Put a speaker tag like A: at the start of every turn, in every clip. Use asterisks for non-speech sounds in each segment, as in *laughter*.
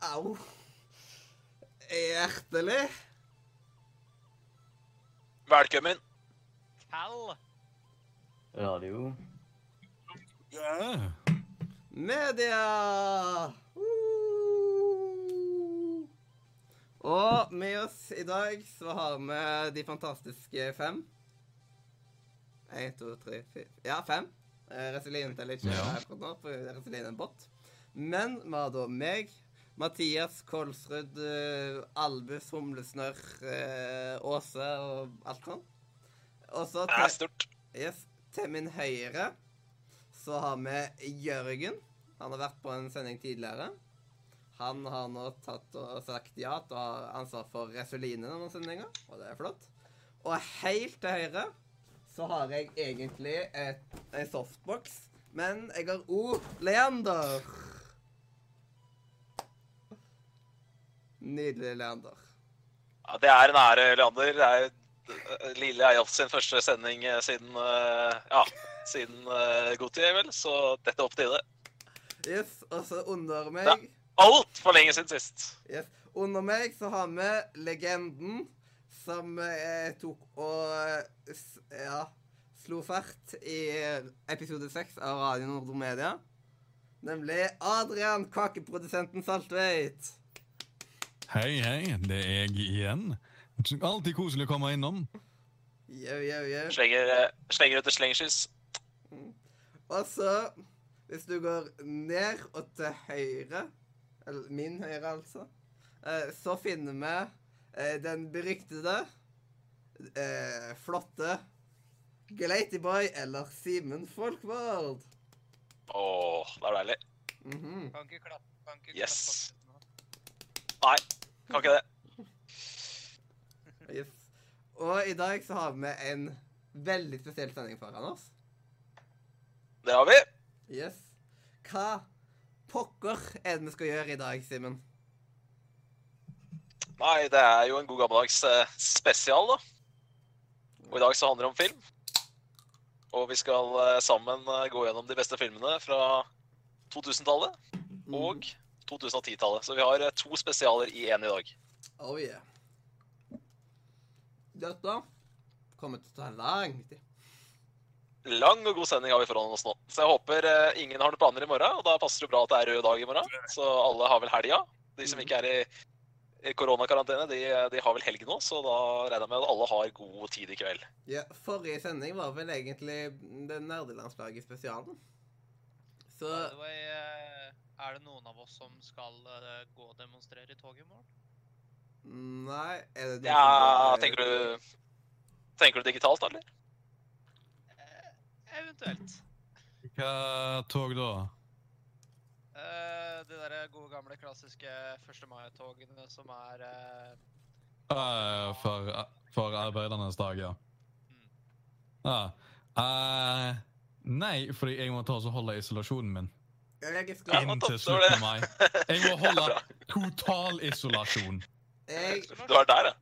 A: Au. Hjertelig.
B: Velkommen.
C: Hell!
D: Radio.
E: Ja.
A: Media! Uh. Og med oss i dag så har vi de fantastiske fem. Én, to, tre, fire Ja, fem. Eh, Reselin teller ikke
E: Ja.
A: akkurat nå, for Reselin er en bot. Men vi har da meg, Mathias Kolsrud, eh, Albus Humlesnørr, eh, Åse og alt sånn. Og så
B: Det er stort.
A: Yes. Til min høyre så har vi Jørgen. Han har vært på en sending tidligere. Han har nå tatt og sagt ja til å ha ansvar for Resoline denne sendinga, og det er flott. Og helt til høyre så har jeg egentlig et, en softbox, men jeg har òg Leander. Nydelig, Leander.
B: Ja, det er en ære, Leander. Det er eh, Lille er sin første sending eh, siden eh, Ja, siden eh, Goti, vel. Så dette er opp til det.
A: Yes, og så under meg
B: Altfor lenge siden sist.
A: Yes. Under meg så har vi legenden som eh, tok og eh, s- ja, slo fart i episode seks av Radio Nordomedia. Nemlig Adrian Kakeprodusenten Saltveit.
E: Hei, hei, det er jeg igjen. Alltid koselig å komme innom.
A: Yo, yo, yo.
B: Slenger, eh, slenger ut et slengskyss.
A: Og så, hvis du går ned og til høyre, eller min høyre altså, eh, så finner vi eh, den beryktede, eh, flotte Glatyboy eller Simen Folkvord.
B: Åh, det er deilig.
A: Mhm.
C: Kan ikke klappe. Kan ikke
B: Yes.
C: klappe.
B: Nei, kan ikke det.
A: yes. Og i dag så har vi en veldig spesiell sending foran oss.
B: Det har vi.
A: Yes. Hva pokker er det vi skal gjøre i dag, Simen?
B: Nei, det er jo en god gammeldags eh, spesial, da. Og i dag så handler det om film. Og vi skal eh, sammen eh, gå gjennom de beste filmene fra 2000-tallet
A: Mm.
B: og 2010-tallet. Så vi har eh, to spesialer i én i dag.
A: Oh yeah. Dette kommer til å ta lang tid.
B: Lang og god sending har vi foran oss nå. Så jeg håper eh, ingen har noen planer i morgen, og da passer det bra at det er rød dag i morgen. Så alle har vel helga. De
A: Mm.
B: som ikke er i i koronakarantene, de, de har vel helg nå, så da regner jeg med at alle har god tid i kveld.
A: Ja, forrige sending var vel egentlig den nerdelandslaget spesialen. Så
C: By the way, eh, er det noen av oss som skal eh, gå og demonstrere i toget i morgen?
A: Nei er det
B: Ja, tenker du Tenker du digitalt, da, eller?
C: Eh, eventuelt.
E: Hva tog da?
C: Eh, de der gode gamle klassiske 1. mai-togene som er eh,
E: Eh, for, for arbeidernes dag, ja.
C: Mm.
E: ja. Eh, nei, fordi jeg må ta og holde isolasjonen min.
A: Jeg
B: Ja,
A: skal,
B: men topp, det
E: Inntil
B: var
E: slutten
B: det.
E: av mai. Jeg må
B: *laughs*
E: holde
B: bra.
E: totalisolasjon.
A: jeg,
B: Du er der, ja.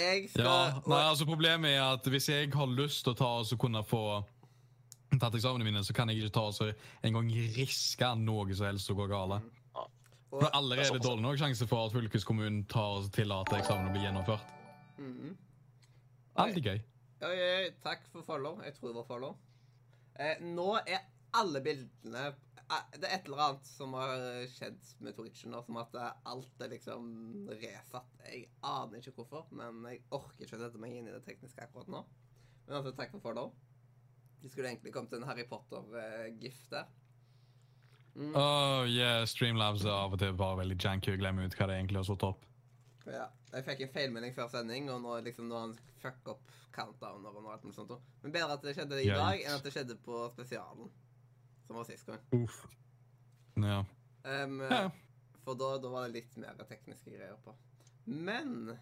A: jeg skal
E: Ja, nei,
A: og-
E: altså Problemet er at hvis jeg har lyst til å ta og så kunne få tatt eksamene mine, så kan jeg ikke ta og så engang riske noe som helst som går gale. For det er
A: og,
B: Det
E: allerede
B: er sånn såpass.
E: dårlig nok sjanse for at fylkeskommunen tar og tillater eksamen å bli gjennomført.
A: Mhm.
E: Alltid gøy.
A: Oi, oi, takk for follow. Jeg tror det var follow. Eh, nå er alle bildene eh, Det er et eller annet som har eh, skjedd med Twitchen nå, som at eh, alt er liksom resatt. Jeg aner ikke hvorfor, men jeg orker ikke å sette meg inn i det tekniske akkurat nå. Men altså, takk for follow. Det skulle egentlig kommet en Harry Potter-gif der. Mm,
E: Oh, yeah, Streamlabs er av og til bare veldig janky og glemmer ut hva det egentlig har satt opp.
A: ja. Jeg fikk en feilmelding før sending, og nå liksom nå har han fucka opp countdowner og noe alt mulig sånt. også. Men bedre at det skjedde i
E: Yikes.
A: dag enn at det skjedde på spesialen, som var sist gang.
E: Uff. Ja.
A: Em,
E: Ja.
A: For da, da var det litt mer tekniske greier på. Men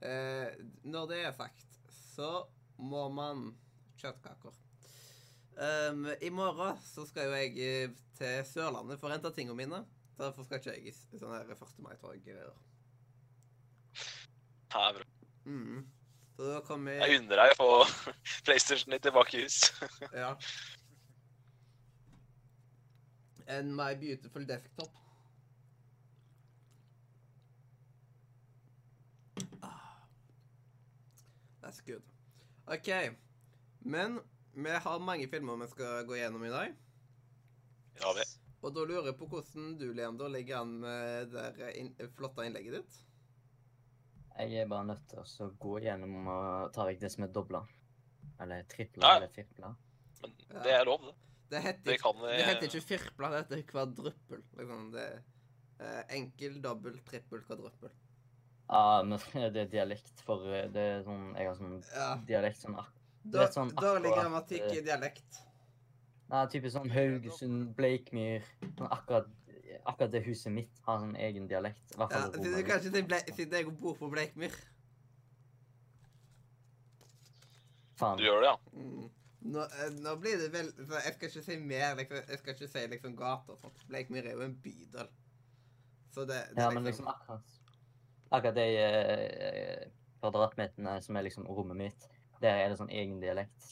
A: eh, når det er sagt, så må man kjøttkaker. Em, I morgen så skal jo jeg eh, til Sørlandet for å hente tingene mine. Derfor skal ikke jeg i s- sånne her 1. mai-tog-greier.
B: Ja, bra.
A: Mm. Så da kommer
B: Jeg unner deg å få *laughs* PlayStation litt tilbake i hus.
A: Ja. And my beautiful desktop. Ah. That's good. OK. Men vi har mange filmer vi skal gå gjennom i dag.
B: Ja, vi.
A: Og da lurer jeg på hvordan du, Leander, ligger an med det der inn- flotte innlegget ditt.
D: Jeg er bare nødt til å så gå gjennom og ta vekk det som er dobla. Eller tripla
B: Ja.
D: eller firpla.
B: Men det er lov, det.
A: Det heter,
B: Det
A: ikke-
B: kan
A: det heter
B: vi
A: ikke firpla, det heter kvadruppel. Liksom det er eh, enkel, dobbel, trippel, kvadruppel.
D: Ja, Ah, men *laughs* det er dialekt for eh, Det er sånn Jeg har sånn
A: Ja.
D: dialekt sånn ak- Det er
A: Dår,
D: litt sånn
A: dårlig
D: akkurat,
A: grammatikk i
D: eh,
A: dialekt.
D: Nei, typisk sånn Haugesund, Bleikmyr Sånn akkurat Akkurat det huset mitt har sånn egen dialekt. I hvert
A: Ja,
D: fall
A: siden,
D: Romerike.
A: kanskje det ble, siden jeg bor på Bleikmyr.
D: Faen.
B: Du gjør det, ja.
A: Mm. Nå, eh, nå blir det vel så Jeg skal ikke si mer. Liksom, jeg skal ikke si liksom gater og sånt. Bleikmyr er jo en bydel. Så det, det
D: Ja,
A: er
D: men liksom akkurat Akkurat de eh, kvadratmeterne som er liksom rommet mitt, der er det sånn egen dialekt.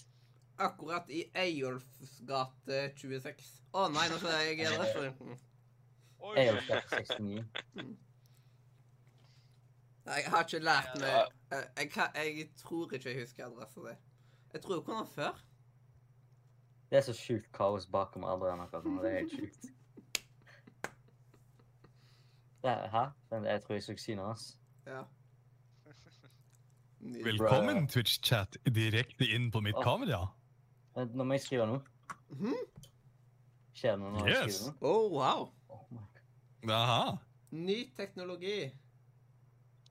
A: Akkurat i Eyolfs gate 26. Å nei, nå sa jeg
D: *laughs*
A: adressen.
C: Oi,
D: Jeg er jo født 69.
A: Nei, Jeg har ikke lært meg
B: Ja.
A: eh, jeg, kan, jeg tror ikke jeg husker adressen din. Jeg tror jeg kunne den før.
D: Det er så sjukt kaos bakom Adrian akkurat nå. Det er helt sjukt. Det er, hæ? Den, jeg tror jeg så synet hans.
A: Ja. Nydelig.
E: Velkommen, Twitch-chat, direkte inn på mitt
B: Ah.
D: Åh.
E: kamera.
D: Vent, Nå må jeg skrive noe.
A: Mhm.
D: Skjer det noe når jeg
E: Yes.
D: skriver noe?
A: Oh, wow.
D: Oh my God.
E: Aha.
A: Ny teknologi.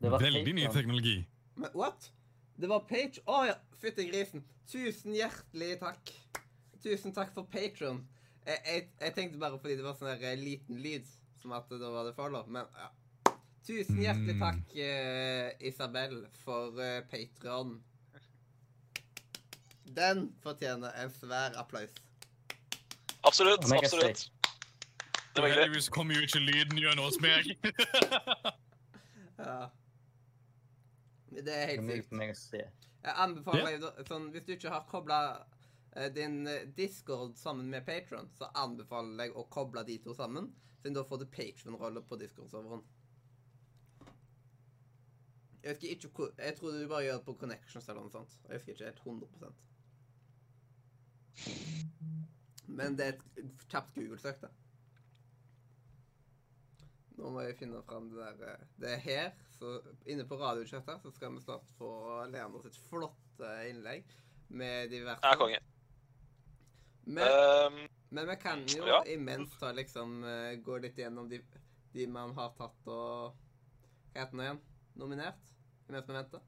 D: Det var sånn
E: Veldig ny
D: Patreon.
E: teknologi.
A: Men what? Det var page... Å ja, fytti grisen. Tusen hjertelig takk. Tusen takk for Patron. Jeg, jeg, jeg tenkte bare fordi det var sånn der eh, liten lyd, som at da var det follow, men ja. Tusen hjertelig
E: Mm.
A: takk, eh, Isabel, for eh, Patron. Den fortjener en svær applaus.
B: Absolutt.
D: Omega
B: absolutt. Det var hyggelig.
E: Heldigvis kommer jo ikke lyden gjennom hos
B: *laughs*
E: meg.
A: Ja. Det er
D: Det er
A: helt
D: mulig
A: sykt.
D: for meg å se.
A: Jeg anbefaler deg, da- sånn, Hvis du ikke har kobla din eh, Discord sammen med Patron, så anbefaler jeg å koble de to sammen. Siden da får du Patron-rolle på Discord-serveren. Jeg husker ikke hvor Jeg tror du bare gjør det på Connections eller noe sånt. Jeg husker ikke helt 100 Men det er et kjapt Google-søk, da. Nå må jeg finne fram det der eh, Det er her, så inne på radiochatet, så skal vi snart få Leander sitt flotte innlegg med diverse
B: Ja, konge.
A: Men,
B: Ehm,
A: men vi kan jo
B: ja.
A: imens ta liksom eh, gå litt gjennom de, de man har tatt og Hva heter det nå igjen? Nominert? Imens vi venter.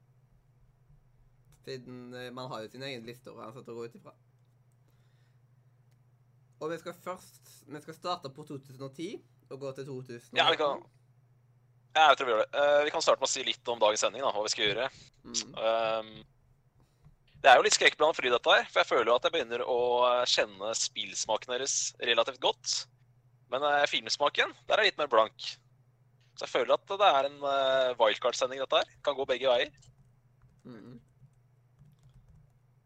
A: Siden eh, man har jo sin egen liste over ansatte å gå ut ifra. Og vi skal først Vi skal starte på 2010 og gå til 2018.
B: Ja, vi kan- ja, jeg tror vi gjør det. Eh, vi kan starte med å si litt om dagens sending, da, hva vi skal gjøre.
A: Mm.
B: Ehm, det er jo litt skrekkblandet fryd, dette her. For jeg føler jo at jeg begynner å eh, kjenne spillsmaken deres relativt godt. Men eh, filmsmaken, der er jeg litt mer blank. Så jeg føler at det er en eh, wildcard-sending, dette her. Kan gå begge veier.
A: Mm.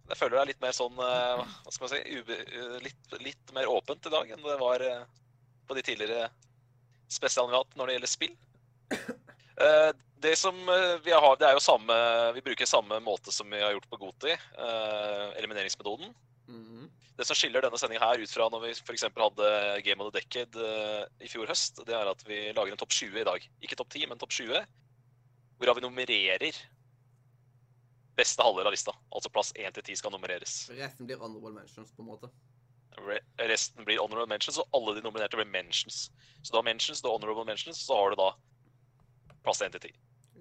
B: Jeg føler det er litt mer sånn eh, Hva skal man si? Ube eh, litt, litt mer åpent i dag enn det var eh, på de tidligere spesialene vi har hatt når det gjelder spill. Eh, det som eh, vi har, det er jo samme Vi bruker samme måte som vi har gjort på Goti. eh, elimineringsmetoden.
A: Mm.
B: Det som skiller denne sendingen her ut fra når vi f.eks. hadde Game of the Decade eh, i fjor høst, det er at vi lager en topp 20 i dag. Ikke topp 10, men topp 20. Hvorav vi nummererer beste halvdel av lista. Altså plass 1 til 10 skal nummereres.
A: Resten blir honorable mentions, på en måte.
B: Re resten blir honorable mentions, og alle de nominerte blir mentions. Så du har mentions, du har honorable mentions, så har du da plass 1 til 10.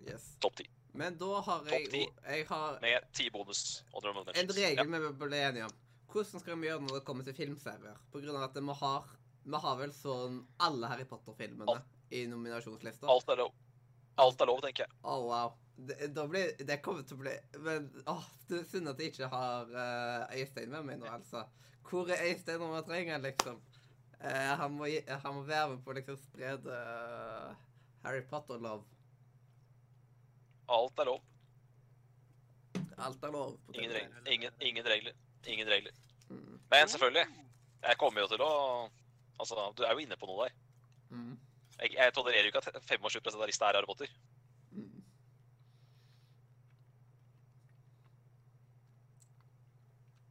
A: Yes.
B: Topp 10.
A: Men da har jeg
B: Topp ti.
A: jo Jeg har
B: Med 10 bonus honorable
A: en
B: mentions.
A: regel vi bør bli enige om. Hvordan skal vi gjøre det når det kommer til filmserier? På grunn av at vi har Vi har vel sånn alle Harry Potter-filmene
B: Alt.
A: i nominasjonslista.
B: Ja. Alt er lov. Alt er lov, tenker jeg.
A: Å, wow. Det, da blir, det kommer til å bli Men åh, det er synd at jeg ikke har eh, Øystein med meg nå, altså. Hvor er Øystein når man trenger han, liksom? Eh, han, må, gi- han må være med på å liksom sprede eh, Harry Potter-love.
B: Alt er lov.
A: Alt er lov. på
B: Ingen
A: TV.
B: regler. Ingen, ingen regler. Ingen regler.
A: Mm.
B: Men selvfølgelig. Jeg kommer jo til å Altså, du er jo inne på noe der.
A: Mm.
B: Jeg, jeg tolererer jo ikke at 25 av lista er Harry Potter.
A: Mm.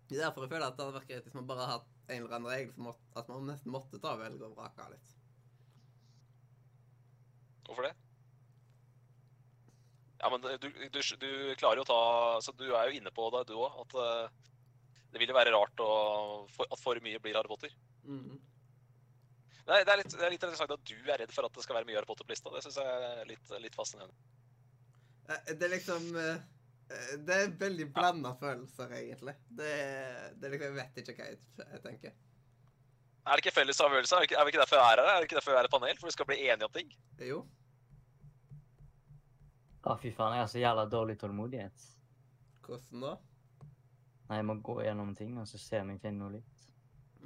A: Det er derfor jeg føler at det hadde vært greit hvis man bare hadde hatt en eller annen regel for mått- at man nesten måtte ta velge og vrake litt.
B: Hvorfor det? Ja, men du, du, du klarer jo å ta Så du er jo inne på det, du òg, at eh, det vil jo være rart å, for, at for mye blir Harry Potter.
A: Mhm.
B: Nei, det er, litt, det er litt interessant at du er redd for at det skal være mye Harry Potter på lista. Det syns jeg er litt, litt fascinerende.
A: Eh, Det er liksom eh, eh, Det er veldig blanda følelser, egentlig. Det, det er liksom, Jeg vet ikke hva jeg, jeg tenker.
B: Er det ikke felles avgjørelse? Er det ikke, er det ikke derfor vi er her? Er det ikke derfor vi er et panel? For vi skal bli enige om ting?
A: Jo.
D: Å, fy faen, jeg har så jævla dårlig tålmodighet.
A: Hvordan da?
D: Nei, jeg må gå gjennom ting, og så se om jeg finner noe litt.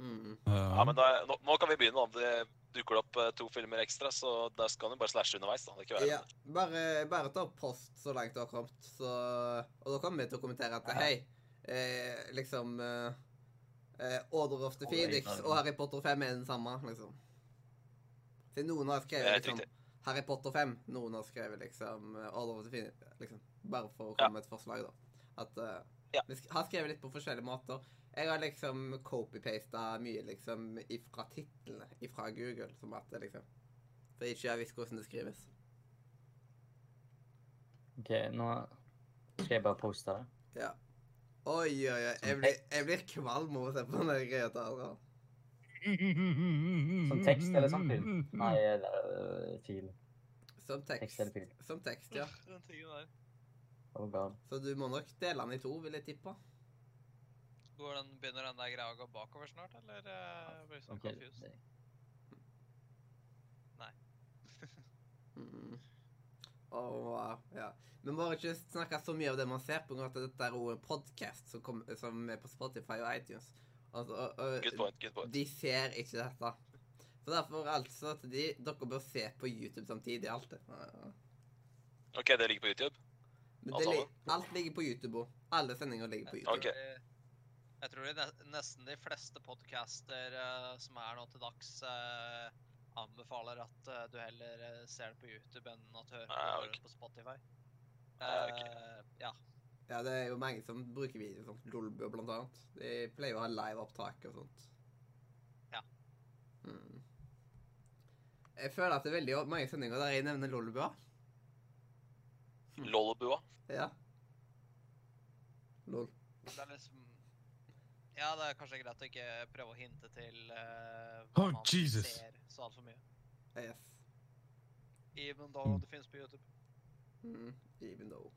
A: Mhm.
B: Ja, men da, nå, nå kan vi begynne. Om det dukker det opp eh, to filmer ekstra, så da skal du bare slashe underveis. da. Det er ikke verre.
A: Ja, bare, bare ta post så langt du har kommet, så Og da kommer vi til å kommentere at hei, eh, liksom eh, eh, Order of the
D: Alle
A: Phoenix
D: innholdet.
A: og Harry Potter 5 er den samme, liksom. Til noen har
B: Eh,
A: skrevet liksom
B: riktig.
A: Harry Potter 5, noen har skrevet liksom eh, Order of the Phoenix, liksom. Bare for å
B: Ja.
A: komme med et forslag, da. At eh,
B: Ja.
A: Vi sk- har skrevet litt på forskjellige måter. Jeg har liksom copy-pasta mye liksom ifra titlene ifra Google, som at det liksom For ikke jeg visste hvordan det skrives.
D: OK, nå skal jeg bare poste det.
A: Ja. Oi, oi, oi. Jeg blir, jeg blir kvalm av å se på den greia til Adrian.
D: Som tekst eller som film?
E: Mm.
D: Nei, eller, øh, fil.
A: Som
D: Tekst eller
A: tekst.
D: fil.
A: Som tekst, ja.
C: Den tingen der.
D: Oh god.
A: Så du må nok dele den i to, vil jeg tippe.
C: Går den, begynner den der greia å gå bakover snart, eller eh, blir vi sånn
D: Ok,
C: confused?
D: det-
A: Mm. Og, ja. Vi må bare ikke snakke så mye av det man ser, på grunn av at dette er jo en podkast som, kom- som er på Spotify og iTunes. Altså, og, og,
B: Good point. good point.
A: De ser ikke dette. Så derfor er altså at de, dere bør se på YouTube samtidig. Alt det.
B: OK, det ligger på YouTube.
A: Men
B: Alt
A: det,
B: sammen?
A: li- alt ligger på YouTube òg. Alle sendinger ligger på
C: Jeg
A: YouTube.
C: tror
B: Ok.
C: de- Jeg tror de ne- nesten de fleste podcaster eh, som er nå til dags, eh, anbefaler at eh, du heller eh, ser det på YouTube enn at du hører på,
B: Ah,
C: hører
B: ok.
C: det på Spotify.
B: Ah, ok.
C: Eh, ja.
A: Ja, det er jo mange som bruker video, sånn Lolbø blant annet. De pleier å ha liveopptak og sånt.
C: Ja.
A: Mm. Jeg føler at det er veldig mange sendinger der jeg nevner Lolbø. Hmm.
B: Lollabua.
A: Ja. Lol.
C: Det er liksom Ja, det er kanskje greit å ikke prøve å hinte til eh, hva
E: Oh,
C: man
E: Jesus.
C: ser så altfor mye.
A: Yes.
C: Even though
E: Mm.
C: det finnes på YouTube.
A: Mm. Even though.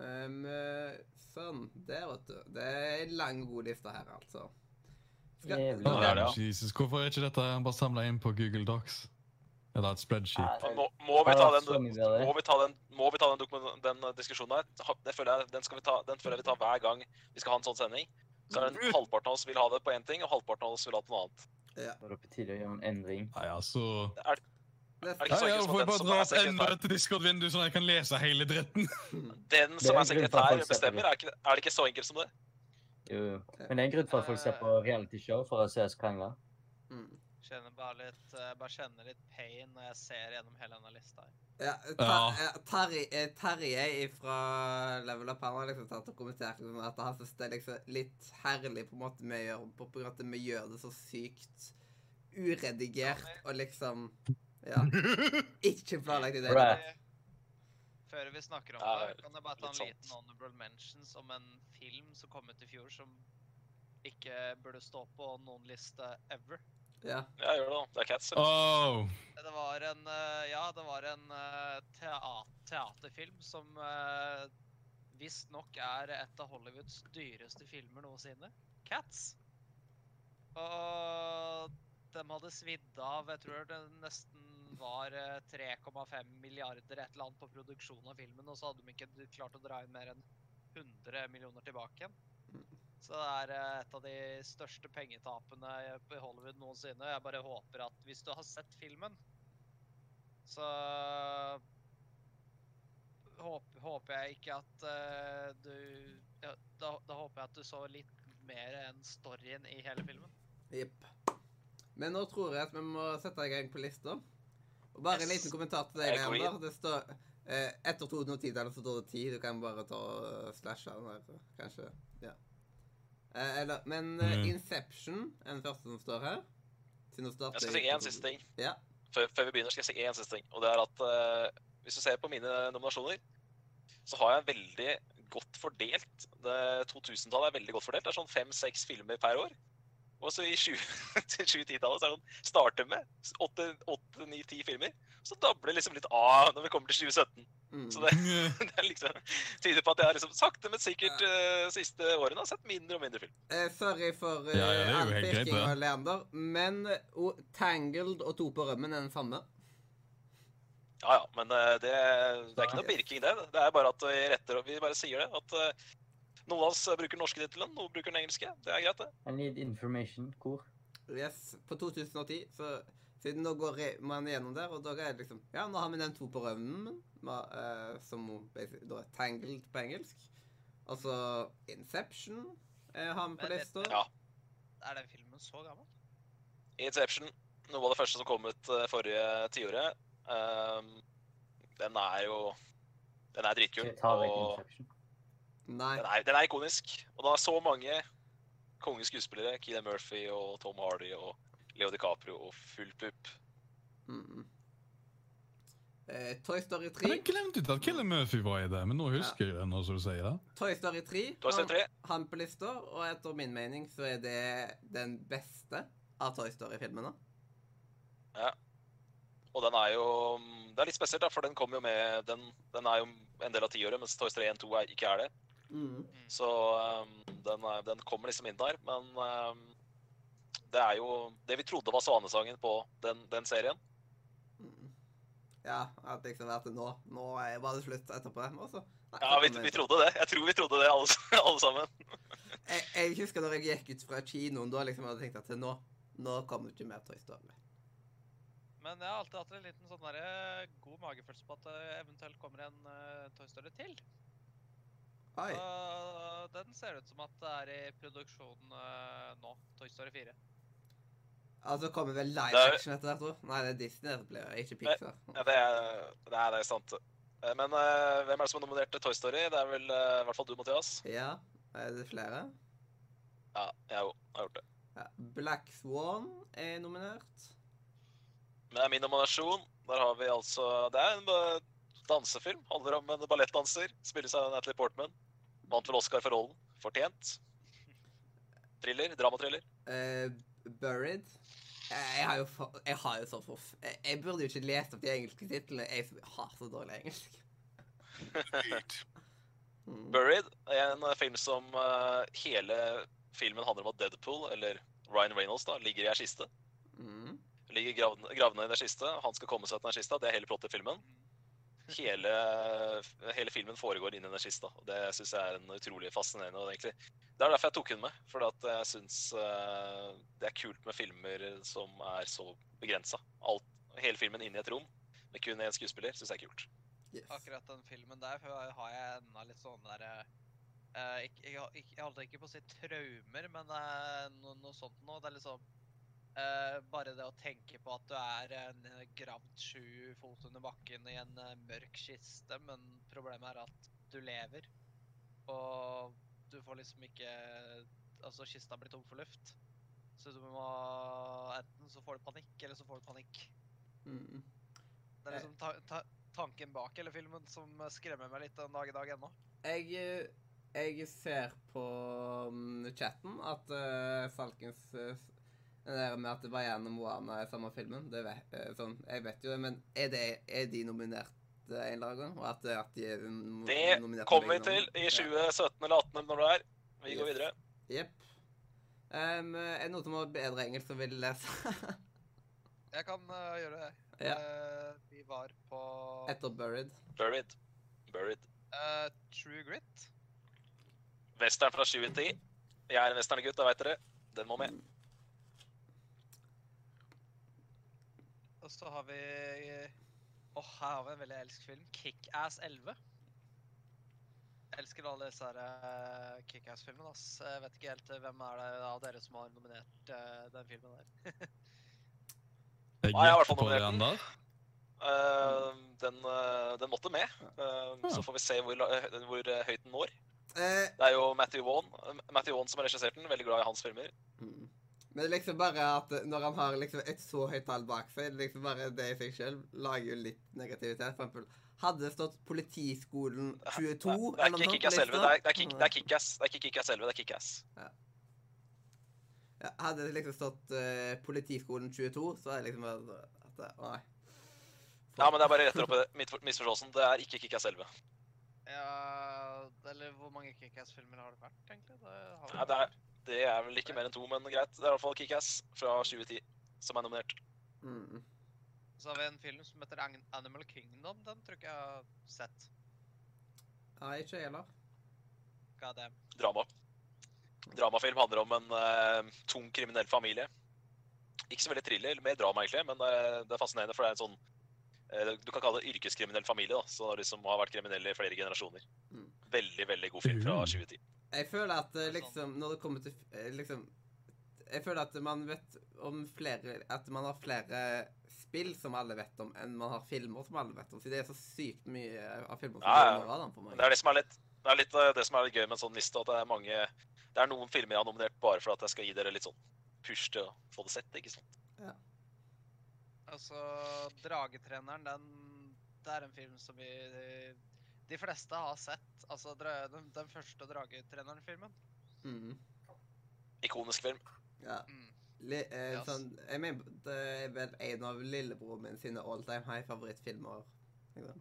A: Um, eh, sånn. Der, vet du. Det er en lang, god liste her, altså.
D: Jævlig.
B: Ja, det er det, ja.
E: Jesus, hvorhvorfor er ikke dette bare samla inn på Google Docs? Eller et spreadsheet?
D: Nei,
B: Må, må, vi
D: Det
B: ta
D: har vært så
B: den,
D: mye bedre.
B: må vi ta den, må vi ta den, dokumen- den eh, diskusjonen her? Ha- Det føler jeg, den, skal vi ta, den føler jeg vi tar hver gang vi skal ha en sånn sending. Så er det en, halvparten av oss vil ha det på én ting, og halvparten av oss vil ha det på noe annet.
D: Var det på tide å gjøre en endring?
E: Nei, altså
B: Er,
A: Neste.
E: Ja,
B: Ikke så
E: ja,
B: enkelt som
E: får jeg
B: den
E: bare
B: som
E: dra
B: er
E: opp enda
B: sekretær.
E: et Discord-vindu, sånn at jeg kan lese hele
B: *laughs*
E: dritten?
B: den
D: er
B: som er
D: en grunn til at folk
B: sekretær,
D: ser på
B: bestemmer.
D: det.
B: Er, ikke, det- er det ikke så enkelt som det?
D: Jo, jo. Men det er en grunn for at folk ser på realityshow for å se oss krangle.
A: Mm.
C: Kjenner bare litt, eh, bare kjenner litt pain når jeg ser gjennom hele denne lista. her.
A: Ja,
E: Ja.
A: Tar- eh, Terje- eh, Terje fra Level Up han har liksom tatt og kommentert liksom at han synes det er liksom litt herlig på en måte vi gjør på grunn av at vi gjør det så sykt uredigert og liksom Ja. Ikke planlagt i det. hele
D: Bruh.
A: tatt.
C: Før vi snakker om
B: Ja,
C: det, kan jeg bare ta
B: litt sånn.
C: en
B: sant.
C: liten honorable mentions om en film som kom ut i fjor som ikke burde stå på noen liste ever.
A: Ja.
B: Ja, gjør det, da. Det er Cats. eller?
E: Oh,
C: Det var en eh, Ja, det var en eh, tea- teaterfilm som uh, visstnok er et av Hollywoods dyreste filmer noensinne. Cats. Og de hadde svidd av Jeg tror det nesten var eh, 3,5 milliarder et eller annet på produksjonen av filmen, og så hadde de ikke d- klart å dra inn mer enn 100 millioner tilbake igjen. Så det er eh, et av de største pengetapene i Hollywood noensinne. Jeg bare håper at hvis du har sett filmen, så håp, håper jeg ikke at eh, du ja, da, da håper jeg at du så litt mer enn storyen i hele filmen.
A: Jepp. Men nå tror jeg at vi må sette i gang på lista. Og bare en
C: Yes.
A: liten kommentar til deg,
B: Jeg går
A: Leander. Det står Eh, etter 2010 eller 2010, du kan bare ta og slashe den her, kanskje. Ja. Eh, eller, men eh,
E: Mhm.
A: Inception er den første som står her. Siden den starter
B: Jeg skal
A: i
B: si
A: 2000.
B: én siste ting.
A: Ja.
B: Før, før vi begynner, skal jeg si én siste ting. Og det er at eh, hvis du ser på mine nominasjoner, så har jeg veldig godt fordelt. Det- 2000-tallet er veldig godt fordelt. Det er sånn fem-seks filmer per år. Og så i 20 *laughs* til 2010-tallet så er det sånn starter med åtte-ni-ti filmer. Så dabler det liksom litt av når vi kommer til 2017.
A: Mm.
B: Så det, *laughs* det er liksom, tyder på at jeg har liksom sakte, men sikkert eh, siste årene har sett mindre og mindre film.
A: Eh, sorry for eh,
E: Ja, ja, det er jo
A: all
E: helt greit,
A: pirking
E: det.
A: og leander, men eh, o- Tangled og To på rømmen er den samme.
B: Ja, ja, men eh, det, det er ikke noe pirking, det. Det er bare at vi retter Vi bare sier det. At eh, noen av oss eh, bruker den norske tittelen, noen bruker den engelske. Det er greit, det.
D: I need information. Hvor?
A: Yes, på 2010, så siden nå går re- man gjennom der, og da er det liksom Ja, nå har vi den to på rømmen, ma- eh, som basi- da er Tangled på engelsk. Og så Inception eh, har vi på
C: Men-
A: lista.
B: Ja.
C: Er den filmen så gammel?
B: Inception, noe av det første som kom ut eh, forrige tiåret, ehm, den er jo Den er dritkul.
D: Tar jeg
B: Og
D: Inception?
A: Nei.
B: den er, den er ikonisk. Og det er så mange konge skuespillere. Keelan Murphy og Tom Hardy og Leo DiCaprio og full pupp.
A: Mm -mm. Eh, Toy Story
E: Jeg hadde
A: 3.
E: glemt ut at Killer Murphy var i det, men nå husker jeg det. når du sier det.
A: Toy Story 3
B: Toy Story 3.
A: har vi på lista, og etter min mening så er det den beste av Toy Story-filmene.
B: Og den er jo Det er litt spesielt, da, for den kom jo med Den, den er jo en del av tiåret, mens Toy Story 1 2 er, ikke er det.
A: Mm.
B: Så ehm, den, er, den kommer liksom inn der. Men ehm, det er jo det vi trodde var svanesangen på den, den serien.
A: Mm. Ja, at liksom at nå Nå er var det slutt etterpå. Og så Nei,
B: Ja,
A: så
B: vi,
A: kom
B: vi
A: det-
B: trodde det. Jeg tror vi trodde det, alle, *laughs* s- alle sammen.
A: jeg, jeg husker da jeg gikk ut fra kinoen, da liksom hadde jeg tenkt at nå, nå kommer det ikke mer Toy Story.
C: Men jeg har alltid hatt en liten sånn derre god magefølelse på at det eventuelt kommer en eh, Toy Story til.
A: Oi.
C: Og den ser ut som at det er i produksjon eh, nå. Toy Story 4.
A: Altså kommer vel live
B: Det er-
A: action etter hvert tror jeg. Nei, det er Disney dette blir, ikke Pixar.
B: Ja, det, er, det, er, det er sant. Eh, Men eh, hvem er det som har nominert til Toy Story? Det er vel eh, i hvert fall du, Mathias.
A: Ja, er det flere?
B: Ja, jeg har jo- jeg har gjort det.
A: Ja. Black Swan er nominert.
B: Men det er min nominasjon. Der har vi altså Det er en eh, dansefilm. Handler om en ballettdanser. Spilles av Natalie Portman. Vant vel Oscar for rollen. Fortjent. Thriller. Dramatriller.
A: Eh, Buried. Jeg jeg har jo, fa- jeg har jo så forf... Jeg, jeg burde jo ikke lest opp de engelske titlene. Jeg som har så dårlig engelsk. Mm.
B: Buried er en eh, film som eh, hele filmen handler om at Deadpool, eller Ryan Reynolds, da, ligger i ei kiste.
A: Mm.
B: Ligger gravd, gravd ned i ei kiste. Han skal komme seg til den kista. Det er hele plottet i filmen.
C: Mm.
B: Hele, hele filmen foregår inni den kista. og Det syns jeg er en utrolig fascinerende og egentlig Det er derfor jeg tok hun med. For at jeg syns det er kult med filmer som er så begrensa. Hele filmen inni et rom med kun én skuespiller syns jeg er kult.
A: Yes.
C: Akkurat den filmen der for har jeg ennå litt sånn derre eh, ikk- Jeg har- ikk- jeg holdt ikke på å si traumer, men det er no, noe sånt nå. Det er liksom eh, Bare det å tenke på at du er en eh, gravd sju fot under bakken i en eh, mørk kiste, men problemet er at du lever. Og du får liksom ikke Altså, kista blir tom for luft. Så du må Enten så får du panikk, eller så får du panikk.
A: Mm.
C: Det er
A: Eh.
C: liksom ta, ta, tanken bak hele filmen som skremmer meg litt den dag i dag ennå.
A: Jeg, eh, jeg ser på mm, chatten at eh, Salkens eh, Det der med at Bayern og Moana er samme filmen, det vet, eh, sånn, jeg vet jo det, men er, det, er de nominert eh, en eller annen gang? Og at, eh, at de er nom-
B: Det
A: nominert på
B: Kommer vi
A: begge
B: til
A: navn?
B: i 2017 eller 2018 når det er. Vi går
A: Yes.
B: videre.
A: Ja. Jepp. Em, er det noen som har bedre engelsk som vil lese? *laughs*
C: Jeg kan øh, gjøre det.
A: ja.
C: Eh, vi var på
A: Etter Buried.
B: Buried. Buried.
C: eh, True Grit.
B: Western fra 2010. Jeg er en westerngutt, det veit dere. Den må med.
C: Og så har vi Åh, her har vi en veldig elsk film. Kickass 11. Jeg elsker alle disse her eh, Kickass-filmene, ass. Jeg vet ikke helt eh, hvem er det av dere som har nominert eh, den filmen der.
E: Jeg
B: Nei, jeg har i hvert
E: gjetter
B: fall
E: på
B: nominert
E: den
B: den.
E: der.
B: Eh, Eh, den, eh, den måtte med. Eh,
E: Ja.
B: så får vi se hvor, la- eh, hvor eh, høyt den når.
A: Eh,
B: Det er jo Matthew Wan, eh, Matthew Wan som har regissert den. Veldig glad i hans filmer.
A: Mm. Men liksom bare at når han har liksom et så høyt tall bak seg, liksom bare det i seg selv lager jo litt negativitet. For eksempel, hadde det stått Politiskolen 22
B: Det, det er ikke Kickass
A: liksom,
B: selve. Det er, det er, kick, det er Kickass det er ikke Kick-Ass selve, det er Kickass.
A: Ja, hadde det liksom stått eh, Politiskolen 22, så er det liksom bare at det, Nei.
B: Ja, men det er bare retter opp i det. Mitt- misforståelsen. Det er ikke Kickass selve.
C: Ja, eller hvor mange Kickass-filmer har det vært, egentlig? Det har
B: Ja, det, er, det er vel ikke mer enn to, men greit. Det er i hvert fall Kickass fra 2010 som er nominert.
A: Mm.
C: Så har vi en film som heter An- Animal Kingdom. Den tror ikke jeg har sett.
A: Nei, ikke jeg heller.
C: God damn.
B: Drama. Dramafilm handler om en eh, tung kriminell familie. Ikke så veldig thriller, mer drama egentlig, men eh, det er fascinerende, for det er en sånn eh, Du kan kalle det yrkeskriminell familie, da. Så de som har vært kriminelle i flere generasjoner.
A: Mm.
B: Veldig, veldig god film fra
E: Mm.
B: 2010.
A: Jeg føler at eh,
C: Det er sånn.
A: liksom Når det kommer til eh, liksom Jeg føler at man vet om flere At man har flere spill som alle vet om, enn man har filmer som alle vet om. Så det er så sykt mye av filmer som
B: Ja, ja.
A: går under radaren for
B: Men
A: meg.
B: det er det som er litt det er litt eh, det som er litt gøy med en sånn liste, at det er mange Det er noen filmer jeg har nominert bare for at jeg skal gi dere litt sånn push til å få det sett, ikke sant.
C: Altså, Dragetreneren, den Det er en film som vi De fleste har sett. Altså, dra- den, den første Dragetreneren-filmen.
A: Mhm.
B: Ikonisk film.
A: Ja.
C: Mm.
A: Li, eh,
C: Yes.
A: sånn, jeg mener, det er vel en av lillebroren min sine all time high favorittfilmer. Liksom.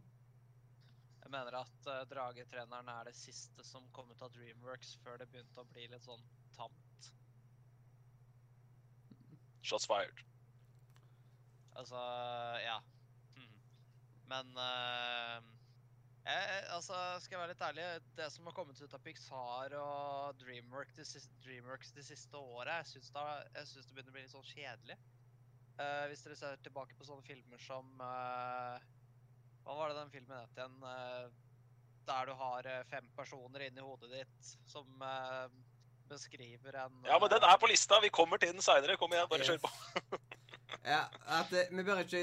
C: Jeg mener at eh, Dragetreneren er det siste som kom ut av Dreamworks før det begynte å bli litt sånn tamt.
B: Shots fired.
C: Altså, ja. Mhm. Men eh, jeg, jeg- altså, skal jeg være litt ærlig, det som har kommet ut av Pixar og Dreamwork de siste, Dreamworks de siste åra, jeg syns da- jeg syns det begynner å bli litt sånn kjedelig. Eh, hvis dere ser tilbake på sånne filmer som eh, Hva var det den filmen het igjen? Eh, der du har eh, fem personer inni hodet ditt som eh, beskriver en
B: Ja, men den
C: eh,
B: er på lista. Vi kommer til den seinere. Kom igjen, bare kjør på.
A: *laughs* ja, at, eh, vi bør ikke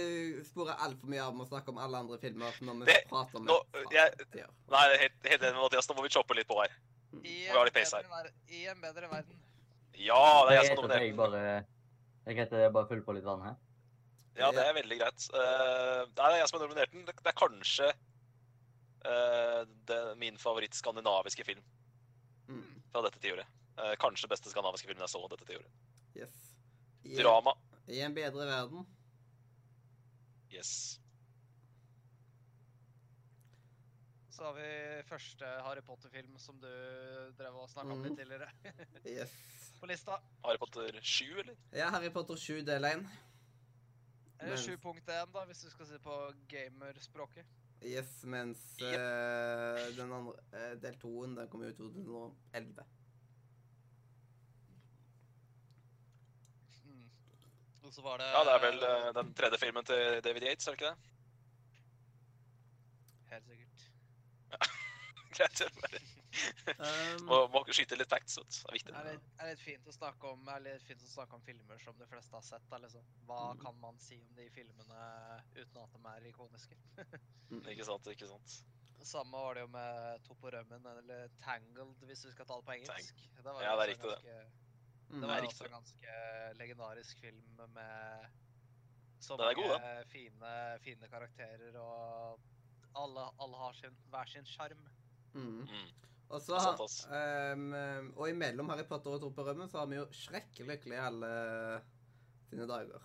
A: spore altfor mye av med å snakke om alle andre filmer når vi
B: Det-
A: prater om
B: nå,
A: det.
B: jeg-
A: Ja.
B: Nei, jeg er helt, helt enig med Mathias. Nå må vi choppe litt på her.
A: Mm.
C: I
B: Hvor har
C: en,
B: de pace her?
C: bedre ver- I en bedre verden.
B: Ja, det er jeg som
D: greit at jeg
B: dominerer.
D: bare Det er greit at jeg bare fyller på litt vann her.
B: Ja, det er veldig greit. Eh, det er jeg som har nominert den. Det det er kanskje eh, det, min favoritt-skandinaviske film
A: Mm.
B: fra dette tiåret. Eh, kanskje beste skandinaviske film jeg så dette tiåret.
A: Yes. I,
B: Drama.
A: I en bedre verden.
B: Yes.
C: Så har vi første Harry Potter-film som du drev og snakka om
A: Mhm.
C: litt tidligere
A: Yes.
C: på lista.
B: Harry Potter 7, eller?
A: Ja, Harry Potter 7 del 1.
C: Eller
A: Mens-
C: 7.1, da, hvis du skal si det på gamerspråket.
A: Yes, mens
B: Yep.
A: eh, den andre eh, del 2-en den kom ut i
B: *laughs*
A: 2011.
C: Mm. Og så var det
B: Ja, det er vel eh, den tredje filmen til David Yates, er det ikke det? *laughs*
C: Helt sikkert.
B: Greit. jeg bare-
A: Um,
B: Må, må skyte litt facts, vet du. Det er
C: Det
B: viktig.
C: er litt, er litt fint å snakke om er litt fint å snakke om filmer som de fleste har sett. Da, liksom. Hva
A: Mhm.
C: kan man si om de filmene uten at de er ikoniske?
A: mm,
B: Ikke sant, ikke sant.
C: Samme var det jo med Toporømmen, eller Tangled, hvis du skal ta det på engelsk. Det var jo
B: Ja, det er
C: også en
B: riktig,
C: ganske-
A: mm,
C: Det var
B: Nei,
C: jo
B: riktig.
C: også en ganske legendarisk film med så
B: Den er god,
C: mange fine, fine karakterer, og alle, alle har sin, hver sin sjarm.
A: mm.
B: Mm.
A: Og så
B: Det er sant,
A: har
B: ass.
A: um, um, Og imellom Harry Potter og Tro på rømmen så har vi jo Shrek lykkelig i alle sine dager.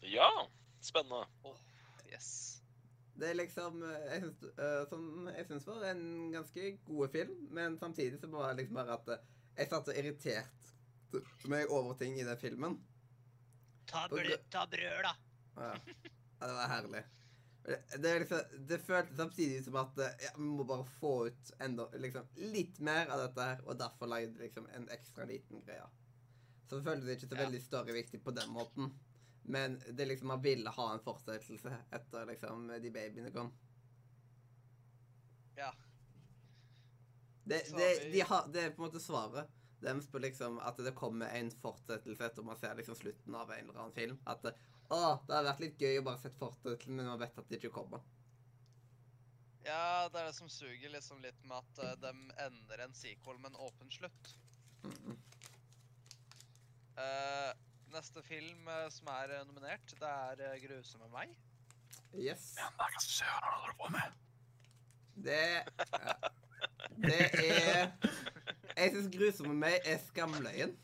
B: Ja, spennende.
C: Yes.
A: Det er liksom eh, jeg syns, eh, Som jeg syns var en ganske god film, men samtidig så var det liksom bare at eh, jeg satt og irriterte meg over ting i den filmen.
C: Ta,
A: Og
C: brød, ta brød, da!
A: Ja. ja, det var herlig. Det, det, er liksom, det føltes samtidig som at eh, ja, vi må bare få ut enda, liksom, litt mer av dette her, og derfor lagde de liksom en ekstra liten greie. Så det føltes ikke så
C: Ja.
A: veldig større viktig på den måten. Men det er liksom, man ville ha en fortsettelse etter liksom, de babyene kom.
C: Ja.
A: Det,
C: Så
A: det,
C: vi-
A: de har, det er på en måte svaret. De spør liksom at det kommer en fortsettelse etter man ser liksom slutten av en eller annen film. At eh, å, det hadde vært litt gøy å bare sett fortsettelsen, men man vet at det ikke kommer.
C: Ja, det er det som suger liksom litt med at eh, de ender en sequel med en åpen slutt.
A: Mm.
C: Eh, neste film eh, som er eh, nominert, det er eh, 'Grusomme meg'.
A: Yes.
E: Nei, hva søren har du holdt på med?
A: Det ja. Det er Jeg syns 'Grusomme meg' er skamløyen.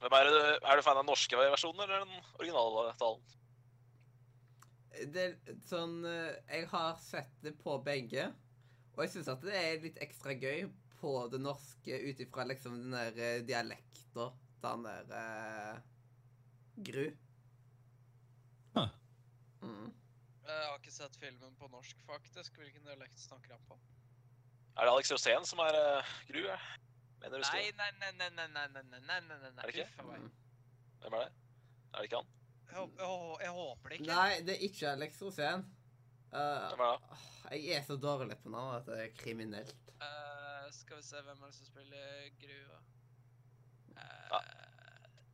B: Hvem er, du, er du fan av den norske versjonen eller den originale talen?
A: Det er sånn eh, Jeg har sett det på begge, og jeg syns at det er litt ekstra gøy på det norske ut ifra liksom den der eh, dialekta til han der eh, Gru.
E: Huh.
A: Mm.
C: Eh, jeg har ikke sett filmen på norsk, faktisk. Hvilken dialekt snakker han på?
B: Er det Alex Rosén som er uh, Gru? jeg? Mener du husker
C: Nei,
B: det?
C: nei, nei, nei, nei, nei, nei, nei, nei, nei, nei,
B: Er det ikke?
C: fy faen meg.
A: Mm.
B: Hvem er det? Er det ikke han?
C: Jeg, håp- jeg, hå- jeg håper det ikke.
A: Nei, det er ikke Alex Rosén. Eh,
B: Hvem er det?
A: jeg er så dårlig på navn at det er kriminelt.
C: Eh, skal vi se hvem er det som spiller Grua. Eh,
B: Ja.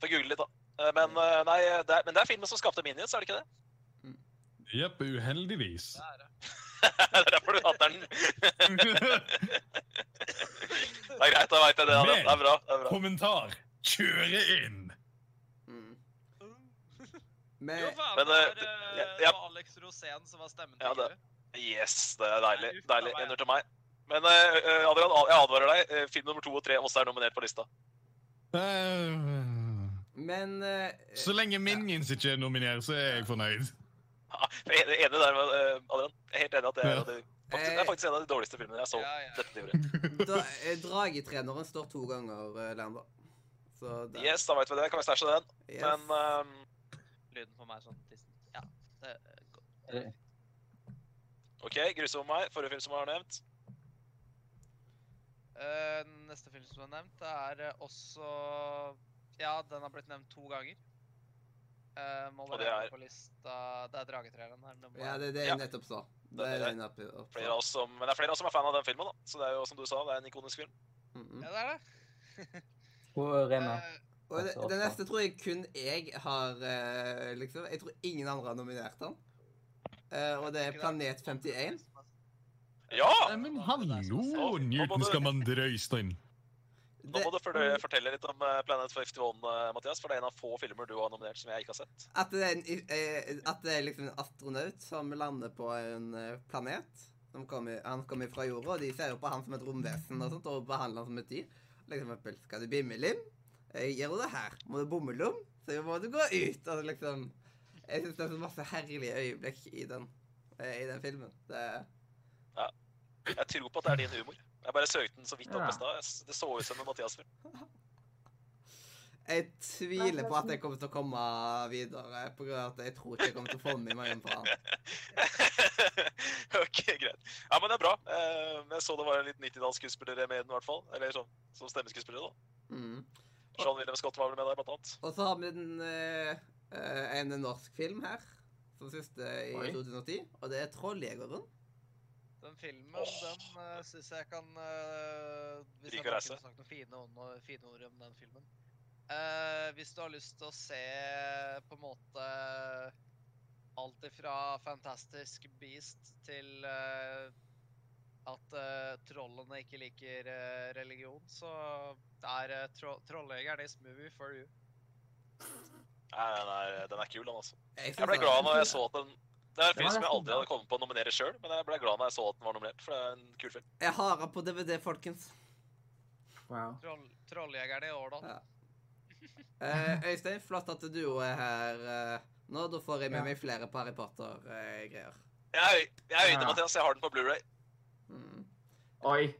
B: Får google litt, da. Eh, Men, eh, nei, det er, men det er filmen som skapte Minions, er det *laughs* ikke det?
E: Jepp, uheldigvis.
C: det er det.
B: det er derfor du hater den. Det er greit, da veit jeg det. Adrian. Det er bra. det er bra.
E: *laughs* Kommentar. Kjøre inn!
A: Mm.
C: Jo,
A: Men
C: faen,
B: Men, eh,
C: det var, eh,
B: ja,
C: det
B: ja.
C: var Alex Rosén som var stemmen til
B: Ja,
C: Gru.
B: det- Yes, det er deilig.
C: Nei, uff, da
B: Deilig.
C: var jeg-
B: Ener til meg. Men eh, eh, Adrian, jeg advarer deg. eh, Film nummer to og tre også er nominert på lista. *laughs*
E: Eh,
A: Men eh,
E: Så lenge Minions ikke er nominert, så er jeg fornøyd.
B: Ja, jeg er enig der med eh, Adrian. Jeg er helt enig at det er, en av de- faktisk, det er faktisk en av de dårligste filmene jeg så
C: Ja, ja.
B: dette året.
A: dra, eh, dragetreneren står to ganger, eh, Leander. Så der.
B: Yes, da vet vi det. Kan vi stæsje den?
A: Yes.
B: Men ehm,
C: Lyden på meg er sånn tissen. Ja, det eh, går.
B: OK, grusom meg. Forrige film som var nevnt.
C: Eh, neste film som er nevnt, det er eh, også Ja, den har blitt nevnt to ganger. Uh,
B: Og
C: Molder
B: det
C: er
B: er-
C: på lista Det er Dragetræreren her. nummer
A: Ja,
C: én.
A: det er det
B: Ja.
A: jeg nettopp sa. Det er det jeg nettopp
B: Flere
A: sa.
B: av oss som, men det er flere av oss som er fan av den filmen. da. Så det er jo som du sa, det er en ikonisk film.
A: Mhm.
C: ja, det er det.
D: Hvor er vi?
C: Eh,
A: Og det,
D: Altså,
A: det
D: altså.
A: neste tror jeg kun jeg har eh, liksom Jeg tror ingen andre har nominert han. Eh, og det er Planet 51.
B: Ja!
E: Nei, Eh, men hallo, Newton skal man drøyste inn.
B: Nå
A: Det,
B: må du fortelle fortelle litt om eh, Planet 51, eh, Mathias. For det er en av få filmer du har nominert som jeg ikke har sett.
A: at, det er en, eh, at det er liksom en astronaut som lander på en eh, planet. Som kommer, han kommer fra jorda, og de ser jo på han som et romvesen og sånt, og behandler han som et dyr. Liksom for eksempel, skal du bimmelim? Eh, Gjør du det her? Må du bommelom? Så må du gå ut. Altså liksom Jeg syns det er så masse herlige øyeblikk i den, eh, i den filmen. Det er
B: Jeg tror på at det er din humor. Jeg bare søkte den så vidt opp
D: Ja.
B: i stad. Jeg s- Det så ut som en Mathias-film.
A: Jeg tviler på at jeg kommer til å komme videre, på grunn av at jeg tror ikke jeg kommer til å få med meg inn på han.
B: *laughs* ok, greit. Ja, men det er bra. Eh, Jeg så det var en liten 90-tallsskuespiller med i den, i hvert fall. Eller sånn som stemmeskuespiller, da.
A: Mm.
B: Sean William Scott var vel med der, blant annet.
A: Og så har vi den, eh, eh, en norsk film her, som siste i
E: Oi.
A: 2010, og det er 'Trolljegeren'.
C: Den filmen
B: Åh.
C: den uh, syns jeg kan eh, Hvis
B: Rik å
C: jeg bare
B: reise.
C: kunne snakket noen fine, ord- fine ord om den filmen. Eh, hvis du har lyst til å se på en måte alt ifra Fantastisk Beast til eh, at eh, trollene ikke liker eh, religion, så er uh, tro Trolljegeren is movie for you.
B: Nei, nei, nei, den er kul, den, altså.
A: Jeg,
B: Jeg ble glad når jeg så
A: den.
B: at den Det er en film
D: Ja,
B: som
D: det
B: jeg
D: er
B: aldri hadde kommet på å nominere sjøl, men jeg ble glad når jeg så at den var nominert, for det er en kul film.
A: Jeg har den på DVD, folkens.
D: Wow.
C: Troll Trolljegeren i Årdal.
A: Ja. Eh, Øystein, flott at du er her eh, nå. Da får jeg med
D: Ja.
A: meg flere på Harry Potter-greier.
B: Jeg er øyne,
D: Ja.
B: Mathias. Jeg har den på Blu-ray.
A: Mm.
F: Oi.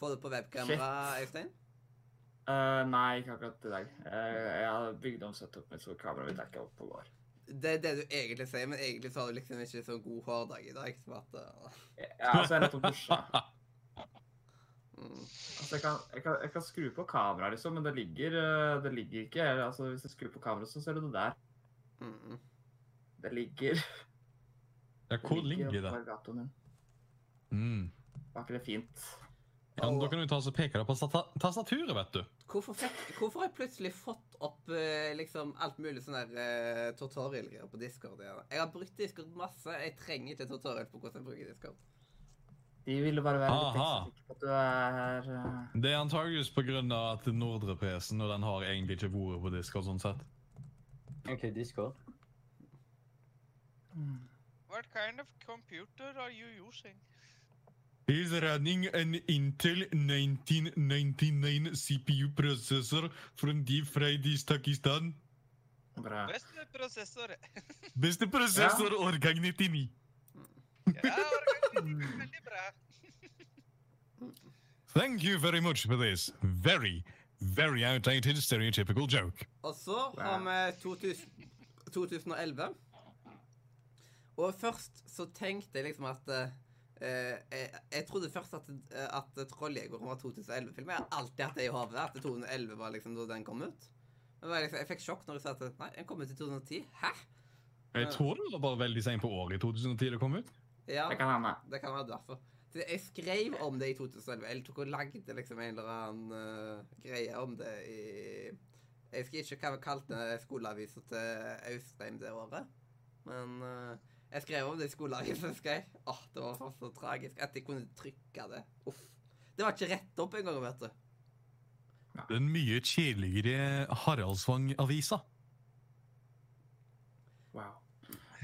A: Få det på webkamera, Øystein.
F: Eh, nei, ikke akkurat i dag. Eh, jeg hadde bygd om setupet mitt, så kameraet mitt er ikke oppe og går.
A: Det er det du egentlig sier, men egentlig så har du liksom ikke så god hårdag i dag. Så at, eh,
F: Jeg, altså, jeg er rett om dusja.
A: Mm.
F: Altså, jeg, kan, jeg, kan, jeg kan skru på kameraet, liksom, men det ligger, eh, det ligger ikke eller, altså, Hvis jeg skrur på kameraet, så ser du det der.
A: Mm -mm.
F: Det ligger
E: Ja, hvor ligger
F: oppå
E: det?
F: alligatoren min.
E: Mm.
F: Var ikke det fint?
E: Ja, men da kan du ta og peke deg på tasta- tastaturet, vet du.
A: Hvorfor, fikk, hvorfor har jeg plutselig fått opp eh, liksom alt mulig sånn her eh, tutorial-greier på Discord? igjen? Jeg har brukt Discord masse. Jeg trenger ikke tutorial på hvordan jeg bruker Discord.
F: De ville bare være litt
E: Aha.
F: ekstra sikre på at du er eh,
E: Det er antageligvis pga. at Nordre-PC-en og den har egentlig ikke vært på Discord. sånn sett.
D: OK, Discord.
C: What kind of computer are you using?
E: He's running an Intel 1999 CPU-processor from deep fried Takistan.
F: bra.
C: Best
A: *laughs*
C: prosessor.
E: Beste
F: prosessor,
E: årgang 99.
C: Ja,
F: Mm.
C: veldig bra.
E: Thank you very much for this very, very outdated stereotypical joke.
A: Og så har vi 2000, 2011. Og først så tenkte jeg liksom at eh, eh, jeg, jeg trodde først at, eh, at Trolljegeren var 2011-film. Jeg har alltid hatt det i hodet, at 2011 var liksom da den kom ut. Men det var liksom, jeg fikk sjokk når jeg sa at nei, den kom ut i 2010. Hæ?
E: Jeg tror det var bare veldig seint på året i 2010 det kom ut.
A: Ja,
F: Det kan hende.
A: det kan være derfor. Så Jeg skrev om det i 2011. Jeg tok og lagde liksom en eller annen eh, greie om det i Jeg husker ikke hva vi kalte skoleavisa til Austein det året. Men eh, jeg skrev om det i skoleavisa, husker jeg. Åh, det var faen så tragisk at jeg kunne trykke det. Uff. Det var ikke rett opp engang, vet du.
E: Den mye kjedeligere Haraldsvang-avisa.
F: Wow.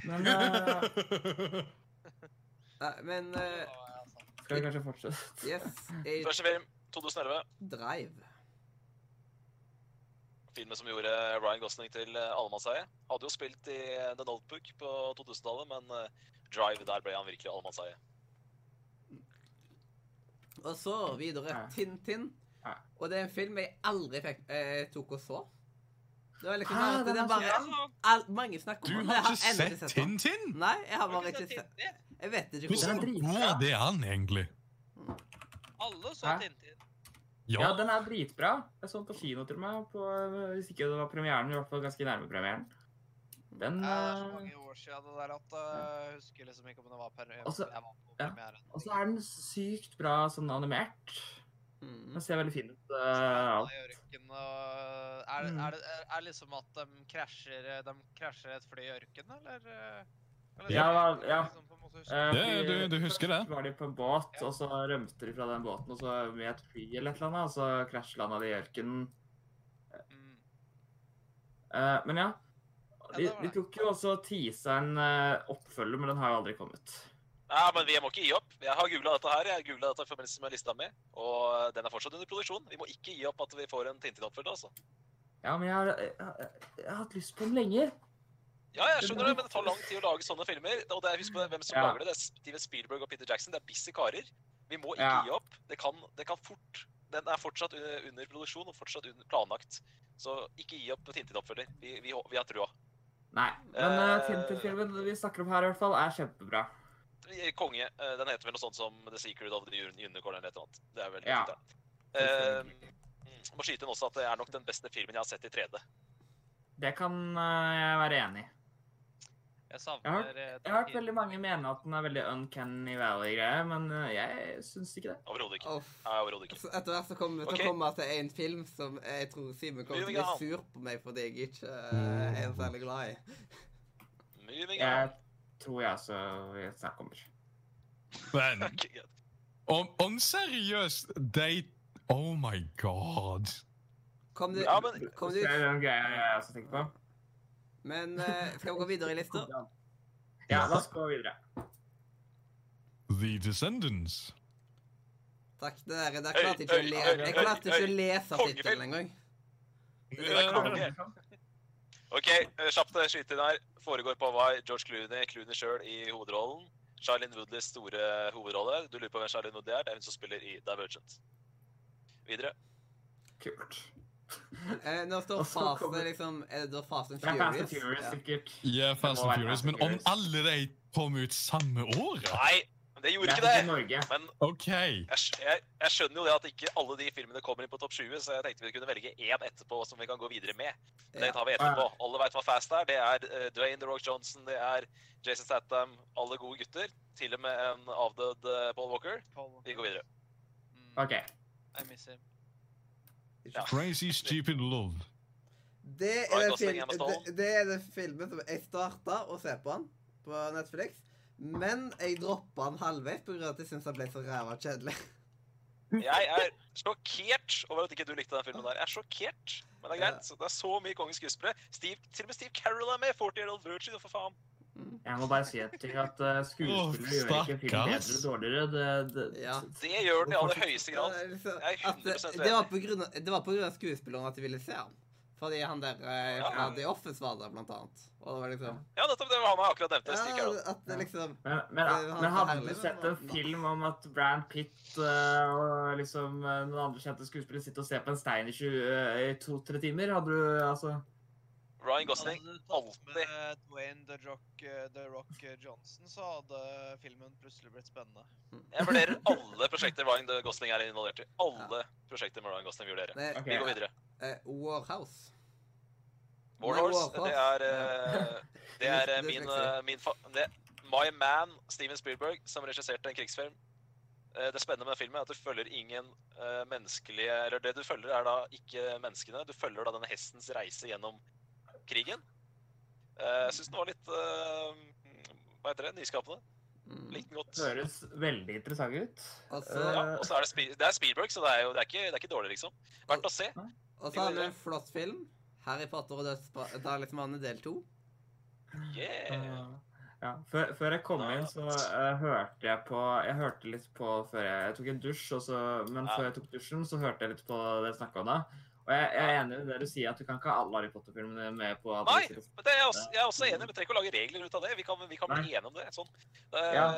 F: Men eh,
A: Nei, men eh,
F: skal vi kanskje fortsette?
A: yes, jeg
B: Første film, 2011.
A: drive.
B: Filmen som gjorde Ryan Gosling til eh, allemannseie. Hadde jo spilt i eh, The Notebook på 2000-tallet, men eh, Drive, der ble han virkelig allemannseie.
A: Og så videre
F: Ja.
A: Tintin.
F: Ja.
A: Og det er en film jeg aldri fikk, eh, tok og så. Det var liksom
F: Hæ,
A: bare at
F: den
A: det
F: er
A: er bare
F: så-
A: all, Mange snakker
E: Du
A: om den.
E: har
A: Jeg
E: ikke
A: ennå
E: sett
A: den.
E: Tintin?
A: Nei, jeg har bare ikke sett Jeg vet ikke
E: Hvordan
A: hvordan
F: Den er
E: går det an, egentlig?
C: Alle
F: Hæ?
C: så Tintin.
F: Ja,
E: Ja,
F: den er dritbra. Jeg så den på kino til meg. På, eh, hvis ikke det var premieren, i hvert fall ganske nærme premieren. Den
C: Ja, det er så
F: eh,
C: mange år siden det der at eh, jeg husker liksom ikke om det var per
F: Altså,
C: jeg var på
F: ja.
C: premieren.
F: Og så er den sykt bra sånn animert.
A: Mm.
F: Den ser veldig fin ut. eh,
C: Ja.
F: alt.
C: Ørken, og er, det-
F: Mm.
C: er, det- er, er liksom at de krasjer, eh, de krasjer et fly i ørkenen, eller? eh, eller
F: Ja,
C: sånn,
F: ja.
C: liksom på en måte husker-
F: Eh,
E: Det-
F: fordi
E: du- du husker det?
F: Først var de på en båt,
C: Ja.
F: og så rømte de fra den båten og så med et fly eller et eller annet, og så krasjlanda de i ørkenen.
C: Mm.
F: Eh, men ja. De,
C: det var
F: de
C: det.
F: tok jo også teaseren eh, oppfølger, men den har jo aldri kommet.
B: Nei, men vi må ikke gi opp. Jeg har googla dette her. Jeg googlet dette i forbindelse med lista mi, og eh, den er fortsatt under produksjon. Vi må ikke gi opp at vi får en Tintin-oppfølger, altså.
F: Ja, men jeg har, jeg, har- jeg har hatt lyst på den lenge.
B: Ja, jeg skjønner det, men det tar lang tid å lage sånne filmer. Og det er, husk på det, hvem som
F: Ja.
B: lager det. Det er Steven Spielberg og Peter Jackson. Det er busy karer. Vi må ikke
F: Ja.
B: gi opp. Det kan, det kan fort Den er fortsatt under, under produksjon og fortsatt under, planlagt. Så ikke gi opp Tintin-oppfølger. Vi, vi, hå- vi har trua.
F: Nei. Men
B: Eh.
F: uh, Tintin-filmen vi snakker om her, i hvert fall, er kjempebra.
B: Eh, Konge. eh, Den heter vel noe sånt som The Secret of the Uni- Unicorn eller et eller annet. Det er veldig
F: Ja.
B: fint, det. Eh, mm, må skyte inn også at det er nok den beste filmen jeg har sett i 3D.
F: Det kan eh, jeg være enig i.
C: Jeg savner eh,
F: Jeg har hørt
C: Tintin.
F: veldig mange mene at den er veldig Uncanny Valley-greie, men eh, jeg syns ikke det.
B: Overhodet ikke.
A: Uff.
B: Nei, overhodet ikke.
A: Så etter hvert så kommer vi til
B: Ok.
A: å komme til en film som jeg tror Simen kommer til å
B: Moving on.
A: bli sur på meg fordi jeg ikke eh, er særlig glad i.
B: Moving
F: Jeg
B: on. *laughs*
F: tror jeg også vil snakke om det.
E: men
B: Ok, greit.
E: om, om seriøst de Oh my god.
A: Kom du,
B: Ja, men-
A: kom du
F: Det er
A: ut?
F: en greie jeg også tenker på.
A: Men eh, skal vi gå videre i lista?
F: Ja, la oss gå videre.
E: The Descendants.
A: Takk. Det der, der klarte
B: Øy,
A: jeg ikke
B: øy,
A: å le.
B: øy,
A: Jeg
B: øy,
A: klarte ikke
B: øy.
A: å lese
B: Kongefilm.
A: tittelen engang.
B: Det er konge. Ok, eh, kjapt eh, skyte inn her. Foregår på Hawaii. George Clooney, Clooney sjøl i hovedrollen. Charlene Woodleys store hovedrolle. Du lurer på hvem Charlene Woodley er? Det er hun som spiller i Divergent. Videre.
F: Kult.
A: Eh, nå står
F: Og så
A: Fast
F: kommer-
A: liksom Er det da Fast and
F: Det er Fast and
A: Furious?
F: Furious,
A: Ja.
F: sikkert.
E: Ja, Fast and
F: være
E: Furious.
F: Fast
E: Men
F: and
E: om
F: Furious.
E: alle de kom ut samme år?
B: Nei, men det gjorde
F: Det
B: ikke
F: er sikkert
B: det!
F: Norge.
B: Men
E: OK.
B: jeg, skj- jeg, jeg skjønner jo det at ikke alle de filmene kommer inn på topp 20, så jeg tenkte vi kunne velge én etterpå som vi kan gå videre med. Men Det
A: Ja.
B: tar vi etterpå. Alle veit hva Fast er. Det er eh, Dwayne The Rock Johnson, det er Jason Statham, alle gode gutter. Til og med en avdød eh, Paul Walker.
C: Paul-
B: Vi går videre.
C: Mm.
F: OK.
C: I miss him.
B: Ja.
E: Crazy stupid love.
A: Det er
B: Ryan
A: den,
B: Gosling,
A: fil
B: Emma Stone.
A: det, det er den filmen som jeg starta å se på den på Netflix. Men jeg droppa den halvveis pga. at jeg syntes den ble så ræva kjedelig.
B: Jeg er sjokkert over at ikke du likte den filmen der. Jeg er sjokkert, men det er
A: Ja.
B: greit. Det er så mye konge skuespillere. Steve, til og med Steve Carroll er med! 40 Year Old Virgin, for faen.
F: Jeg må bare si en ting. At eh, skuespillere gjør ikke en film bedre eller
E: stakkars.
F: dårligere. Det, det,
A: Ja.
B: Det gjør den i aller høyeste
A: Ja, *laughs*
B: grad.
A: det er liksom-
B: Jeg er
A: at det,
B: 100%
A: det var på grunn av- det var pga. skuespilleren at jeg ville se han. Fordi han der eh,
B: Ja.
A: fra The Office var der, blant annet. Og det var liksom
B: Ja, nettopp det var han jeg akkurat nevnte.
A: Ja,
B: Steve Carroll.
A: at det liksom
F: Men, men,
A: Det var så
F: men hadde
A: herlig,
F: du
A: men det
F: sett
A: var-
F: en film om at Brad Pitt eh, og liksom eh, noen andre kjente skuespillere sitter og ser på en stein i, tjue- eh, i to-tre timer? Hadde du altså
B: Ryan Gosling.
C: Hadde du tatt
B: alltid.
C: med Dwayne The Rock, eh, The Rock Johnson, så hadde filmen plutselig blitt spennende.
B: Jeg vurderer alle prosjekter Ryan Gosling er involvert i. Alle prosjekter med Ryan Gosling vurderer.
A: eh,
F: Ok.
B: Vi går videre.
A: eh, Warhouse.
B: War
A: Nei,
B: Horse,
A: Warhorse.
B: det er, eh, det er
A: Det-
B: eh,
A: det
B: min,
A: fikser jeg.
B: eh, min fa det, My man, Steven Spielberg, som regisserte en krigsfilm. Eh, Det spennende med den filmen er at du følger ingen eh, menneskelige Eller det du følger, er da ikke menneskene. Du følger da denne hestens reise gjennom krigen. Eh, Jeg syns den var litt eh, Hva heter det? Nyskapende.
A: Mm.
B: Likte den godt.
F: Høres veldig interessant ut.
A: Og så-
B: Ja,
F: Eh,
B: og så er det, Spiel- det er Spielberg, så det er jo det er ikke, det er ikke dårlig, liksom. Verdt å se.
A: Og så har vi en flott film. Harry Potter og dødspartalismanet del to.
F: Eh,
B: Yeah!
F: Ja, før, før jeg kom
B: Da-
F: inn, så eh, hørte jeg på Jeg hørte litt på før jeg, jeg tok en dusj, og så, men
B: Ja.
F: før jeg tok dusjen, så hørte jeg litt på det dere snakka om da. Og jeg, jeg er enig i det du sier, at du kan ikke ha alle Harry Potter-filmene med på at
B: Nei,
F: det sitter-
B: men det er jeg, også, jeg er også enig, men vi trenger ikke å lage regler ut av det. Vi kan, vi kan bli
F: Nei.
B: enige om det. sånn. Eh,
F: Ja.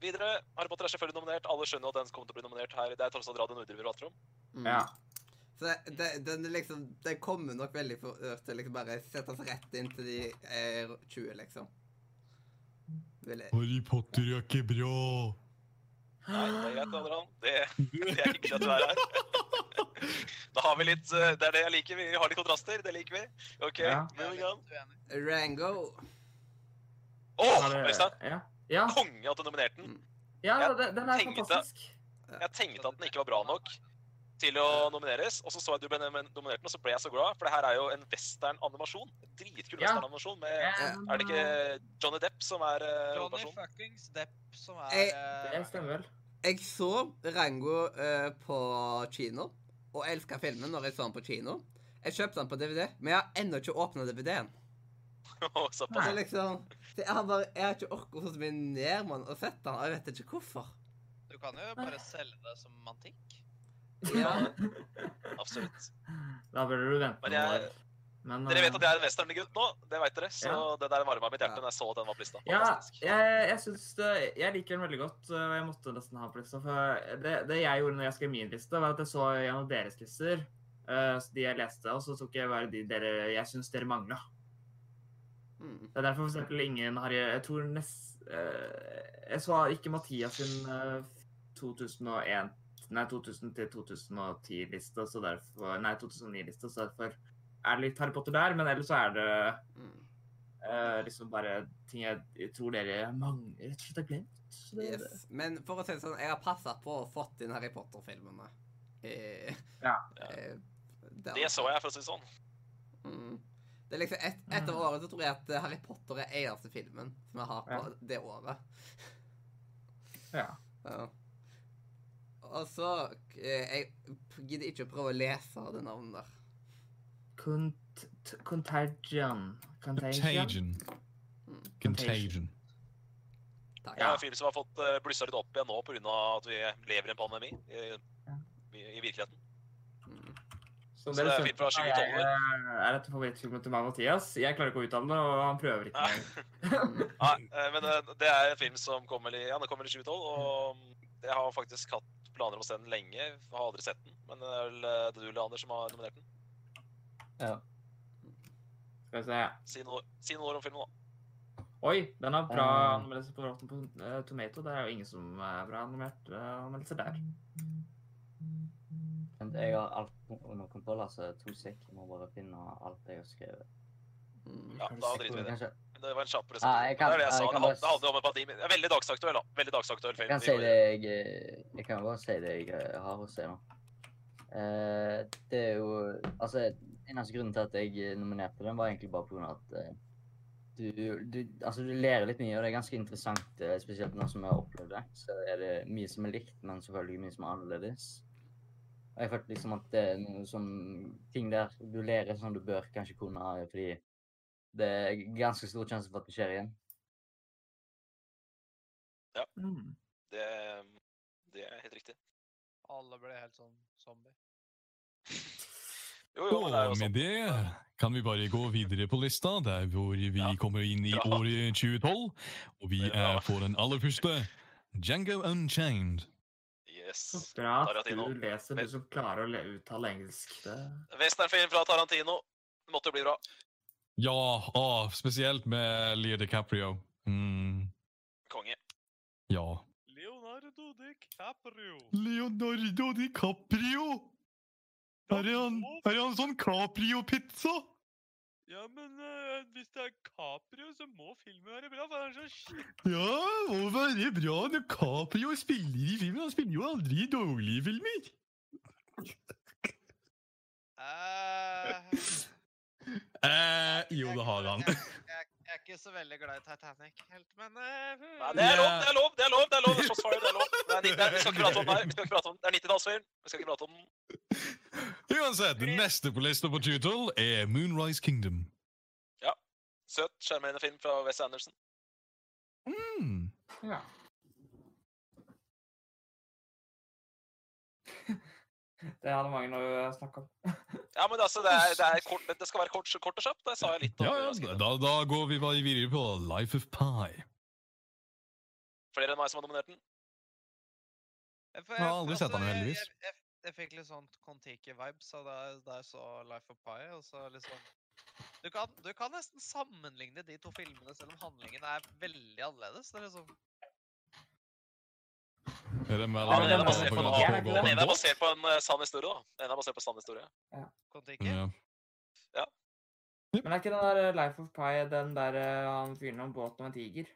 B: Videre, Harry Potter er selvfølgelig nominert. Alle skjønner at den kommer til å bli nominert her. Det er tross alt Radio Nordre vi prater om.
A: Mm.
F: Ja.
A: Så det, det, den, er liksom, den kommer nok veldig for ørt til å liksom bare sette oss rett inn til de eh, 20, liksom. Vil jeg.
E: Harry Potter er ikke bra.
B: Nei, det er greit, Adrian. Det, det er hyggelig
E: *laughs*
B: at du er her. *laughs* Da har vi litt eh, Det er det jeg liker. Vi har litt kontraster. Det liker vi. OK,
F: Ja.
B: moving on.
C: uenig.
A: Rango.
B: Åh,
F: Har dere-
B: Øystein!
F: Ja, ja,
B: Konge at du nominerte den.
F: ja
B: Jeg
F: den, den er
B: tenkte-
F: fantastisk.
B: Jeg tenkte at den ikke var bra nok til å nomineres, og så så jeg at du ble nominert, og så ble jeg så glad, for det her er jo en western-animasjon. Dritkul
F: Ja.
B: western-animasjon med
F: Ja,
A: Er
B: Er det ikke
F: den,
B: Johnny Depp som er eh,
C: Johnny
B: hovedpersonen?
C: fuckings Depp som er
A: Jeg-
F: eh,
C: eh,
F: Det stemmer vel.
A: Jeg så Rango eh, på kino, og elska filmen når jeg så den på kino. Jeg kjøpte den på DVD, men jeg har ennå ikke åpna DVD-en.
B: Åh, Såpass.
A: Så liksom, så jeg har bare, jeg har ikke orka så mye ned med den og sett den, og jeg vet ikke hvorfor.
C: Du kan jo bare selge det som antikk.
F: *laughs*
A: Ja.
B: Absolutt.
F: Da burde du vente
B: Men
F: noen
B: jeg-
F: år. Men,
B: Dere vet
F: eh,
B: at jeg er en westerngutt nå, det vet dere. Så
F: Ja.
B: det der varma mitt hjerte
A: Ja.
B: når jeg så den var på lista.
F: Ja,
B: Fantastisk.
F: jeg, jeg syns det- Jeg liker den veldig godt, eh, og jeg måtte nesten ha den på lista. For det, det jeg gjorde når jeg skrev min liste, var at jeg så gjennom deres lister, eh, så de jeg leste, og så tok jeg bare de dere, jeg syns dere mangla.
A: Mm.
F: Det er derfor for eksempel ingen har Jeg tror nest... eh, Jeg så ikke Mathias sin eh, 2001 Nei, 2000 til 2010-liste, så derfor Nei, 2009-liste, så derfor er det litt Harry Potter der, men ellers så er det
A: Mm.
F: eh, liksom bare ting jeg, jeg tror dere mange rett og slett har glemt. Så det-
A: Yes. Men for å si det sånn, jeg har passa på og fått inn Harry Potter-filmene. Eh,
F: Ja.
A: eh, der.
B: Det så jeg, for å si det sånn.
A: Mm. Det er liksom et, Etter
E: Mm.
A: året så tror jeg at eh, Harry Potter er eneste filmen som jeg har på det året.
F: Ja.
A: Ja. Og så eh, Jeg p- gidder ikke å prøve å lese det navnet der.
F: Cont t- contagion. Contagion.
E: Contagion.
A: Mm.
E: Contagion.
A: Takk.
B: Jeg er
F: Ja.
B: en fyr som har fått uh, blussa litt opp igjen nå pga. at vi lever i en pandemi i, i, i virkeligheten.
A: Mm.
F: Som
B: Så
F: dere
B: det er en film fra
F: skjønner, er
B: 2012.
F: jeg, eh, er dette favorittfilmen til meg og Mathias? Jeg klarer ikke å uttale det, og han prøver
D: *laughs*
F: ikke
B: Nei.
F: engang.
A: Mm.
B: Nei, eh, men eh, det er en film som kommer i, ja, den kommer i 2012, og mm, jeg har faktisk hatt planer om å se den lenge. Jeg har aldri sett den, men det er vel eh, det du, Leander, som har nominert den.
F: Skal vi se.
B: Si noe, si noe om filmen, da.
F: Oi, den er bra
D: Eh.
F: anmeldelse på Rotten på eh, Tomato. Det er jo ingen som er bra animert eh, anmeldelser der.
D: Men jeg har alt under kontroll, altså. To sek. Jeg må bare finne alt jeg har skrevet.
A: Mm.
B: Ja,
F: Kan du
B: da
F: si
B: driter vi i det.
D: Kanskje
B: Det var en kjapp resept.
D: Nei, jeg kan-
B: det er det jeg sa.
D: jeg
B: Det
D: kan
B: handler-
D: bare-
B: det handler om et par timer. Det er Veldig dagsaktuell, da. Veldig dagsaktuell film.
D: Jeg kan
B: Vi
D: si
B: går-
D: det jeg, eh, jeg kan jo bare si det jeg eh, har å si nå. Eh, det er jo Altså, eneste grunnen til at jeg eh, nominerte den, var egentlig bare på grunn av at eh, du, du Altså, du lærer litt mye, og det er ganske interessant, eh, spesielt nå som jeg har opplevd det. Så er det mye som er likt, men selvfølgelig mye som er annerledes. Og jeg følte liksom at det er noe som Ting der du lærer som du bør kanskje kunne, eh, fordi det er ganske stor sjanse for at det skjer igjen.
F: Mm.
B: Det, det er helt riktig.
C: Alle ble helt sånn zombie.
B: Jo, jo, men det er jo
E: Og med
B: sånn.
E: det kan vi bare gå videre på lista, der hvor vi
B: Ja.
E: kommer inn i
B: Bra.
E: året 2012. Og vi
B: Bra.
E: er på den aller første. Django Unchained.
F: Så
B: Yes.
F: bra at
B: Tarantino.
F: du leser, du som klarer å le- uttale engelsk. Det...
B: Westernfilm fra Tarantino. Det måtte jo bli bra.
E: Ja, å, spesielt med Leo DiCaprio. Mm,
B: Konge.
E: ja.
C: Leonardo DiCaprio.
E: Leonardo DiCaprio! han sånn Caprio-pizza?
C: Ja, men eh, hvis det er Caprio, så må filmen være bra, for han er så skikkelig
E: Ja, må være bra når Caprio spiller i filmen. Han spiller jo aldri i dårlige filmer. Eh, *laughs* jo, det har han.
C: Jeg, jeg, jeg er ikke så veldig glad i Titanic helt, men eh,
B: Nei, det er lov,
E: Ja.
B: det er lov! Det er lov! det er lov, det er shots fired, det er lov. Det er, ni- det er, vi skal ikke prate om det her. Vi skal ikke prate om det. Det er 90-tallsfilm. Vi skal ikke prate om den.
E: Uansett, neste på lista på 2012 er Moonrise Kingdom.
B: Søt, sjarmerende film fra Wes Anderson.
E: Mm.
F: Ja. *laughs* Det hadde mange noe å snakke om.
B: Ja, men altså, det, er, det, er kort, det skal være kort, kort og kjapt. Det sa jeg litt om.
E: Ja,
B: Moonrise
E: ja,
B: Kingdom.
E: da, da går vi bare videre på Life of Pi.
B: Flere enn meg som har nominert den.
C: Jeg får-
E: Jeg har
C: jeg- altså,
E: aldri sett han,
C: jeg-
E: heldigvis.
C: Jeg, jeg, jeg fikk litt sånn Kon-Tiki-vibes av da jeg- da jeg så Life of Pi. Og så liksom du kan, du kan nesten sammenligne de to filmene, selv om handlingen er veldig annerledes. Det er liksom
E: Er
B: Ja,
E: det
B: men den er
E: mellom
B: basert på,
F: Ja,
B: en-
F: det er
B: den ene er
E: på
B: basert på en eh, sann historie, da. Den ene er basert på en sann historie.
C: Kon-Tiki.
E: Ja.
F: Men er ikke den der eh, Life of Pi den der eh, han fyren om båten og en tiger?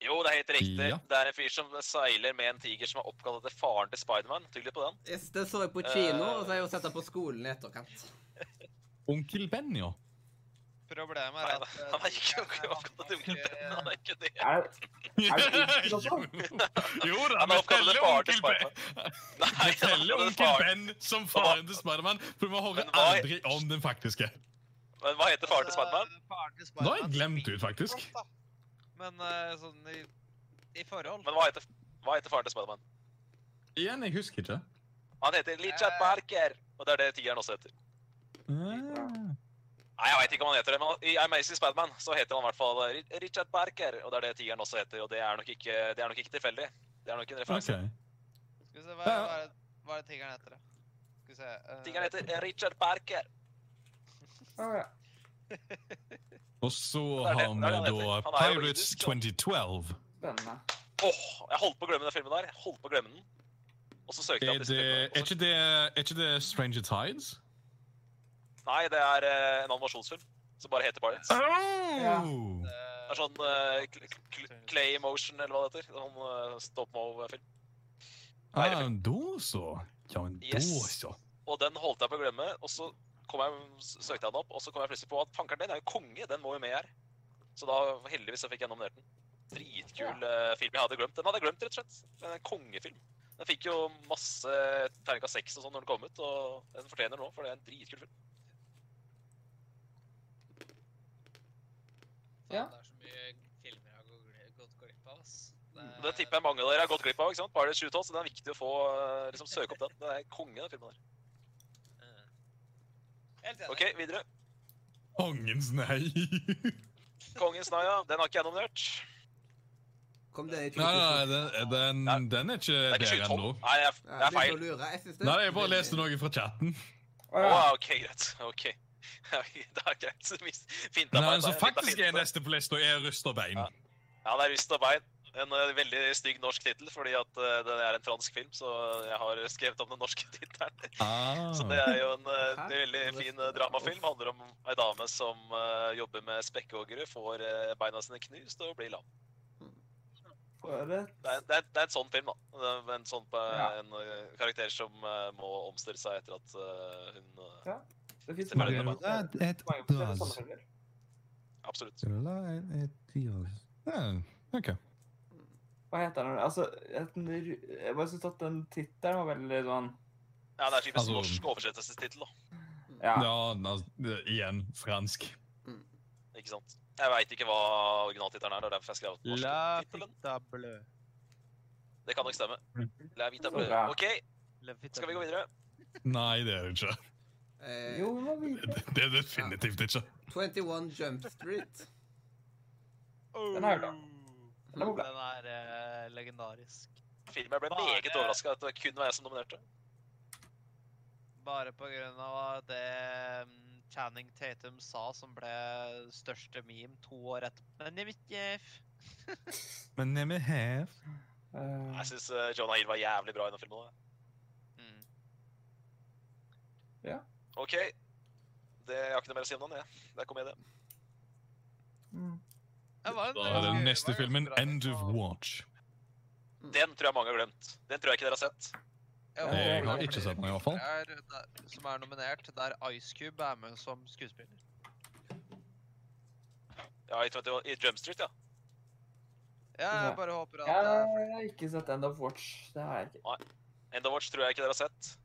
B: Jo, det er helt riktig.
E: Ja.
B: Det er en fyr som seiler med en tiger som er oppkalt etter faren til Spiderman. Tydelig på den.
A: Yes, det så jeg på kino, og så har jeg jo sett det på skolen i etterkant.
E: Onkel Ben, ja.
C: Problemet
B: Nei,
C: er at eh,
B: Han er ikke
C: tigeren er
B: oppkalt etter onkel Ben. *laughs*
C: eh,
B: Han er ikke det.
F: Er det,
E: *laughs*
F: Er det onkel
E: jo.
F: også?
E: jo da,
B: Han er
E: men
B: oppkalt
E: teller
B: etter faren til
E: onkel Ben.
B: Spiderman. Nei, han er *laughs* oppkalt
E: Teller
B: etter
E: onkel
B: faren.
E: Ben som faren til Spiderman, for vi hører
B: Men hva-
E: aldri om den faktiske.
B: Men hva heter faren til
C: altså,
B: Spiderman?
C: faren til
E: Da har jeg
C: Spiderman
E: glemt
C: spiller
E: ut, faktisk.
C: godt, da. Men eh, sånn i, i forhold
B: Men hva heter, hva heter faren til Spiderman?
E: Igjen, jeg husker ikke.
B: Han heter Richard Barker. Og det er det tigeren også heter.
E: Ah.
B: Nei, jeg vet ikke om han heter det, men i Amazing Spiderman så heter han i hvert fall Ri- Richard Barker. Og det er det tigeren også heter, og det er nok ikke, det er nok ikke tilfeldig. Det er nok en referanse.
E: Ok.
C: Skal vi se, hva,
E: Ja, ja.
C: hva, er det, hva er det tigeren heter, da? Skal vi se eh,
B: Tigeren heter Richard Barker.
F: Å, ja.
E: Og så
B: Det er det-
E: har
B: det er det
E: vi
B: han
E: da
B: heter. Han er jo
E: Pirates
B: britisk, da.
E: 2012.
F: Spennende.
B: Åh, jeg holdt på å glemme den filmen der. Jeg Holdt på å glemme den. Og så søkte jeg
E: Er,
B: opp disse
E: det,
B: filmene, og
E: er,
B: så-
E: ikke det, er ikke det Stranger Tides?
B: Nei, det er eh, en animasjonsfilm som bare heter Pirates.
E: Ah.
B: Det
E: Oh!
B: er sånn eh, cl- cl- Clay Motion, eller hva det heter. Sånn eh, stop mo-film.
E: Ah, da så. Ja, men da
B: Yes.
E: så.
B: Og den holdt jeg på å glemme, og så kom jeg, s- søkte jeg den opp, og så kom jeg plutselig på at fankeren den er jo konge, den må jo med her. Så da, heldigvis, så fikk jeg nominert den. Dritkul eh, film jeg hadde glemt. Den hadde jeg glemt, rett og slett. Men en kongefilm. Den fikk jo masse terningkast seks og sånn når den kom ut, og den fortjener den nå, for det er en dritkul film.
C: Faen,
F: Ja.
C: Det er så mye filmer jeg har gått gl- gått glipp av. ass.
B: Og Det tipper jeg mange av dere har gått glipp av, ikke sant? Pirates 2012, så det er viktig å få, eh, liksom søke opp den. Det er konge, den filmen der.
C: Eh. Helt enig.
B: OK, videre.
E: Kongens nei. *laughs*
B: Kongens nei, ja. Den har ikke jeg nominert.
A: Kom det i
E: nei, nei,
A: 2000?
E: den, den,
B: Nei.
E: den er ikke
B: Det er
E: der
B: ikke 2012.
E: ennå.
B: Nei, jeg,
A: Ja,
B: jeg er
A: begynte
B: feil.
A: å lure. Jeg synes det.
E: Nei, jeg bare leste noe fra chatten.
F: Å,
B: Å,
F: ja.
B: OK, greit. OK. *laughs* det er greit. Så mis- Fint av
E: Nei,
B: meg. det er- dette
E: så
B: er
E: faktisk
B: fint
E: er
B: av meg.
E: neste på lista er Rust og Bein.
B: Ja, det er rust og bein. En eh, veldig stygg norsk tittel, fordi at eh, det er en fransk film, så jeg har skrevet om den norske *laughs* tittelen.
E: Ah.
B: Så det er jo en eh,
A: Hæ?
B: veldig fin eh, dramafilm. Handler om ei dame som eh, jobber med spekkhoggere, får eh, beina sine knust og blir lam.
F: For et
B: Det er, det, er, det er en sånn film, da. Det er En, sånn, på-
F: Ja.
B: en eh, karakter som eh, må omstille seg etter at eh, hun eh,
F: Ja. Det fins
B: Det er
F: mange
B: bare-
F: mange
E: Det er altså. et
F: forskjellige
E: glass.
F: sammenhenger.
B: Absolutt.
E: Ja, OK.
F: Hva heter den? Altså, et, jeg bare syns at den tittelen var veldig sånn
B: Ja, det er typisk
E: Altså-
B: norsk oversettelsestittel, da.
F: Ja.
E: Ja, altså, det- igjen fransk.
B: Ikke sant? Jeg veit ikke hva originaltittelen er, det er derfor jeg skrev den norske
G: La
B: tittelen.
G: fitta blø.
B: Det kan nok stemme. La vita
F: Mhm. Så
B: blø.
F: bra.
B: OK,
G: La fitta
B: skal vi gå
G: blø.
B: videre?
E: Nei, det er det ikke.
A: Eh,
F: Jo, vi må vite.
E: Det det er det definitivt ikke.
A: 21 Jump Street.
F: Den er jo bra. Den er
C: Den
F: bra.
C: er eh, legendarisk.
B: Filmen jeg ble
C: Bare-
B: meget overraska at det kun var jeg som dominerte.
C: Bare på grunn av det mm, Channing Tatum sa, som ble største meme to år etter. Men jeg vet ikke
E: Men jeg er her.
F: Eh,
B: Jeg syns Jonah Hill var jævlig bra i den filmen. da.
C: mm.
B: OK. Det, jeg har ikke noe mer å si om den. Jeg. Det er komedie.
F: mm.
C: Det var en-
E: Da er den neste
C: det var en
E: filmen
C: ganske bra
E: End
C: ting,
E: of
C: og-
E: Watch.
B: Den tror jeg mange har glemt. Den tror jeg ikke dere har sett.
C: Ja,
E: Jeg
C: og-
E: har ikke sett den, i hvert fall.
C: er der, som er nominert, der Ice Cube er med som skuespiller.
B: Ja, i, 20, i Jump Street, ja.
C: Ja, jeg bare håper at eh,
F: Jeg
C: det er
F: har ikke sett End of Watch. Det har jeg ikke.
B: End of Watch tror jeg ikke dere har sett.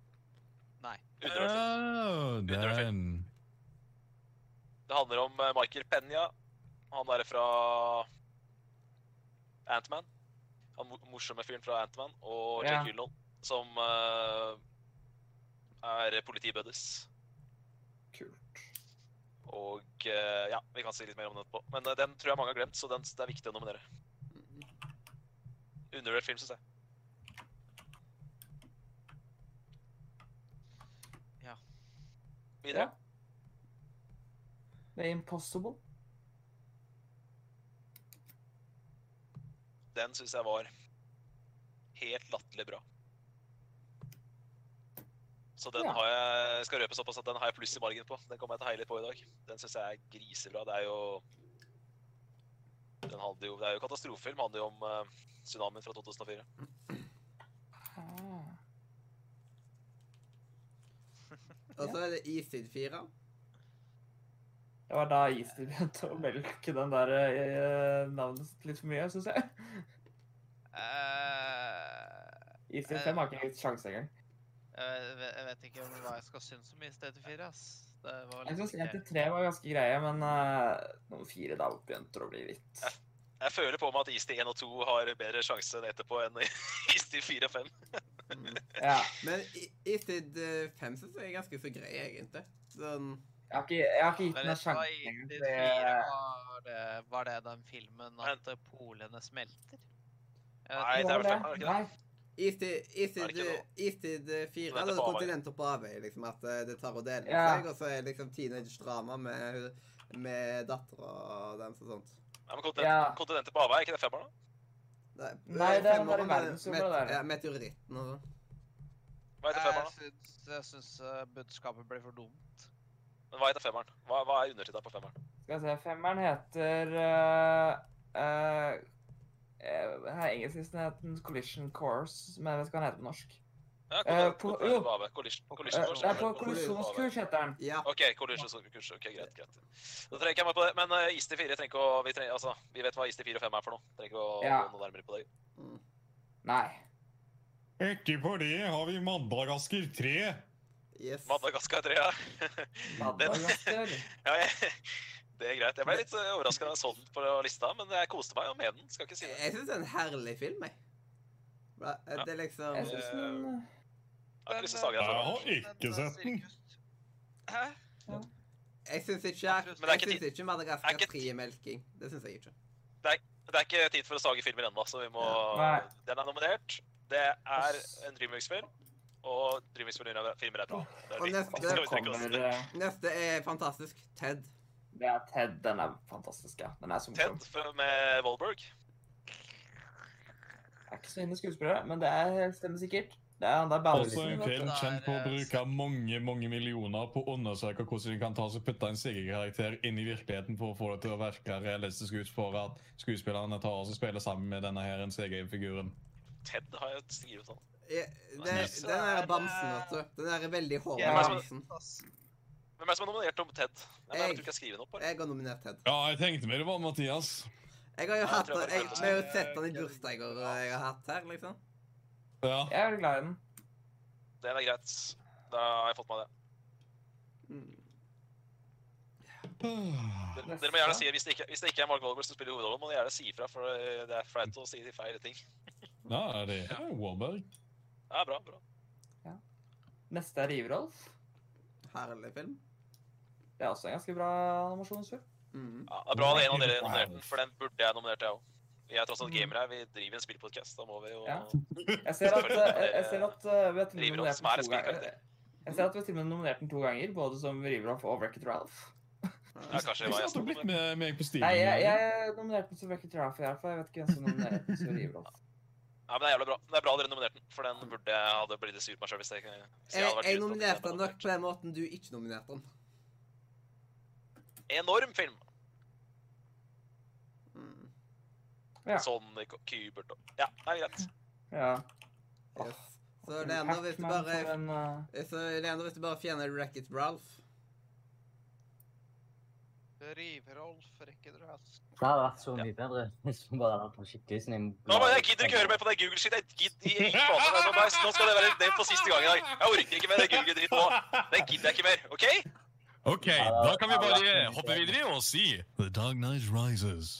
C: Nei. Eh,
B: Undervurdert.
E: Åh, det er en-
B: Det handler om eh, Michael Penya. Han derre fra Antman. Han mo- morsomme fyren fra Antman og Jake
F: Ja.
B: Gyllenhaal, som eh, er politibuddies.
F: Kult.
B: Og eh, ja, vi kan si litt mer om den etterpå. Men eh, den tror jeg mange har glemt, så den, det er viktig å nominere. Undervurdert film, syns jeg.
C: Ja.
B: Videre.
F: Ja. The Impossible.
B: Den syns jeg var helt latterlig bra. Så den
F: Ja.
B: har jeg, jeg skal røpe såpass at den har jeg pluss i margen på. Den kommer jeg til å heie litt på i dag. Den syns jeg er grisebra. Det er jo den handler jo, Det er jo katastrofefilm. Handler jo om eh, tsunamien fra 2004.
F: Ah.
A: Og så er det Eastid 4.
B: *laughs*
F: Det var da Istid begynte å melke den der eh, navnet sitt litt for mye, syns jeg.
C: Eh,
F: Istid 5 har ikke en sjanse engang.
C: jeg, vet, jeg vet ikke om hva jeg skal synes om i stedet for fire, ass. Det var
F: Jeg syns
C: litt
F: 1 til 3 var ganske greie, men eh, nummer 4 da begynte det å bli litt
B: Jeg føler på meg at Istid 1 og 2 har bedre sjanse enn etterpå enn *laughs* Istid 4 og 5.
A: Mm.
F: Ja.
A: Men I- Eastid 5 syns jeg er ganske så grei, egentlig. Sånn
F: Jeg har ikke, jeg har ikke gitt
C: Men
F: den en
C: vet du hva,
F: sjanse
C: i
F: engang.
C: de
F: for
C: fire
F: jeg-
C: var det, var det den filmen at polene smelter? Jeg
B: Nei,
C: vet
B: det er vel
F: Hva
B: fem, er det ikke det?
F: Nei.
A: Eastid,
B: Er det
A: Eastid,
B: ikke noe?
A: Eastid 4
B: Nei, det er
A: eller
B: bare-
A: eh, Altså, kontinenter på avvei, liksom. At eh, det tar og deler
F: Ja.
A: seg, og så er det liksom teenage-drama med, med dattera og den og sånt.
B: Nei, men kontinent,
F: Ja.
B: Kontinentet på avvei, er ikke det femmeren? da?
F: Nei, det er den der
A: femmeren med-
F: verdensrommet
A: met-
F: der.
A: Ja, meteoritten og sånn.
B: Hva heter
C: Jeg
B: femmeren? da?
C: syns, jeg syns eh, budskapet ble for dumt.
B: Men hva heter femmeren? Hva, hva er undertittelen på femmeren?
F: Skal vi se. Femmeren heter eh, eh, eh, Her engelsklisten het den Collision Course, men jeg vet ikke hva den heter på norsk.
B: Ja,
F: Eh,
B: kontinentet-
F: på-
B: kontinentet
F: jo.
B: på avvei. Collision, collision
F: Eh,
B: course,
F: Det er på
B: kontinentet på avvei.
F: kollisjonskurs, heter den.
A: Ja.
B: OK, collision course, kurs. Ok, greit, greit. Da trenger ikke jeg meg på det. Men eh, Istid 4 trenger ikke å vi, trenger, altså, vi vet hva Istid 4 og 5 er for noe. Trenger ikke å
F: Ja.
B: gå noe nærmere på det.
A: Mm.
F: Nei.
E: Ikke på det har vi Madagaskar 3.
A: Yes.
B: Madagaskar 3, ja. *laughs*
F: Madagaskar.
B: ja jeg, *laughs* det er greit. Jeg ble litt overraska da jeg så den på lista, men jeg koste meg jo med den. Skal ikke si det.
A: Jeg syns det er en herlig film, jeg. Bra, eh, Det er liksom
F: Jeg syns
B: Eh,
F: den eh,
B: Jeg har ikke lyst til å sage deg for det.
E: har
C: eh,
E: ikke sett den.
C: Hæ?
A: Jeg syns ikke,
C: Jeg
A: jeg
C: tror-
B: Men det er ikke
A: synes ikke Madagaskar
B: er ikke
A: 3 er melking. Det syns jeg ikke.
B: Det er ikke tid for å sage filmer ennå, så vi må
F: Nei.
B: Den er nominert. Det er en Dreamworks-film. Og Dreamworks-filmer er bra. Det
A: Og
B: er *laughs*
A: neste-
B: viktig. Skal vi trekke
F: kommer
B: oss.
F: eh,
A: Neste er fantastisk. Ted.
F: Det er Ted. Den er fantastisk, ja. Den er så morsom.
B: Ted med Wahlberg.
F: er ikke så inne i skuespillere, men det er stemmer sikkert. Det er han der
E: Også
F: bandlysen.
E: en
C: Dette
E: film
C: er,
E: kjent på å
C: eh,
E: bruke mange mange millioner på å undersøke hvordan de kan ta og putte en CG-karakter inn i virkeligheten for å få det til å virke realistisk ut for at skuespillerne tar og spiller sammen med denne her en CG-figuren.
B: Ted har jeg sånn. skrevet han.
A: Ja, det, den der bamsen, vet du. Den der veldig hårde
F: Ja.
A: bamsen.
B: Hvem er det som er nominert om Ted? Nei, men jeg vet ikke om jeg har skrevet den opp, eller?
A: Jeg har nominert Ted.
E: Ja, jeg tenkte meg det var Mathias.
A: Jeg har jo
B: Ja,
A: hatt
B: jeg tror jeg
A: jeg,
B: bare
A: Vi har jo
C: kan-
A: sett han i bursdager og jeg har hatt her, liksom.
E: Ja.
F: Jeg er veldig glad i den.
B: Den er greit. Da har jeg fått med meg det. Dere, dere må gjerne si hvis det ikke, hvis det ikke er Mark Wahlberg som spiller hovedrollen, må dere gjerne si fra, for eh, det er flaut å si de feil ting.
E: Ja, det er Warberg.
B: Ja, bra, bra.
F: Neste er Riverolf.
A: Herlig film.
F: Det er også en ganske bra animasjonsfilm.
A: Mm.
B: Ja, det er bra at en av dere nominerte den, for den burde jeg nominert, jeg òg. Vi er tross alt gamere her, vi driver en spillpodkast. Da må vi jo
F: Ja. Jeg ser at, jeg, jeg ser at eh, vi har til og med
B: Riverolf
F: nominert
B: som er en
F: den to ganger.
B: spillkarakter.
F: Jeg ser at vi har til og med nominert den to ganger, både som Riverolf og Wreck-It Ralph.
B: Ja, kanskje det var jeg
E: Hvis du
B: som
E: hadde blitt
B: nominerte.
E: med meg på stilen
F: Nei, jeg, jeg nominerte den som Wreck-It Ralph i hvert fall. Jeg vet ikke hvem som nominerte den som Riverolf.
B: Ja, men det er jævlig bra. Det er bra dere nominerte den, for den burde jeg hadde blitt sur på meg sjøl hvis jeg ikke hvis
A: Jeg,
B: hadde vært
A: jeg
B: uten at den
A: nominerte
B: ble
A: han nok på den måten du ikke nominerte han.
B: Enorm film!
A: Mm.
F: Ja.
B: Sonic og Kubert Sånn og Ja, det er greit.
F: Ja.
A: Yes. Så Leander, hvis du
F: Pac-Man
A: bare
F: for en, eh,
A: Så Leander, hvis du bare fjerner Racket Ralph
C: Riverolf rekker det, ass.
D: Det hadde vært så mye bedre *laughs* hvis vi bare hadde hatt en skikkelig sånn en
B: Nå, men jeg gidder ikke høre mer på det Google-shit. Jeg gidder jeg gir faen i det. Nå må jeg- Nå skal det være det for siste gang i dag. Jeg orker ikke mer det Google-dritt nå. Det gidder jeg ikke mer. OK?
E: OK, da kan vi bare hoppe videre og si The Dark Night Rises.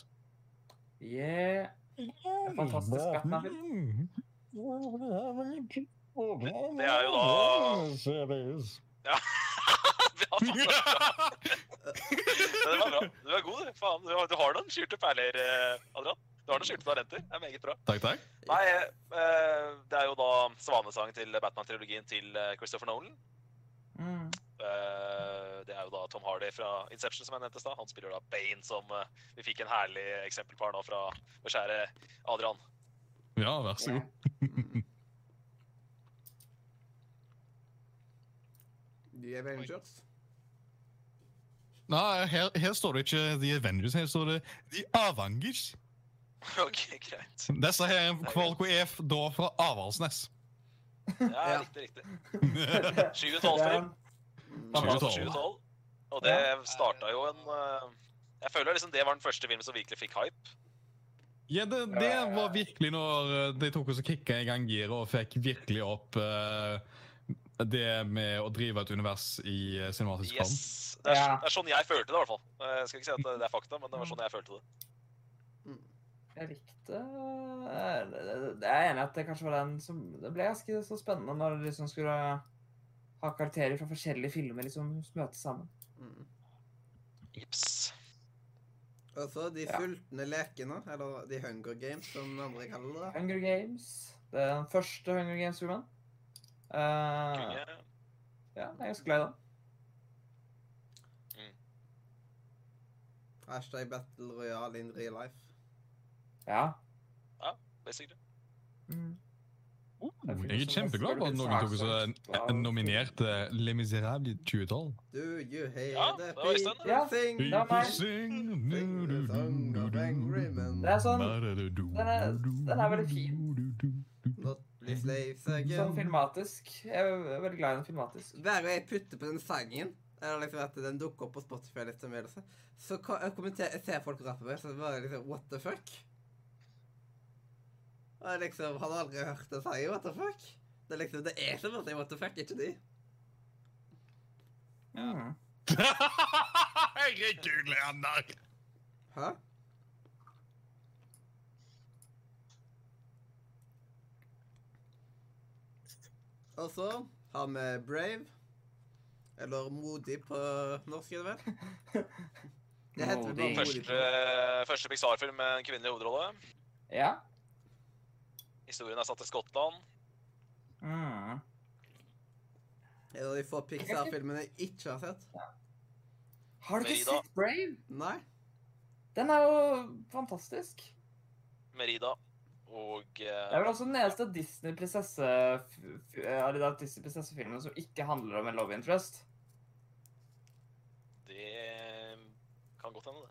F: Yeah. er fantastisk
B: Det er jo da- Ja, faen, Men det var bra. Du er god, du. Faen, du har, du har noen skjulte perler, eh, Adrian. Du har noen skjulte talenter. Det er meget bra.
E: *laughs* Takk, takk.
B: Nei, eh, det er jo da svanesang til Batman-trilogien til eh, Christopher Nolan.
F: Mm.
B: Eh, det er jo da Tom Hardy fra Inception, som jeg nevnte i stad. Han spiller da Bane, som eh, vi fikk en herlig eksempel på her nå fra vår kjære Adrian. *laughs*
E: Ja, vær så god.
A: Mm. The Avengers.
E: Nei, her, her står det ikke The Avengers, her står det The Avangers.
B: OK, greit.
E: Disse her er kvalk og EF da fra *laughs* Avaldsnes.
B: Ja,
A: Ja.
B: riktig, riktig.
E: ja,
B: 7
F: Det
B: 12
F: er
B: film
F: en-
A: Mm.
E: Sju og tolv.
B: 7 12 Og det starta jo en eh, Jeg føler liksom det var den første filmen som virkelig fikk hype.
E: det, det var virkelig når eh, de tok oss og kicka i gang giret og fikk virkelig opp eh, det med å drive et univers i eh, cinematisk form.
B: Yes. Det er,
F: Ja.
B: det er sånn jeg følte det, i hvert fall. Eh, Jeg skal ikke si at det- det er fakta, men det var sånn jeg følte det.
F: Jeg likte eh, det- det- Jeg er enig i at det kanskje var den som Det ble ganske så spennende når du liksom skulle ha karakterer fra forskjellige filmer liksom møtes sammen.
A: Mm.
B: Jips.
A: Og så de
F: Ja.
A: sultne lekene, eller The Hunger Games, som andre kaller det.
F: Hunger Games. Det er den første Hunger Games-filmen. Eh,
B: Kunne-
F: ja, jeg er ganske glad i den.
A: Hashtag Battle Royale in real life.
F: Ja.
B: basically.
F: Mm.
E: Oh, Jeg er kjempeglad for at noen tok oss og en- en nominerte Les Miserables i 2012.
A: Do you hear
B: Ja,
A: the
B: det var i stedet.
A: people
F: Ja.
A: sing?
F: Det er meg.
E: sånn
F: Det er sånn
E: Den
F: er- den er veldig fin.
A: Not be slaves again.
F: Sånn filmatisk. Jeg er veldig glad i den filmatisk.
A: Hver gang jeg putter på den sangen, eller liksom at den dukker opp på Spotify, litt anmeldelse, så ko- jeg kommenter- jeg ser folk rappe med, så det bare liksom What the fuck? Og jeg liksom Hadde aldri hørt den sangen. What the fuck? Det er liksom, det er som å si what the fuck, ikke de?
F: Mm.
E: Herregud, Leander!
A: Hæ? Og så har vi Altså, Brave. Eller Modig på norsk, er det vel? Det heter vel bare
F: Modig.
A: Modig.
B: Første,
A: på-
B: første Pixar-film med en kvinnelig hovedrolle.
F: *laughs* Ja.
B: Historien er satt til Skottland.
F: Mm.
A: En av de få Pixar-filmene jeg ikke har sett.
F: Har du ikke
B: Merida.
F: sett Brave?
A: Nei.
F: Den er jo fantastisk.
B: Merida. Og
F: Det er
B: eh,
F: vel også den eneste Disney-prinsessefilmen Disney som ikke handler om en love interest.
B: det kan godt hende, det.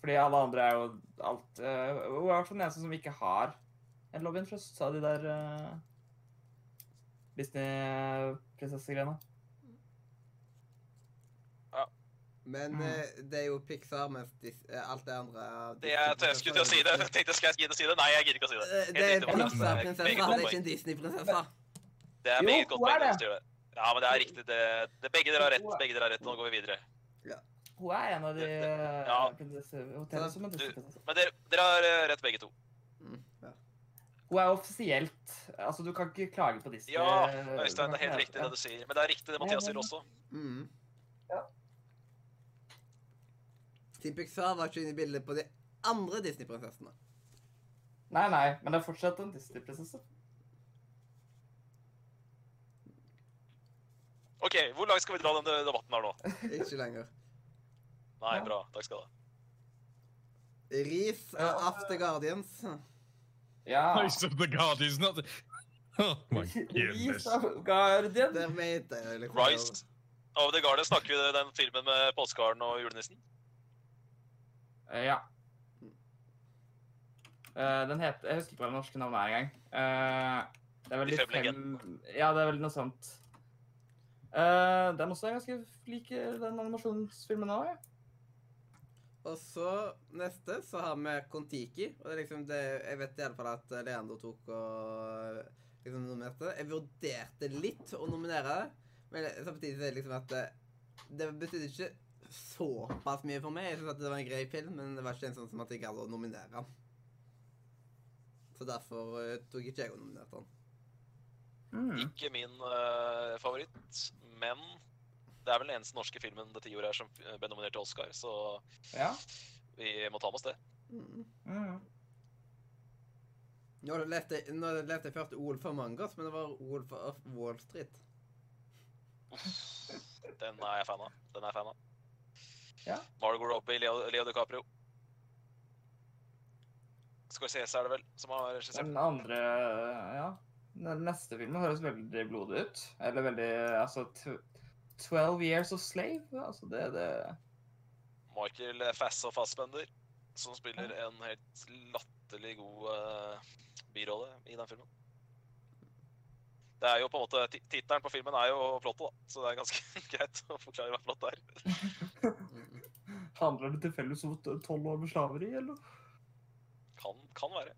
F: Fordi alle andre er jo alt eh, Hun er i hvert fall den eneste som ikke har en love interest, sa de der eh, Disney-prinsessegreiene.
A: Men
F: Mm.
A: eh, det er jo Pixar, mens dis, eh, alt det andre
B: det jeg, jeg skulle til å si det. *laughs* Jeg tenkte, skal jeg gidde å si det? Nei, jeg gidder ikke å si det.
A: Eh, Det er en
B: Helt riktig, Martin.
A: Pixar-prinsesse,
B: Meget
A: det er
B: godt poeng.
A: ikke en Disney-prinsesse.
B: Det er
F: Jo,
B: meget godt
F: hun er
B: poeng.
F: det.
B: hvis du gjør det. Ja, men det er riktig. Det, det, begge dere har rett. Begge dere har rett. Nå går vi videre.
F: Hun er en av de
B: Det-
F: eh,
B: ja.
F: prinsessehotellene som en Disney-prinsesse.
B: Men dere, dere har eh, rett, begge to.
A: Mm, ja.
F: Hun er offisielt Altså, du kan ikke klage på Disney.
B: Ja,
F: eh,
B: Øystein, det
F: du kan
B: er
F: ikke-
B: helt riktig
F: ja.
B: det du sier. Men det er riktig det Mathias sier også.
A: Mm.
F: Ja.
A: Team Pixar var ikke inne i bildet på de andre Disney-prinsessene.
F: Nei, nei, men det er fortsatt en Disney-prinsesse.
B: OK, hvor langt skal vi dra denne debatten her nå?
A: Ikke lenger.
B: Nei,
F: Ja.
B: bra. Takk skal du ha.
A: Ris
F: Ja.
A: av After Guardians.
F: Ja.
E: Nice of the God, isn't it? Oh
F: *laughs*
E: my goodness.
F: Ris av Guardian.
A: Der mente jeg liksom
B: Rise of the Garden snakker jo den filmen med påskeharen og julenissen.
F: Eh, Ja. Eh, den heter Jeg husker ikke hva det norske navnet er engang. Eh, det er vel
B: De
F: de
B: fem
F: fem Ja, det er vel noe sånt. Eh, den også er ganske lik eh, den animasjonsfilmen òg, ja.
A: Og så neste så har vi Kon-Tiki. Og det er liksom det, jeg vet i alle fall at Leandro tok og liksom nominerte. Jeg vurderte litt å nominere det, men samtidig så er det liksom at det, det betydde ikke såpass mye for meg. Jeg synes at det var en grei film, men det var ikke en sånn som at jeg gadd å nominere den. Så derfor eh, tok ikke jeg og nominerte den.
F: Mm.
B: Ikke min eh, favoritt, men det er vel den eneste norske filmen det tiåret her som eh, ble nominert til Oscar, så
F: Ja.
B: vi må ta med oss det.
A: Mm.
F: Mm.
A: Nå leste jeg- nå leste jeg først Ol for Mangas, men det var Ol for Off Wall Street.
B: Den er jeg fan av. Den er jeg fan av.
F: Ja.
B: Margot Robbie, Leo, Leo DiCaprio. Scorsese er det vel som har regissert.
F: Den andre eh, Ja. Den neste filmen høres veldig blodig ut. Eller veldig Altså tw- 12 Years of Slave. Altså, det, det
B: Michael Fasso Fassbender, som spiller en helt latterlig god eh, birolle i den filmen. Det er jo på en måte, ti- Tittelen på filmen er jo plottet, da, så det er ganske *laughs* greit å forklare hva plottet er.
A: Mm.
F: Handler det tilfeldigvis om t- 12 år med slaveri, eller?
B: Kan, kan være.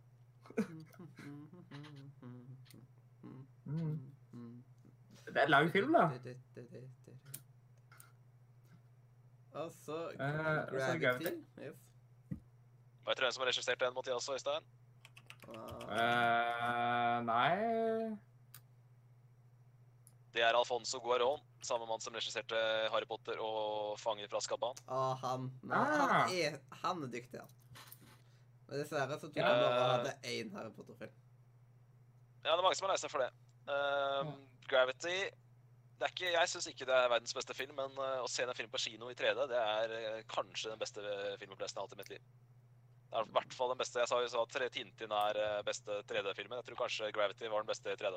A: Mm.
F: Det Mm. er en lang film, da.
A: Og så
F: Eh, og så
A: Gravity.
F: Gravity.
A: Yes.
B: Veit dere hvem som har regissert den, Mathias og Øystein?
A: Og-
F: Eh, nei
B: Det er Alfonso Guarón, samme mann som regisserte Harry Potter og Fanger fra Skabban.
A: Og han. Nei,
F: Ah.
A: han, er, han er dyktig, han. Men dessverre så tror jeg
B: Ja.
A: bare han hadde én Harry Potter-film.
B: Ja, det er mange som er lei seg for det. Ehm, Gravity det er ikke, Jeg syns ikke det er verdens beste film, men eh, å se den filmen på kino i 3D, det er eh, kanskje den beste filmopplevelsen jeg har hatt i mitt liv. Det er i hvert fall den beste. Jeg sa jo så at tre- Tintin er eh, beste 3D-filmen. Jeg tror kanskje Gravity var den beste i 3D.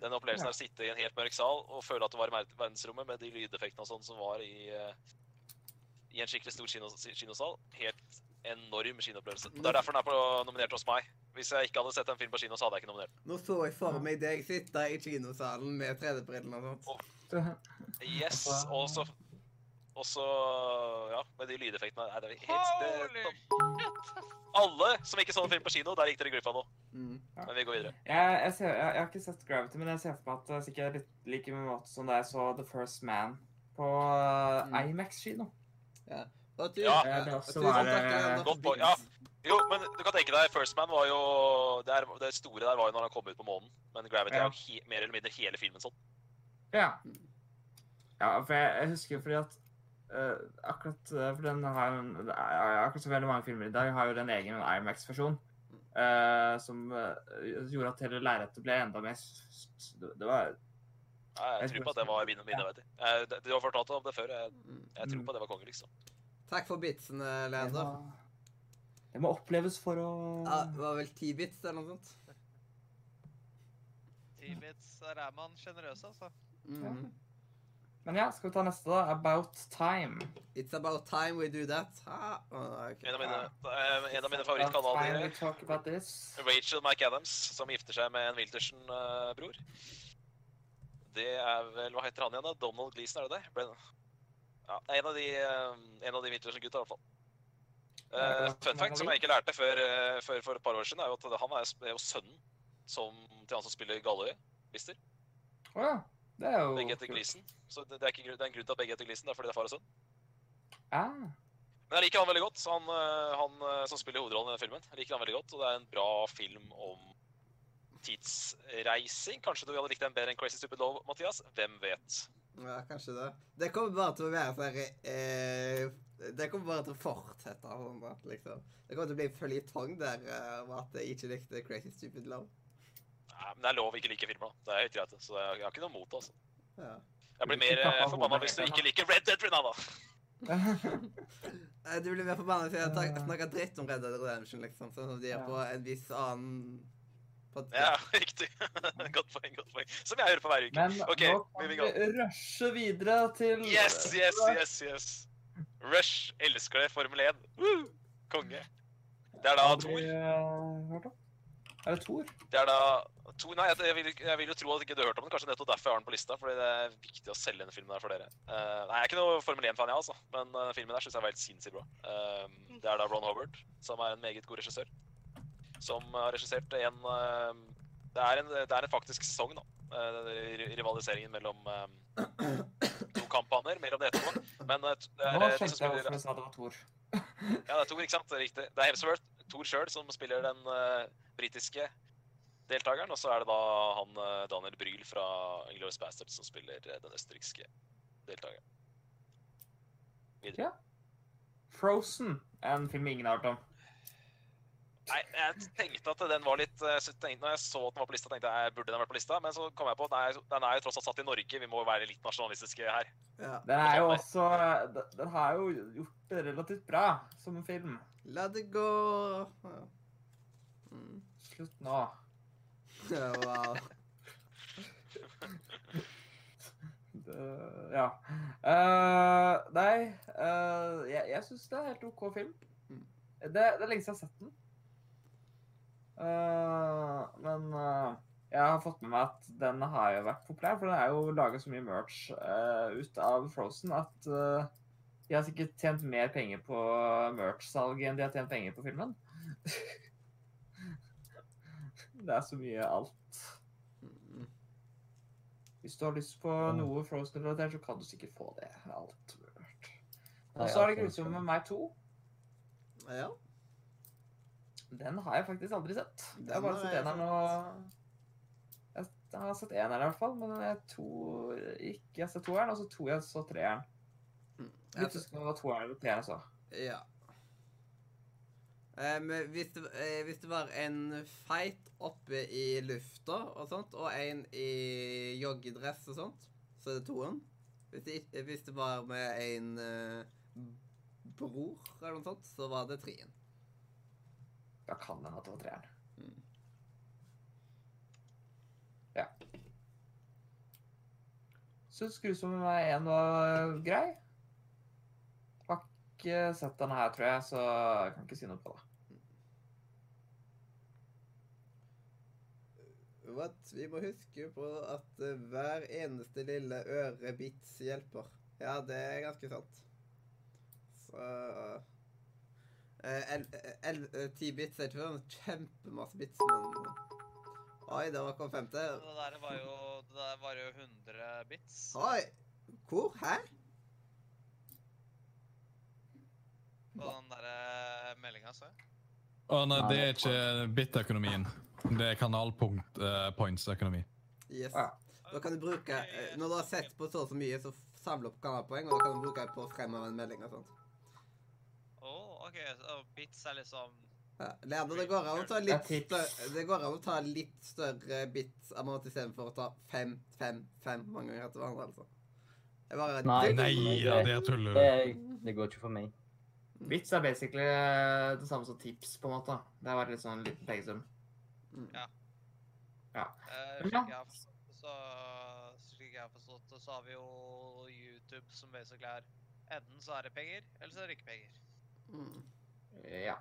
B: Den opplevelsen av å sitte i en helt mørk sal og føle at du var i mer- verdensrommet med de lydeffektene og sånn som var i, eh, i en skikkelig stor kino, kinosal. Helt enorm kinoopplevelse. Og Det er derfor den er på, nominert hos meg. Hvis jeg ikke hadde sett en film på kino, så hadde jeg ikke nominert.
A: Nå så jeg for meg deg sitte i kinosalen med 3D-brillene og sånt.
B: Yes,
F: Altså-
B: og så og så, ja, med de lydeffektene her. Det er helt,
C: Holy
B: det, alle som ikke så den film på kino, der gikk dere glipp av noe.
A: Mm.
B: Men vi går videre.
F: Jeg, jeg, ser, jeg, jeg har ikke sett Gravity, men jeg ser for meg at det er sikkert litt like mye måte som da jeg så The First Man på eh,
A: Mm.
F: Imax-kino.
A: Og tu-
B: Ja,
F: det er
A: og
F: også
A: tusen
F: bare-
A: takk, Leander, for
B: Godt poeng, ja. Jo, men du kan tenke deg, First Man var jo Det, er, det store der var jo når han kom ut på månen. Men Gravity
F: Ja.
B: er jo he, mer eller mindre hele filmen sånn.
F: Ja. ja, for jeg, jeg husker fordi at eh, akkurat eh, for den har jo en, det er- akkurat som veldig mange filmer i dag, har jo den egen Imax-versjon. eh, som eh, gjorde at hele lerretet ble enda mer s- s- Det var
B: Jeg, jeg
F: Jeg
B: tror
F: tror
B: på at det
F: også-
B: var mine, mine vet du. Eh, det- Du har fortalt om det før. Jeg,
A: Mm.
B: jeg tror
F: Mm.
B: på at det var konge, liksom.
A: Takk for bitsene,
F: Det
A: Leander.
F: var- det Det må oppleves for å
A: Ja, det var vel 10 bits eller noe sånt.
C: Tibits, der er man sjenerøs, altså.
A: Mhm.
F: Men ja, skal vi ta neste, da? About time.
A: It's about time we do that. Ha. Å, ok.
B: En av mine, eh, en av mine favorittkanaler.
F: About time we talk about this.
B: Rachel McAdams, som gifter seg med en Wildersen-bror. det er vel Hva heter han igjen, da? Donald Gleason, er det det? Brennan. Ja, en av de, eh, en av de Wildersen-gutta, i hvert fall. Eh, fun fact som jeg ikke lærte før, eh, før for et par år siden, er jo at det- han er, sp- er jo sønnen som, til han som spiller Galløy, Mister.
F: Å ja. Det er jo
B: Begge heter
F: kult.
B: Gleason. Så det, det, er ikke, grunn- det er en grunn til at begge heter Gleason, det er fordi det er far og sønn.
F: *laughs* Ah,
B: Men jeg liker han veldig godt. så Han, øh, han øh, som spiller hovedrollen i denne filmen. Jeg liker han veldig godt, og det er en bra film om tidsreising. Kanskje du hadde likt den bedre enn Crazy Stupid Love, Mathias? Hvem vet?
A: Ja, kanskje det. Det kommer bare til å være sånn eh, Det kommer bare til å fortsette sånn, da, liksom. Det kommer til å bli en føljetong der eh, om at jeg ikke likte Crazy Stupid Love.
B: Nei, men det er lov å ikke like filmer, da. Det er helt greit, det. så jeg, jeg har ikke noe mot det. altså.
A: Ja.
B: Jeg blir mer øh, forbanna hvis du ikke liker Red Dead Renada.
A: Eh, Du blir mer forbanna hvis jeg tak- snakker dritt om Red Dead Redemption, liksom. Sånn som de gjør
F: Ja.
A: på en viss annen
B: Ja,
A: podkast.
B: *laughs* riktig. godt poeng, godt poeng. Som jeg hører på hver uke.
F: men
B: *laughs* Ok,
F: nå kan
B: moving
F: vi rushe videre til
B: Yes, yes, yes, yes. Rush elsker det, Formel 1. Woo! Konge. Det er da
F: Har
B: Thor.
F: vi, eh, hørt om? Er det Thor?
B: Det er da to, nei, jeg, jeg, vil, ikke- jeg vil jo tro at ikke du har hørt om den. Kanskje nettopp derfor jeg har den på lista. Fordi det er viktig å selge denne filmen her for dere. Eh, nei, Jeg er ikke noe Formel 1-fan, jeg, altså. Men eh, filmen der syns jeg var helt sinnssykt bra. Eh, det er da Ron Howard, som er en meget god regissør, som har regissert en eh, Det er en, det er en faktisk sesong, da. Eh, ri- rivaliseringen mellom eh, to kamphaner mellom det etterpå. Men eh, t- det er,
F: Nå
B: eh, de som
F: skjønte jeg
B: spiller-
F: hvorfor du sa det var Thor.
B: ja, det er Thor, ikke sant? Det er riktig. Det er Hemsworth, Thor sjøl, som spiller den eh, britiske deltakeren. Og så er det da han eh, Daniel Bryl fra Glorious Bastards som spiller eh, den østerrikske deltakeren.
F: Frozen er en film ingen har hørt om.
B: Nei, jeg tenkte at den var litt eh, så tenkte, Når jeg så at den var på lista, tenkte jeg burde den vært på lista. Men så kom jeg på at nei, den er jo tross alt satt i Norge. Vi må jo være litt nasjonalistiske her.
A: Ja.
F: Den er jo også den- Den har jo gjort det relativt bra som en film.
A: La det gå. Ja. Mm. *laughs*
F: Slutt nå.
A: Ja, wow.
F: Det- ja. Eh, nei, eh, jeg, jeg syns det er helt OK film.
A: Mm.
F: Det, det er lenge siden jeg har sett den. Eh, men eh, jeg har fått med meg at den har jo vært populær, for den er jo laga så mye merch eh, ut av Frozen at eh, de har sikkert tjent mer penger på merch-salget enn de har tjent penger på filmen. *laughs* det er så mye alt.
A: Mm.
F: Hvis du har lyst på noe Frozen-relatert, så kan du sikkert få det. Alt mulig.
D: Nei,
F: Og så er
D: alt
F: det grusomme med meg 2.
A: Ja.
F: Den har jeg faktisk aldri sett. Jeg har
A: Den
F: bare
A: har
F: sett
A: jeg
F: eneren og Jeg jeg har sett eneren i hvert fall, men jeg tror ikke jeg har sett toeren. Og så tror jeg så treeren.
A: Mm.
F: Mitt
A: Altså,
F: søsken var toeren eller treeren, så.
A: Ja. Eh, Men hvis det, eh, hvis det var en fight oppe i lufta og sånt, og en i joggedress og sånt, så er det toen. Hvis det, ikke- hvis det var med en eh, bror eller noe sånt, så var det treen.
F: Da kan den at det var treeren.
A: Mm.
F: Syns grusomme med meg 1 var eh, grei. Har ikke sett den her, tror jeg, så jeg kan ikke si noe på det.
A: What? Vi må huske på at eh, hver eneste lille ørebits hjelper. Ja, det er ganske sant. Så eh, el- el- eh, Ti bits er ikke sånn kjempemasse bits, men eh. Oi, der var kom femte.
C: Det der var jo, det der var jo 100 bits.
A: Oi! Hvor? Hæ?
C: På den derre meldinga, så jeg.
E: Å nei,
D: Nei,
E: det
D: det
E: er ikke bit-økonomien. Det er eh, kanalpunkt-points-økonomi.
A: Yes.
F: Ja.
A: Da kan du bruke eh, Når du har sett på så og så mye, så samle opp kanalpoeng, og da kan du bruke det på å fremme en melding og sånt.
C: Å, OK. Så bits er liksom
A: Ja, Leander, det går an å ta litt
F: Det er tips.
A: større, det går an å ta litt større bits av mat istedenfor å ta fem, fem, fem mange ganger etter hverandre, altså. Jeg bare
D: Nei,
E: Nei,
D: det-
E: ja, det tuller
D: Det,
E: du.
D: det går ikke for meg.
F: Vits er basically eh, det samme som tips, på en måte. Det er bare litt sånn liten pengesum.
C: Eh,
F: Ja.
C: slik jeg har forstått det, så, slik jeg har forstått det, så har vi jo YouTube som basically er Enten så er det penger, eller så er det ikke penger.
A: Mm.
F: Eh, Ja.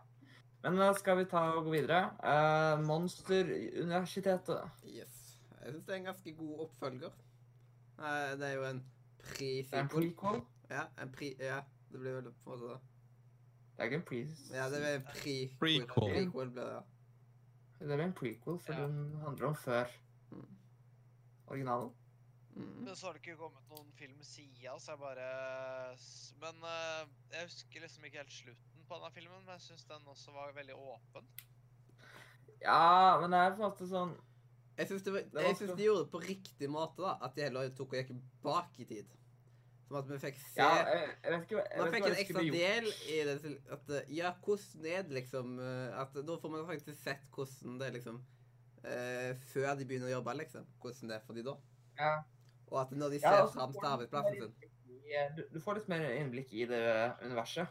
F: Men eh, skal vi ta og gå videre? Eh, Monsteruniversitetet.
A: Yes. Jeg syns det er en ganske god oppfølger. Eh, Det er jo en
F: Det er en
A: pre-sequel.
F: prequel.
A: Ja, en pre... Ja, det blir vel på en måte det.
F: Det er ikke en pre...
A: Ja, det blir en pre
E: Prequel.
A: Prequel blir det, ja.
F: Det er vel en prequel, for
C: Ja.
F: den handler om før.
A: Mm.
F: Originalen.
A: Mm.
C: Men så har det ikke kommet noen film siden, så jeg bare s- Men eh, jeg husker liksom ikke helt slutten på denne filmen, men jeg syns den også var veldig åpen.
F: Ja, men det er på en måte sånn
A: Jeg syns, det var,
F: var
A: jeg syns
F: også-
A: de gjorde det på riktig måte, da. At de heller tok og gikk bak i tid. Som at vi fikk se
F: Ja, jeg, jeg vet ikke hva jeg
A: Man
F: vet ikke
A: fikk
F: hva
A: en
F: jeg
A: ekstra
F: skulle gjort.
A: del i det til at eh, Ja, hvordan er det liksom eh, At da får man faktisk sett hvordan det er liksom eh, Før de begynner å jobbe, liksom. Hvordan det er for de da.
F: Ja.
A: Og at når de
F: Ja,
A: ser
F: og så
A: fram
F: får
A: til
F: du
A: arbeidsplassen
F: mer
A: sin.
F: innblikk i- Du, du får litt mer innblikk i det universet.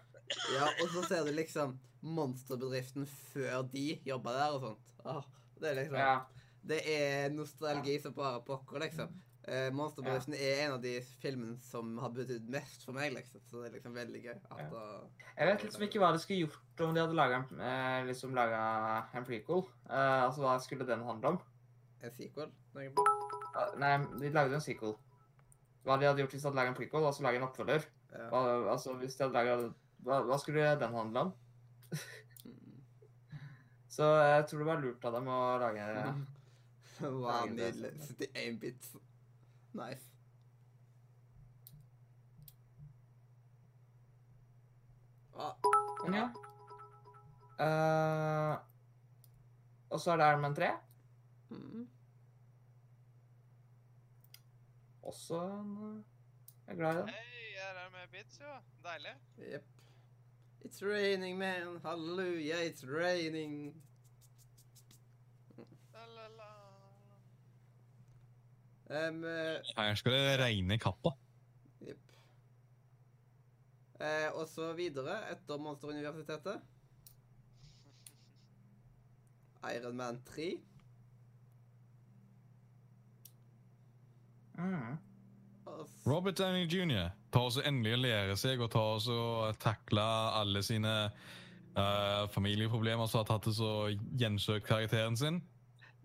A: Ja, og så ser du liksom monsterbedriften før de jobber der og sånt. Åh, det er liksom
F: Ja.
A: Det er nostalgi som bare pokker, liksom. Eh, Monsterbedriften er en av de filmene som har betydd mest for meg, liksom. Så det er liksom veldig gøy. At
F: Ja.
A: da-
F: Jeg vet liksom ikke hva de skulle gjort om de hadde laga en, eh, liksom laget en prequel. Eh, altså, hva skulle den handle om?
A: En sequel. tenker jeg på.
F: Ja, Nei, de lagde en sequel. Hva de hadde gjort hvis de hadde laga en prequel, og så laga en oppfølger?
A: Ja.
F: Hva, altså, hvis de hadde laget, hva, hva skulle den handle om?
A: Mm.
F: Så jeg tror det var lurt av dem å lage *laughs*
A: Wow,
F: Nei, det er
A: nydelig. 71 bits. Nice. Ah,
F: Men ja. Eh, og så er det Iron Man 3.
A: mm.
F: Også en eh, Jeg er glad i den.
C: Hei, jeg er med bits, jo. Deilig.
A: Jepp. It's raining, man. Halleluja, it's raining.
C: La, la, la.
A: Um, eh,
E: Her skal det regne kappa.
A: Jepp. Eh, og så videre, etter Monsteruniversitetet Iron Man 3.
F: Mm.
A: Og s-
E: Robert Downey jr. tar også endelig og lærer seg å ta oss og takle alle sine eh, familieproblemer som har tatt det så gjensøkt karakteren sin.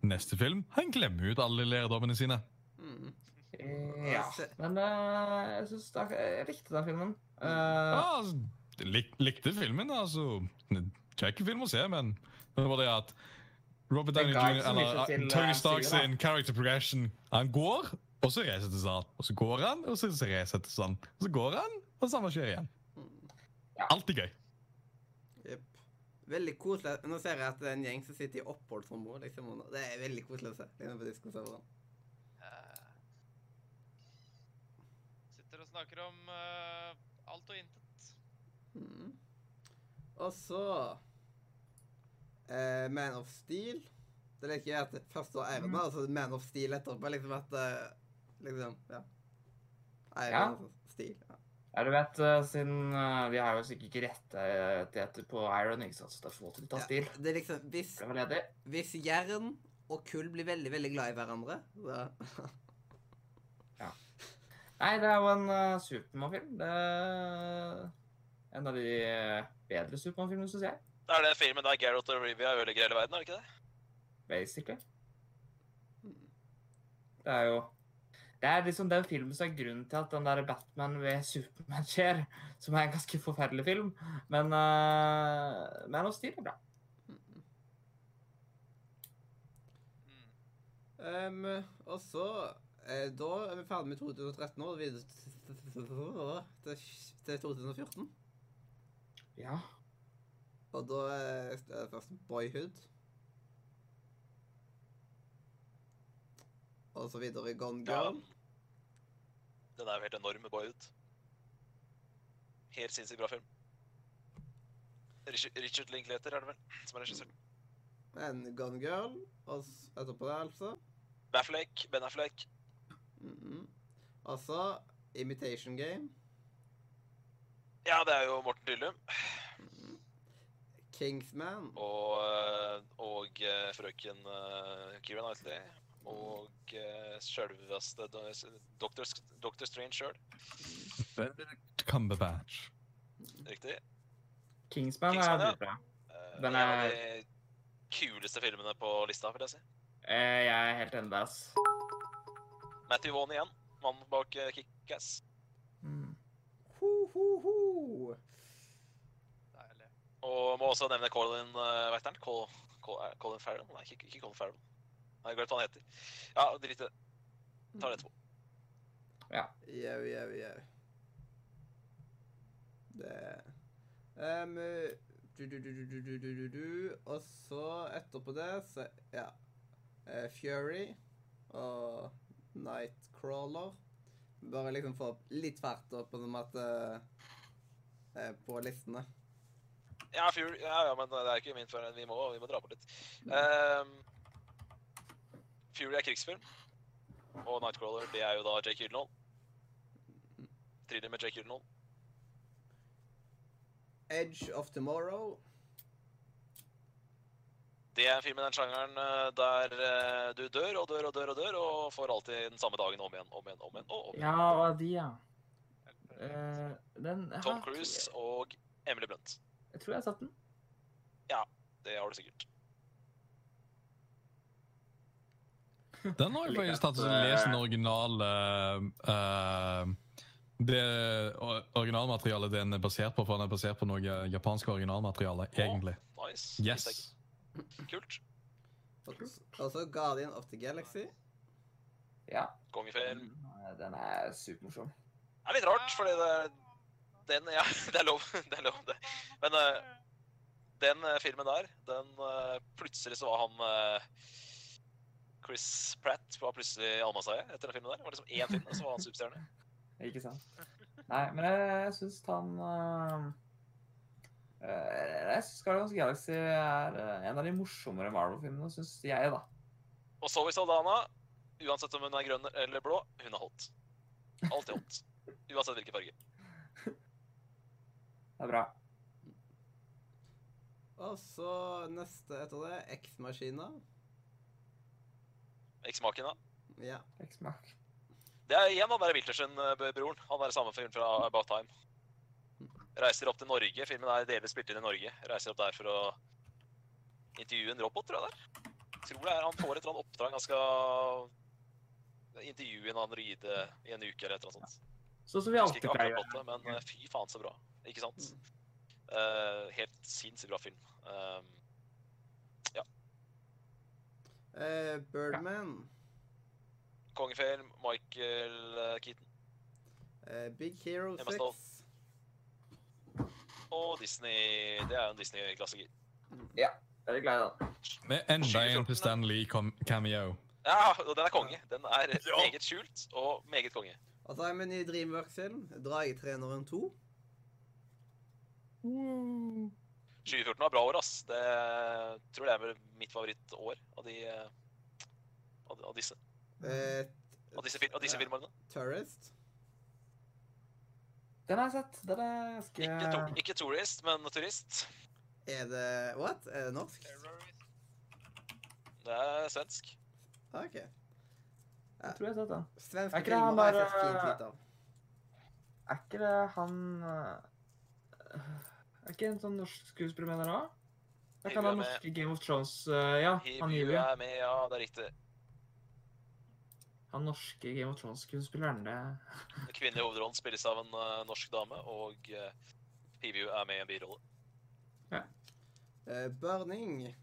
E: Neste film, han glemmer ut alle lærdommene sine.
A: mm.
F: Eh, Ja. Men eh, jeg syns jeg likte den filmen. Eh,
E: Ja, altså, lik, likte filmen, altså. Kjekk film å se, men det var det at Robert
F: Det
E: Downey
F: ga
E: jr.
F: ikke så mye
E: eller eh,
F: til, eh,
E: Tony Stark
F: Sigurd, da.
E: sin character progression. Han går, og så resettes han. Og så går han, og så resettes han. Og så går han, og det samme skjer igjen.
A: Mm.
E: Alltid gøy.
A: Jepp. Veldig koselig. Nå ser jeg at det er en gjeng som sitter i oppholdsrommet. Liksom, og det er veldig koselig å se. Liksom, på diskoserveren.
C: Eh, Sitter og snakker om eh, alt og intet.
A: Mm. Og så eh, Man of Steel. Det er litt gøy at det først var Iron Man, og så Man of Steel etterpå. Liksom at eh, Liksom, ja. Iron
F: Ja.
A: Man og Steel. Ja.
F: Ja, du vet, eh, siden eh, vi har jo sikkert ikke rettigheter på Iron, ikke sant, så derfor måtte de ta stil.
A: Ja, det er liksom, hvis,
F: Det var ledig.
A: hvis jern og kull blir veldig, veldig glad i hverandre så,
F: Nei, det er jo en uh, Supermann-film. Det er en av de eh, bedre Supermann-filmene, syns jeg.
B: Det er den filmen der Geralt og Rivia ødelegger hele verden, er det ikke det?
F: Basically. Det er jo Det er liksom den filmen som er grunnen til at den der Batman ved Superman skjer, som er en ganske forferdelig film. Men uh, Man of Steel er bra.
C: Mm.
A: um, Og så eh, Da er vi ferdig med 2013 og videre til, til 2014.
F: Ja.
A: Og da eh, er det først Boyhood. Og så videre Gone Girl.
B: Den er jo helt enorm, Boyhood. Helt sinnssykt bra film. Richard Richard Linklater er det vel, som er regissør.
A: En Gone Girl. Og s- etterpå det, altså.
B: Baffleck, Ben Affleck.
A: Mhm. Og så Imitation Game.
B: Ja, det er jo Morten Tyllum.
A: Mm-hmm. Kingsman.
B: Og, eh, og eh, frøken eh, Keira Knightley. Og eh, selveste Doctor, Doctor Strange sjøl.
E: Benedict Cumberbatch.
B: Riktig.
F: Kingsman er
B: Kingsman, ja.
F: dritbra.
B: Eh,
F: Den
B: en av de
F: er-
B: kuleste filmene på lista, vil jeg si.
F: Eh, Jeg er helt enig med deg, ass.
B: Matthew Vaughn igjen. Mannen bak eh, Kick-Ass.
F: Mm.
A: Ho, ho, ho.
C: Deilig.
B: Og må også nevne Colin eh, Vet han? Col, Col, er Colin Farrell? Nei, ikke, ikke Colin Farrell. Nei, Jeg glemte hva han heter. Ja, drit i det. Tar det etterpå.
A: Jau, jau, jau. Det um, du, du, du, du, du, du, du, du, du. Og så etterpå det, så Ja. Eh, Fury og Nightcrawler. Bare liksom få opp litt fart opp på dem at eh, eh, På listene.
B: Ja, Fury. Ja, ja, men eh, det er ikke min før. Vi må, vi må dra på litt. Ehm, Fury er krigsfilm. Og Nightcrawler, det er jo da Jake Gyllenhaal. Thriller med Jake Gyllenhaal.
A: Edge of Tomorrow.
B: Det er en film i den sjangeren eh, der eh, du dør og dør og dør og dør, og får alltid den samme dagen om igjen, om igjen, om igjen. Og om igjen.
F: Ja, og de, ja. Eh, den
B: Tom
F: her tror jeg-
B: Cruise og Emily Blunt.
F: Jeg tror jeg har satt den.
B: Det har du sikkert.
E: Den har jeg
F: Jeg liker
E: faktisk tatt og
F: at,
E: lest den
F: eh,
E: originale eh, Det or- originalmaterialet den er basert på, for den er basert på noe japansk originalmateriale, egentlig.
B: Nice.
E: Yes.
B: Visste jeg ikke. Kult.
A: Og og så Guardian of the Galaxy.
F: Ja.
B: Kongefilm.
F: Eh, Den er supermorsom.
B: Det er litt rart, fordi det er den Ja, *laughs* det er lov. Det er lov, det. Men eh, den eh, filmen der, den eh, Plutselig så var han eh, Chris Pratt var plutselig allmannseie etter den filmen der. Det var liksom én film, og så var han superstjerne.
F: Ikke sant? Nei, men jeg, jeg syns han eh, eh, Jeg syns Guardians of the Galaxy er eh, en av de morsommere Marvel-filmene, syns jeg, da.
B: Og Zoe Saldana, uansett om hun er grønn eller blå, hun er hot. Alltid hot. Uansett hvilken farge.
F: Det er bra.
A: Og så neste etter det, X-Maskina.
B: Eksmaken, da.
A: Ja.
F: Eksmak.
B: Det er igjen han der Wiltersen-broren. eh, Han er samme film fra About Time. Reiser opp til Norge. Filmen er delvis spilt inn i Norge. Reiser opp der for å intervjue en robot, tror jeg det er. Tror det er han får et eller annet oppdrag. Han skal intervjue en androide i en uke eller et eller annet sånt.
F: Sånn som vi
B: Jeg husker
F: alltid
B: ikke
F: pleier.
B: akkurat plottet, men eh, fy faen så bra. Ikke sant? Eh, helt sinnssykt bra film. Um,
A: Eh, Birdman.
B: Kongefilm, Michael eh, Keaton
A: Eh, Big Hero
B: Jeg må stå.
A: 6.
B: og Disney. Det er jo en Disney-klassiker.
F: Det er vi glad i, da.
E: Med enda en
B: 2014, da.
E: til Stan Lee com- cameo.
B: Ja, og den er konge. Den er meget skjult og meget konge.
A: Og så har vi en ny Dreamworks-film. 'Dragetreneren 2'.
B: 2014 var bra år, ass. Det tror jeg er vel mitt favorittår av de eh, av, av disse,
A: Eh,
B: av disse, fil- av disse
A: Ja.
B: filmene.
A: Tourist.
F: Den har jeg sett. Den er ganske
B: Ikke, to, ikke tourist, men turist.
A: Er det What? Er det norsk?
B: Det er svensk.
A: OK.
F: Jeg tror jeg har sett den. Er
A: Svenske
F: ikke det han
A: filmer har jeg
F: der,
A: sett fint
F: eh,
A: lite av.
F: Er ikke det han eh, Er ikke en sånn norsk skuespiller med der òg? Det kan
B: Hivju
F: være
B: er med.
F: norske Game of Thrones eh, Ja, han
B: Hibu
F: Hivju.
B: er med, ja, det er riktig.
F: Han norske Game of Thrones-skuespilleren, det
B: Den kvinnelige hovedrollen spilles av en eh, norsk dame, og uh, Hibu er med i en birolle.
A: Eh, Burning.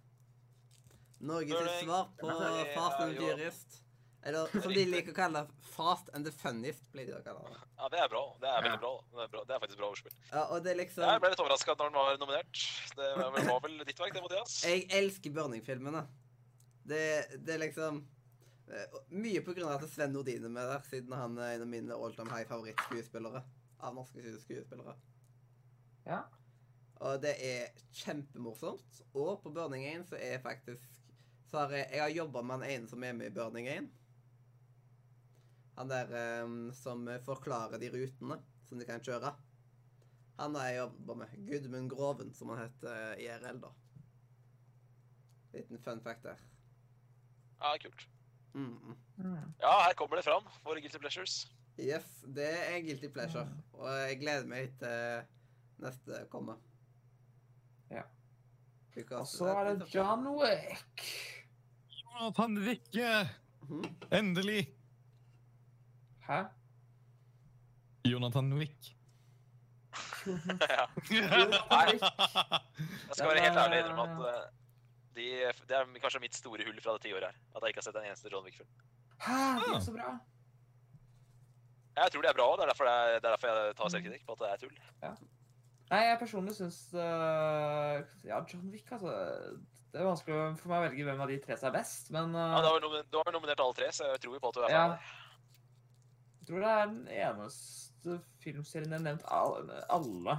A: Norges
B: Burning.
A: svar på
B: Den er-
A: Fast and
B: ja, jo.
A: Furious. Eller som de liker å kalle Fast and the Funniest. blir det å kalle det.
B: Ja, det er bra. Det er
F: Ja.
B: veldig bra. Det er, bra. Det er faktisk bra ordspill.
A: Ja, og det er
B: Jeg
A: liksom
B: ble litt overraska når den var nominert. Det var vel, var vel ditt verk, det, Mathias?
A: Jeg elsker Burning-filmene. Det, det er liksom eh, Mye på grunn av at Sven Nordin er med der, siden han er en av mine all time high favorittskuespillere. Av norske skuespillere.
F: Ja.
A: Og det er kjempemorsomt. Og på Burning 1 så er faktisk så har jeg, jeg har jobba med han ene som er med i Burning 1. ehm, Han der eh, som forklarer de rutene som de kan kjøre. Han har jeg jobba med. Gudmund Groven, som han heter eh, IRL, da. Liten fun fact der.
B: Ja, kult.
A: Mm, mm.
B: Ja, her kommer det fram. Våre guilty pleasures. *laughs*
A: Yes, det er guilty pleasure.
F: Mm.
A: Og jeg gleder meg til neste komme.
F: Ja.
A: Lukas,
F: Og så er det John Wick.
E: Jonathan Wikke!
A: Mhm.
E: Endelig!
F: Hæ?
E: Jonathan Wick.
B: ja.
E: Nei.
B: Jeg skal være helt ærlig og innrømme at eh, de, det er kanskje mitt store hull fra det tiåret her. At jeg ikke har sett en eneste John Wick-film.
F: Hæ, det er så bra.
B: Jeg tror de er bra òg. Det, er derfor jeg- det er derfor jeg tar selvkritikk på at det er tull.
F: Nei, jeg personlig syns Ja, John Wick, altså. Det er vanskelig for meg å velge hvem av de tre som er best, men øh,
B: Ja, du har vel nominert, du har vel nominert alle tre, så jeg tror jo på at du er
F: Ja.
B: fan.
F: jeg tror det er den eneste filmserien jeg har nevnt alle, alle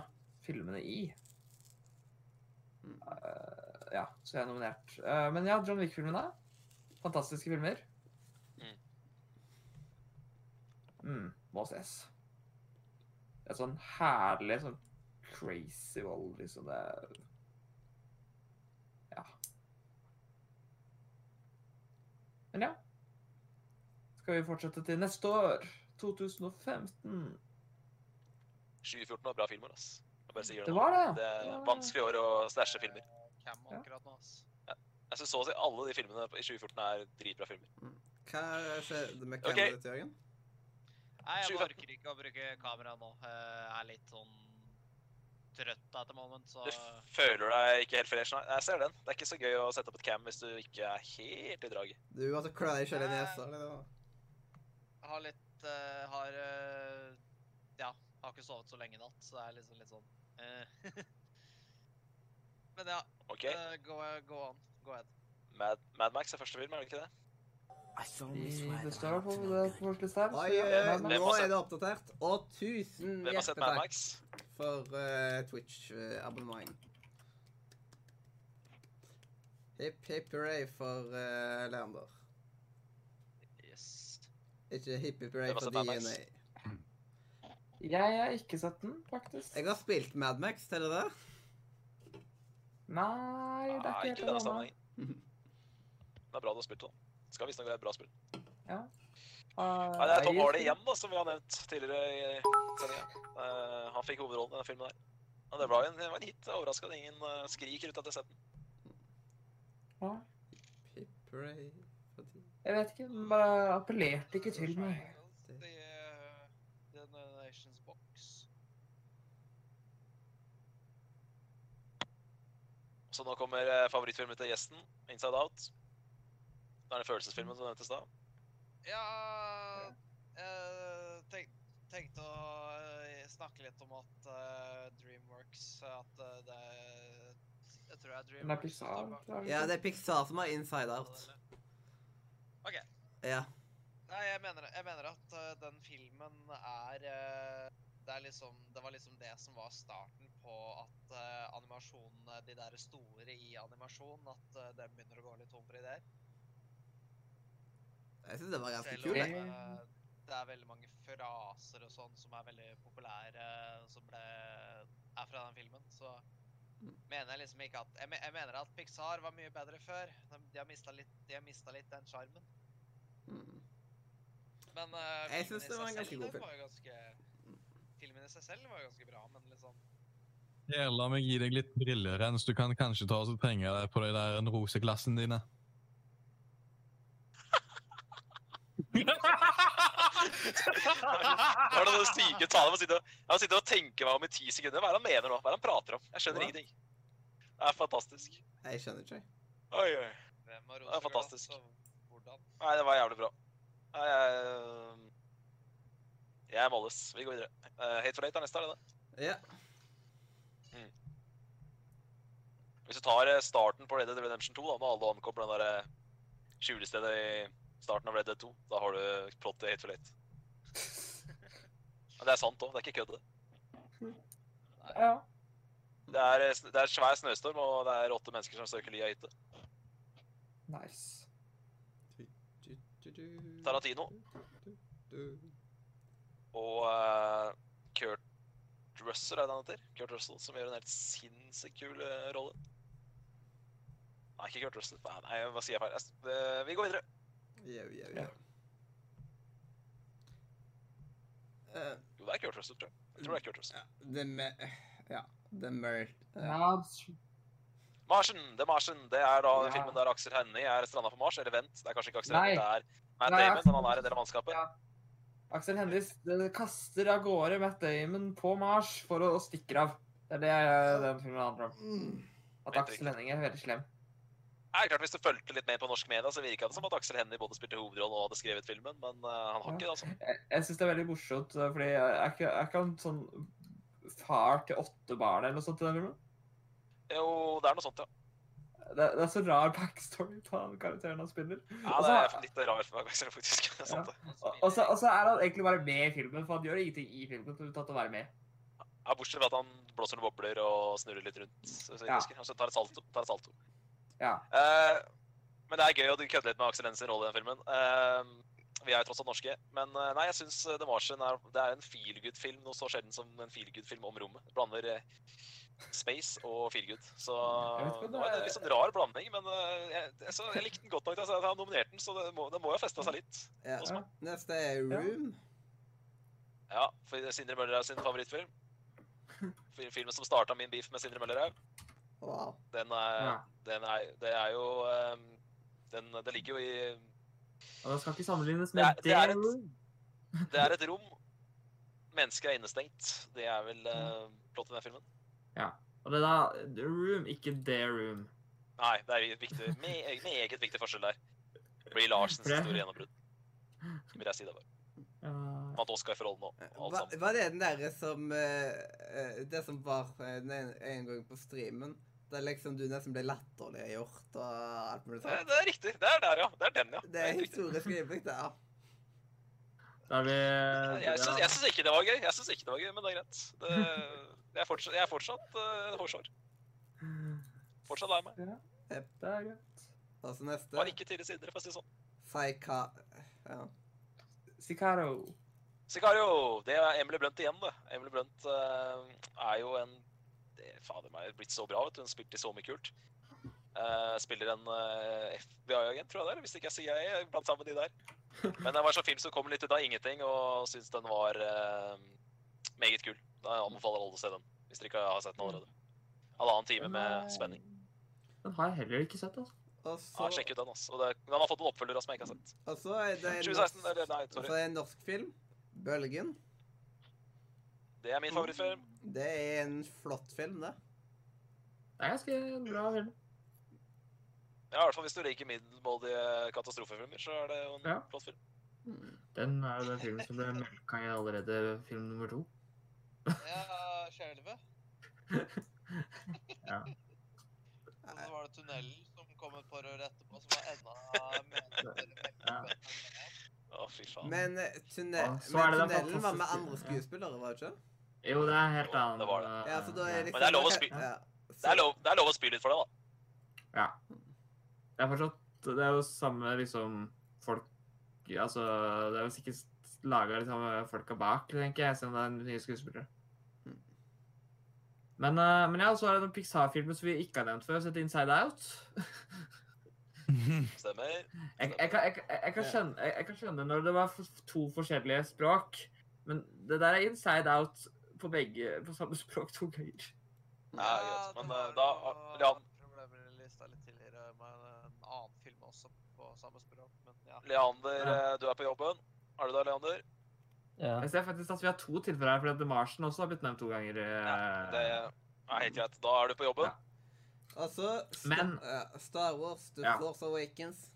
F: filmene i.
A: Mm.
F: Øh, ja, så jeg er nominert. Øh, men ja, John Wick-filmene. Fantastiske filmer.
B: Mm.
F: Mm, må ses. Et sånn herlig sånn crazy vold, liksom. Det er Ja. Men ja. Skal vi fortsette til neste år? 2015.
B: 2014 var bra filmer, ass. Jeg bare sier det
F: Det
B: nå.
F: var det, ja.
B: Det
F: Det
B: er
F: var-
B: vanskelig år å stashe filmer.
C: Cam
F: Ja.
C: akkurat nå, ass.
B: Jeg syns så å si alle de filmene i 2014 er dritbra filmer.
A: Hva skjedde med
B: Ok.
A: kameraet til Jørgen?
C: Nei, jeg
B: 2015.
C: bare orker ikke å bruke kamera nå. Eh, Jeg er litt sånn trøtt at the moment, så
B: Du føler deg ikke helt fresh, nei. Jeg ser den. Det er ikke så gøy å sette opp et cam hvis du ikke er helt i draget.
A: Du måtte klø deg sjøl i nesa. eller hva?
C: jeg har litt eh, Har eh, Ja, har ikke sovet så lenge i natt, så det er liksom litt sånn eh. *laughs* Men ja,
B: OK?
C: eh, go, go on. Go ahead.
B: Mad, Mad Max er første film, er det ikke det?
F: I- Det står i hvert fall på det på vår liste her. så
A: Oi,
F: ja,
A: oi, oi,
F: Mad Max.
B: Hvem
A: nå
B: har sett-
A: er det oppdatert. Og tusen
B: Hvem har sett Mad
A: hjertelig takk
B: Max?
A: for eh, Twitch-abonnement. Hipp hipp hurray for eh, Leander.
C: Yes.
A: Ikke hipp hipp hurray
B: Hvem har
A: for
B: sett Mad Max?
A: DNA.
F: Jeg har ikke sett den, faktisk.
A: Jeg har spilt Madmax, teller det?
F: Nei, det
B: Nei,
F: er
B: ikke i
F: ikke
B: denne
F: helt det
B: sammenhengen. Det er bra du har spilt den. Det Skal visstnok være et bra spill.
F: Ah,
B: Nei, det er Tom Hardy igjen, da, som vi har nevnt tidligere i sendinga. han fikk hovedrollen i den filmen der. Men det var en, det var en hit. Jeg er overrasket at ingen eh, skriker ut etter setten.
A: Hipp hurray for DNA.
F: Jeg vet ikke, den bare appellerte ikke til meg.
C: The, uh, the donations box.
B: Så nå kommer eh, favorittfilmen til gjesten, 'Inside Out'. Det er den følelsesfilmen som nevntes da.
C: Ja eh, tenk, Tenkte å eh, snakke litt om at eh, Dreamworks At eh, det Jeg tror det er
F: Den er
C: Dreamworks som
F: Pixar.
C: står bak.
F: tror jeg.
A: Ja, det er Pixar som har Inside Out.
C: Ok.
A: Ja.
C: Nei, jeg mener, jeg mener at eh, den filmen er eh, Det er liksom Det var liksom det som var starten på at eh, animasjonene, de der store i animasjon, at eh, den begynner å gå litt tom for ideer.
A: Jeg syns det var ganske
C: Selv om
A: kult. jeg.
F: jeg.
C: eh, det er veldig mange fraser og sånn som er veldig populære, som ble, er fra den filmen, så mener jeg liksom ikke at Jeg, me- jeg mener at Pixar var mye bedre før. De, de har mista litt, de har mistet litt den sjarmen.
A: Mm.
C: Men eh,
A: Jeg
C: filmen
A: synes
C: i
A: det
C: seg
A: var en ganske
C: selv
A: god film.
C: var jo ganske Filmen i seg selv var jo ganske bra, men liksom
E: Her, la meg gi deg litt brillerens. Du kan kanskje ta oss et penger der på de der roseglassene dine.
B: *laughs* Hva er det den syke talen? Jeg må sitte og- Jeg må sitte og tenke meg om i ti sekunder. Hva er det han mener nå? Hva er det han prater om? Jeg skjønner
A: Hva?
B: ingenting. Det er fantastisk.
A: Jeg skjønner ikke. jeg.
B: Oi, oi.
C: Hvem har
B: Det er
C: roseglass
B: fantastisk.
C: og hvordan?
B: Nei, det var jævlig bra. Nei, jeg eh, Jeg er Molles. Vi går videre. Eh, Hate for late er neste, er det det?
A: Ja.
B: Hvis du tar eh, starten på Red Dead Redemption 2, da, når alle ankommer den der eh, skjulestedet i starten av Red Dead 2, da har du plottet i Hate for late. Men det er sant òg. Det er ikke kødd. det.
F: *laughs* Ja.
B: Det er, eh, sn- det er svær snøstorm, og det er åtte mennesker som søker ly av hytte.
F: Nice.
B: Tarantino. Og eh, Kurt Kurt Russell er det han heter. Kurt Russell, Som gjør en helt sinnssykt kul eh, rolle. Nei, ikke Kurt Russell. Nei, nei, hva sier jeg feil? Jeg s- eh, Vi går videre.
A: Jau, jau, jau. Eh,
B: Jo, det er Kurt Russell, tror jeg. Jeg tror det er
F: Mm.
B: Kurt Russell.
A: ja, The me... Ja. The Mer... Ja.
B: Marsen, det er Marsen, det er da den
F: Ja.
B: filmen der Aksel Hennie er stranda på Mars. Eller vent, det er kanskje ikke Aksel Hennie,
F: Nei.
B: det er Matt
F: Nei,
B: Damon.
F: Aksel-
B: Han er en del av mannskapet.
F: Ja. Aksel Hennies eh, kaster av gårde Matt Damon på Mars for å, å stikke av. Det er det eh, den filmen handler om.
A: Mm.
F: At
B: Helt
F: Aksel Henning er veldig slem.
B: Nei, klart Hvis du fulgte litt med på norsk media, så virka det som at Aksel Hennie både spilte hovedrollen og hadde skrevet filmen, men eh, han har
F: Ja.
B: ikke det, altså.
F: Jeg, jeg syns det er veldig morsomt, eh, fordi jeg er ikke, er ikke han sånn far til åtte barn eller noe sånt i den filmen?
B: Jo, det er noe sånt, ja.
F: Mm. Det, det er så rar backstory på han karakteren han spiller.
B: ja
F: Og
B: det
F: så-
B: er litt rar for meg, Aksel, faktisk. *laughs* Det er sant, det.
F: Og og så, og så er han egentlig bare med i filmen, for han gjør ingenting i filmen unntatt å være med.
B: Ja, bortsett fra at han blåser noen bobler og snurrer litt rundt. Så jeg
F: Ja.
B: husker. Han tar et salto. Tar et salto.
F: Ja.
B: Eh, men det er gøy å kødde litt med Aksel Hennies rolle i den filmen. Eh, vi er jo tross alt norske. Men eh, nei, jeg syns The Martian er, det er en feelgood-film noe så sjelden som en feelgood-film om rommet. Det blander eh, space og feelgood. Så
F: Jeg vet ikke
B: det
F: om det
B: var en
F: er-
B: litt sånn rar blanding, men eh, jeg, jeg, så, jeg likte den godt nok til at jeg har nominert den, så det må, det må jo ha festa seg litt.
A: ja.
B: hos meg.
A: Neste er Room.
B: Ja, for Sindre Møller er sin
F: *laughs*
B: favorittfilm. Filmen som starta min beef med Sindre Møller er
A: Wow.
B: Den er,
F: Ja.
B: den er, det er jo ehm, den, Det ligger jo i
F: Og det skal ikke sammenlignes
B: Det er-
F: med
B: det er et-
F: Dare.
B: Det er et rom. Mennesket er innestengt. Det er vel uh, plottet i den filmen.
F: Og det er da The Room, ikke The Room.
B: Nei, det er en viktig, me, meget viktig forskjell der. Blir Larsens
F: For det-
B: store gjennombrudd. Vil jeg si det bare.
F: Ja.
B: Vant Oscar for rollen og, og alt
A: Eh, Hva,
B: sammen.
A: var det den derre som eh, eh, Det som var eh, den en, en gang på streamen? Der liksom du nesten ble latterliggjort og alt mulig
B: Det,
A: sånt?
B: det er riktig. Det er der, ja. Det er den, ja.
A: Det er
B: helt Eh, riktig.
A: historisk øyeblikk, det. Ah, ja.
F: Da er vi
B: Jeg syns, jeg syns ikke det var gøy, Jeg synes ikke det var gøy, men det er greit. Det, jeg er fortsatt, jeg er fortsatt eh, hårsår. Fortsatt lei meg.
F: Det er greit.
A: Og så
B: Har
A: neste
B: ikke tidlig sider, for å si det sånn.
A: Psyka... Ja.
F: Sicario.
B: Sicario, det er Emily Blunt igjen, det. Emily Blunt eh, er jo en det, Fader meg, blitt så bra, vet du. Hun spilte så mye kult. Eh, spiller en eh, FBI-agent, tror jeg det er. Hvis ikke jeg sier jeg, blant sammen med de der. Men det var en sånn film som kom litt ut av ingenting, og syns den var eh, meget kul. Da anbefaler alle å se den, hvis dere ikke har sett den allerede. Halvannen time med Eh, spenning.
F: Den har jeg heller ikke sett, altså.
A: Og
B: Ja,
A: så,
B: sjekk ut den, altså. Og det, den har fått en oppfølger da, som jeg ikke har sett.
A: og så er det en
B: 2016,
A: norsk,
B: eller nei,
A: så er
B: sorry.
A: det en norsk film. 'Bølgen'.
B: Det er min favorittfilm.
A: Det er en flott film, det.
F: Det er ganske bra film.
B: Ja, i hvert fall hvis du liker middelmådige katastrofefilmer, så er det jo en
F: Ja.
B: flott film. Mm.
F: Den er jo den filmen som ble melka i allerede film nummer
A: *laughs*
F: to.
G: Ja, skjelvet.
F: Ja.
G: Og
A: Eh,
G: så var det tunnelen som kom et par år etterpå, som var enda mer
F: Ja.
B: Å, fy faen.
A: Men eh, tunne,
F: Ja, Ah, så er
A: men
F: det den
A: tunnelen var med
F: fantastiske-
A: andre skuespillere, var det ikke?
F: Jo, det er helt annet.
B: Det var det.
A: Ja, så da er liksom,
B: Men det er lov å spy-
A: Ja.
B: det, er lov, det er lov å spy litt for det, da.
F: Ja. Det er fortsatt Det er jo samme liksom folk Altså, det er jo sikkert laga de samme folka bak, tenker jeg, selv om det er nye skuespillere.
A: Mm.
F: Men, eh, men ja, så er det noen Pixar-filmer som vi ikke har nevnt før. Sett Inside Out. *laughs*
B: Stemmer.
F: Jeg, jeg, kan, jeg, kan- jeg, kan skjønne, jeg, jeg kan skjønne når det var f- to forskjellige språk, men det der er Inside Out på begge på samme språk to ganger.
B: Ja, greit. Men eh, da Lean,
G: Problemer i lista litt tidligere med en annen film også på samme språk, men ja.
B: Leander, eh, du er på jobben. Er du der, Leander?
D: Ja.
F: Jeg ser faktisk at vi har to tilfeller her, fordi at The Martian også har blitt nevnt to ganger. eh,
B: Det er helt greit. Da er du på jobben.
F: Ja.
A: Og så Sta-
F: Men-
A: Altså, ja, Star Wars, The
F: Ja.
A: Force Awakens.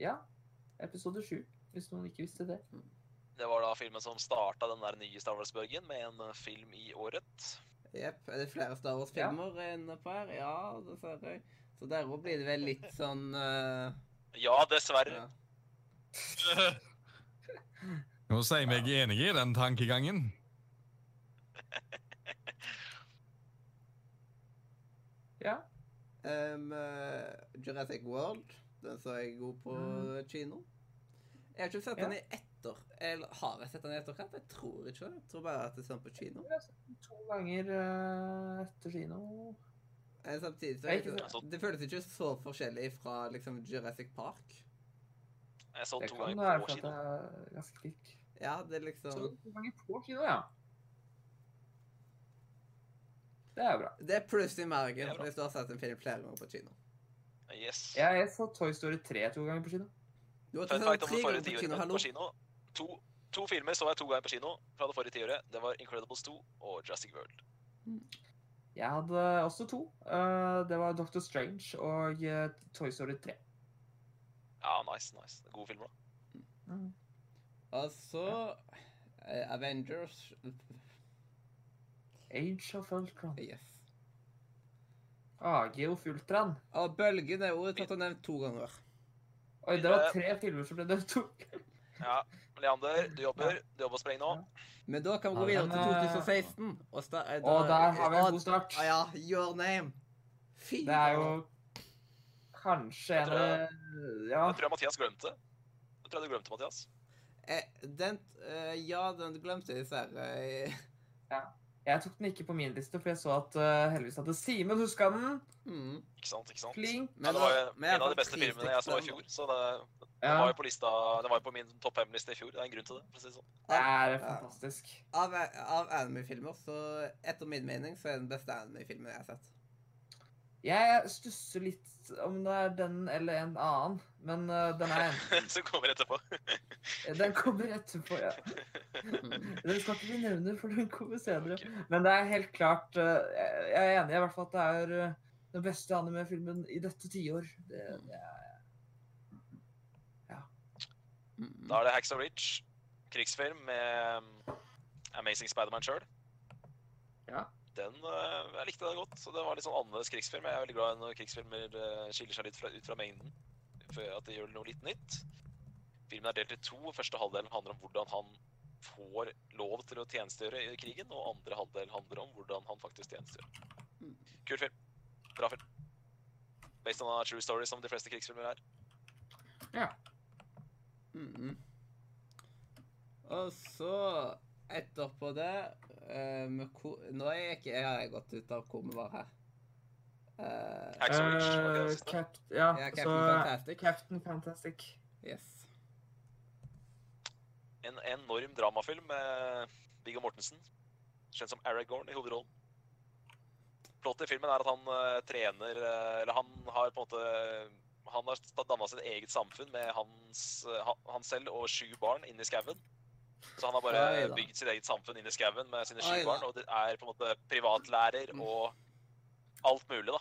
F: Ja. Episode sju, hvis noen ikke visste det.
B: Det var da filmen som starta den der nye Star Wars-bølgen med en eh, film i året.
A: Jepp. Er det flere Star Wars-filmer inne på her? Ja, dessverre. Så der òg blir det vel litt sånn eh,
B: Ja, dessverre.
A: ja.
E: Jeg må si meg enig i den tankegangen.
F: Ja.
A: Em, eh, Jurassic World. Den så jeg god på kino. Jeg har ikke sett den i ett etter Eller har jeg sett den i etterkant? Jeg tror ikke det. Jeg tror bare at jeg så den på kino.
F: To ganger eh, etter kino.
A: Eh, Samtidig så
F: Jeg
A: er
F: har ikke
A: det,
B: sett
A: det føles ikke så forskjellig fra liksom Jurassic Park.
B: Jeg så den
F: Det
B: to
F: kan
B: ganger
F: være
B: på
F: for at
B: kino.
F: jeg er ganske lik.
A: Ja, det er
F: Så
A: liksom
F: to ganger på kino, ja. Det er bra.
A: Det er pluss i margen
B: Det er bra.
A: hvis du har sett en film flere ganger på kino.
B: Yes.
F: Jeg, jeg så Toy Story 3 to ganger på kino.
A: Du har
B: Fun
A: ikke sett den
B: fact om det
A: tre
B: forrige
A: ganger på kino, hallo?
B: tiåret på kino. To, to filmer så jeg to ganger på kino fra det forrige tiåret. Det var Incredibles 2 og Jurassic World.
F: Jeg hadde også to. Eh, Det var Doctor Strange og eh, Toy Story 3.
B: Ja, nice, nice. Gode filmer, da.
A: Og så Altså, eh, Avengers
F: Age of Ultron.
A: Yes.
F: AG of Ultron.
A: Og Bølgen er ordet tatt og nevnt to ganger.
F: Oi, det
B: Eh,
F: var tre filmer som ble nevnt
B: *laughs*
F: to.
B: Ja, Leander, du jobber. Du jobber og sprenger nå.
A: Men da kan vi
F: Ja,
A: gå videre
F: men,
A: til
F: eh,
A: 2016. Og, sta, eh,
F: Og der har vi
A: og-
F: en god start.
A: Ah, ja, Your Name. Fy
F: Det er jo
A: faen.
F: kanskje
B: Jeg
F: en
B: tror
F: av Ja.
B: Det tror jeg Mathias glemte. Det tror jeg du glemte, Mathias.
A: eh, Den eh, Ja, den glemte jeg *laughs* dessverre. eh,
F: Jeg tok den ikke på min liste, for jeg så at eh, heldigvis hadde Simen huska den.
A: Mm.
B: Ikke sant, ikke sant?
F: Flink.
B: Ja, det var jo
A: men jeg
B: en av
A: fant
B: de beste filmene jeg så i
A: pristeksten.
B: fjor, så det, det var
F: Ja,
B: jo på lista, det var jo på min topp fem-liste i fjor. Det er en grunn til det. for å si det sånn.
F: det er
A: Ja.
F: fantastisk.
A: Av, av anime-filmer, så etter min mening, så er den beste anime-filmen jeg har sett. *laughs*
F: Jeg stusser litt om det er den eller en annen, men eh, den
B: *laughs*
F: er enten
B: Så sånn. kommer etterpå.
F: Den kommer etterpå, ja. Den skal ikke vi nevne, for den kommer senere. Men det er helt klart eh, Jeg jeg er enig i hvert fall at det er eh, den beste anime-filmen i dette tiår. Det, det er
A: Mm.
B: Da er det Hacks of Rich, krigsfilm med um, Amazing Spiderman sjøl.
F: Ja.
B: Den, eh, jeg likte den godt. så Det var litt sånn annerledes krigsfilm. Jeg er veldig glad når krigsfilmer eh, skiller seg litt fra, ut fra mengden. For at det gjør noe litt nytt. Filmen er delt i to. Første halvdelen handler om hvordan han får lov til å tjenestegjøre i krigen. Og andre halvdel handler om hvordan han faktisk tjenestegjør.
A: Mm.
B: Kul film. Bra film. Based on a true story, som de fleste krigsfilmer er.
A: Mm. Og så, etterpå det eh, med ko Nå er jeg ikke jeg har gått ut av hvor vi var her. Eh,
B: Hacks of Rich. var ikke det
F: Eh,
B: siste?
F: Cap, ja,
A: ja, Captain
F: så
A: Fantastic.
F: Captain Fantastic.
A: Yes.
B: En enorm dramafilm med Viggo Mortensen, kjent som Aragorn i hovedrollen. Plottet i filmen er at han eh, trener eh, Eller han har på en måte Han har danna sitt eget samfunn med hans, eh, han, han selv og sju barn inne i skauen. Så han har bare
A: Oi da.
B: bygd sitt eget samfunn inne i skauen med sine sju
A: Oi da.
B: barn. Og det er på en måte privatlærer og alt mulig, da.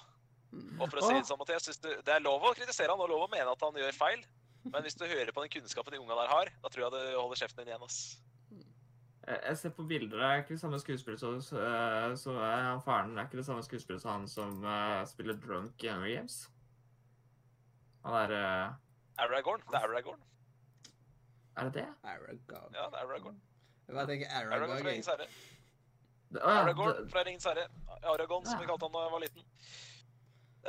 A: Mm.
B: Og for å si
F: Åh.
B: det sånn, Mathias, synes du, det er lov å kritisere han og lov å mene at han gjør feil. Men hvis du hører på den kunnskapen de unga der har, da tror jeg du holder kjeften din igjen. ass.
F: Jeg jeg ser på bilder, det er ikke det samme skuespiller som så, eh, så er han faren. Det er ikke det samme skuespiller som han som eh, spiller drunk i Hunger Games. Han er eh,
B: Aragorn. Det er Aragorn.
F: Er det det?
A: Aragorn.
B: Ja, det er Aragorn.
A: Jeg bare tenker Aragorn.
B: Aragorn
A: jeg-
B: fra Ringens herre.
F: det å, ja,
B: Aragorn
F: det- Ah.
B: fra Ringens herre. Aragorn, som vi kalte han da jeg var liten.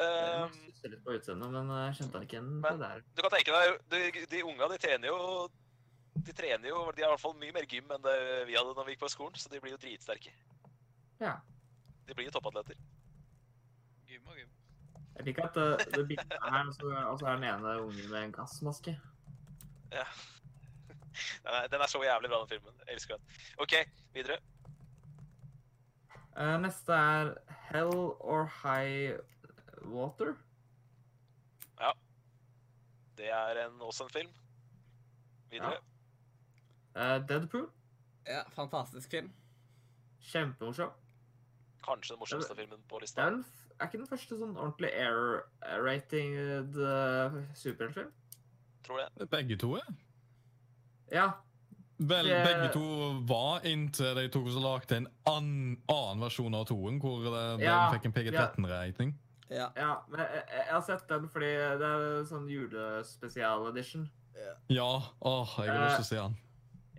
B: Ehm,
F: Jeg stusser litt på utseendet, men eh, jeg kjente han ikke igjen. på
B: Men-
F: det der.
B: du kan tenke deg, de, de unga de trener jo De trener jo, de har i hvert fall mye mer gym enn det vi hadde når vi gikk på skolen, så de blir jo dritsterke.
F: Ja.
B: De blir jo toppatleter.
C: Gym og gym.
F: Jeg liker at det, det bildet her, og så og så er den ene ungen med en gassmaske.
B: Ja. *laughs* Den er- Den er så jævlig bra, den filmen. Jeg elsker den. OK, videre.
F: Eh, neste er Hell or High Water.
B: Det er en, også en film. Videre.
F: Ja. Eh, Deadpool.
A: Ja, fantastisk film.
F: Kjempemorsom.
B: Kanskje den morsomste filmen på
F: Det
B: lista.
F: er, den, f- er ikke den første sånn ordentlig air-rated uh, superheltfilm?
B: Tror det.
E: Begge to er.
F: Ja.
E: Vel,
F: Det-
E: begge to var inntil de tok og så lagde en annen, annen versjon av toen, hvor det,
F: Ja,
E: den fikk en PG-13-regning.
A: Ja.
F: ja men jeg, jeg jeg har sett den fordi det er sånn julespesial-edition.
E: Ja, åh, jeg har
F: Eh,
E: lyst til å se den.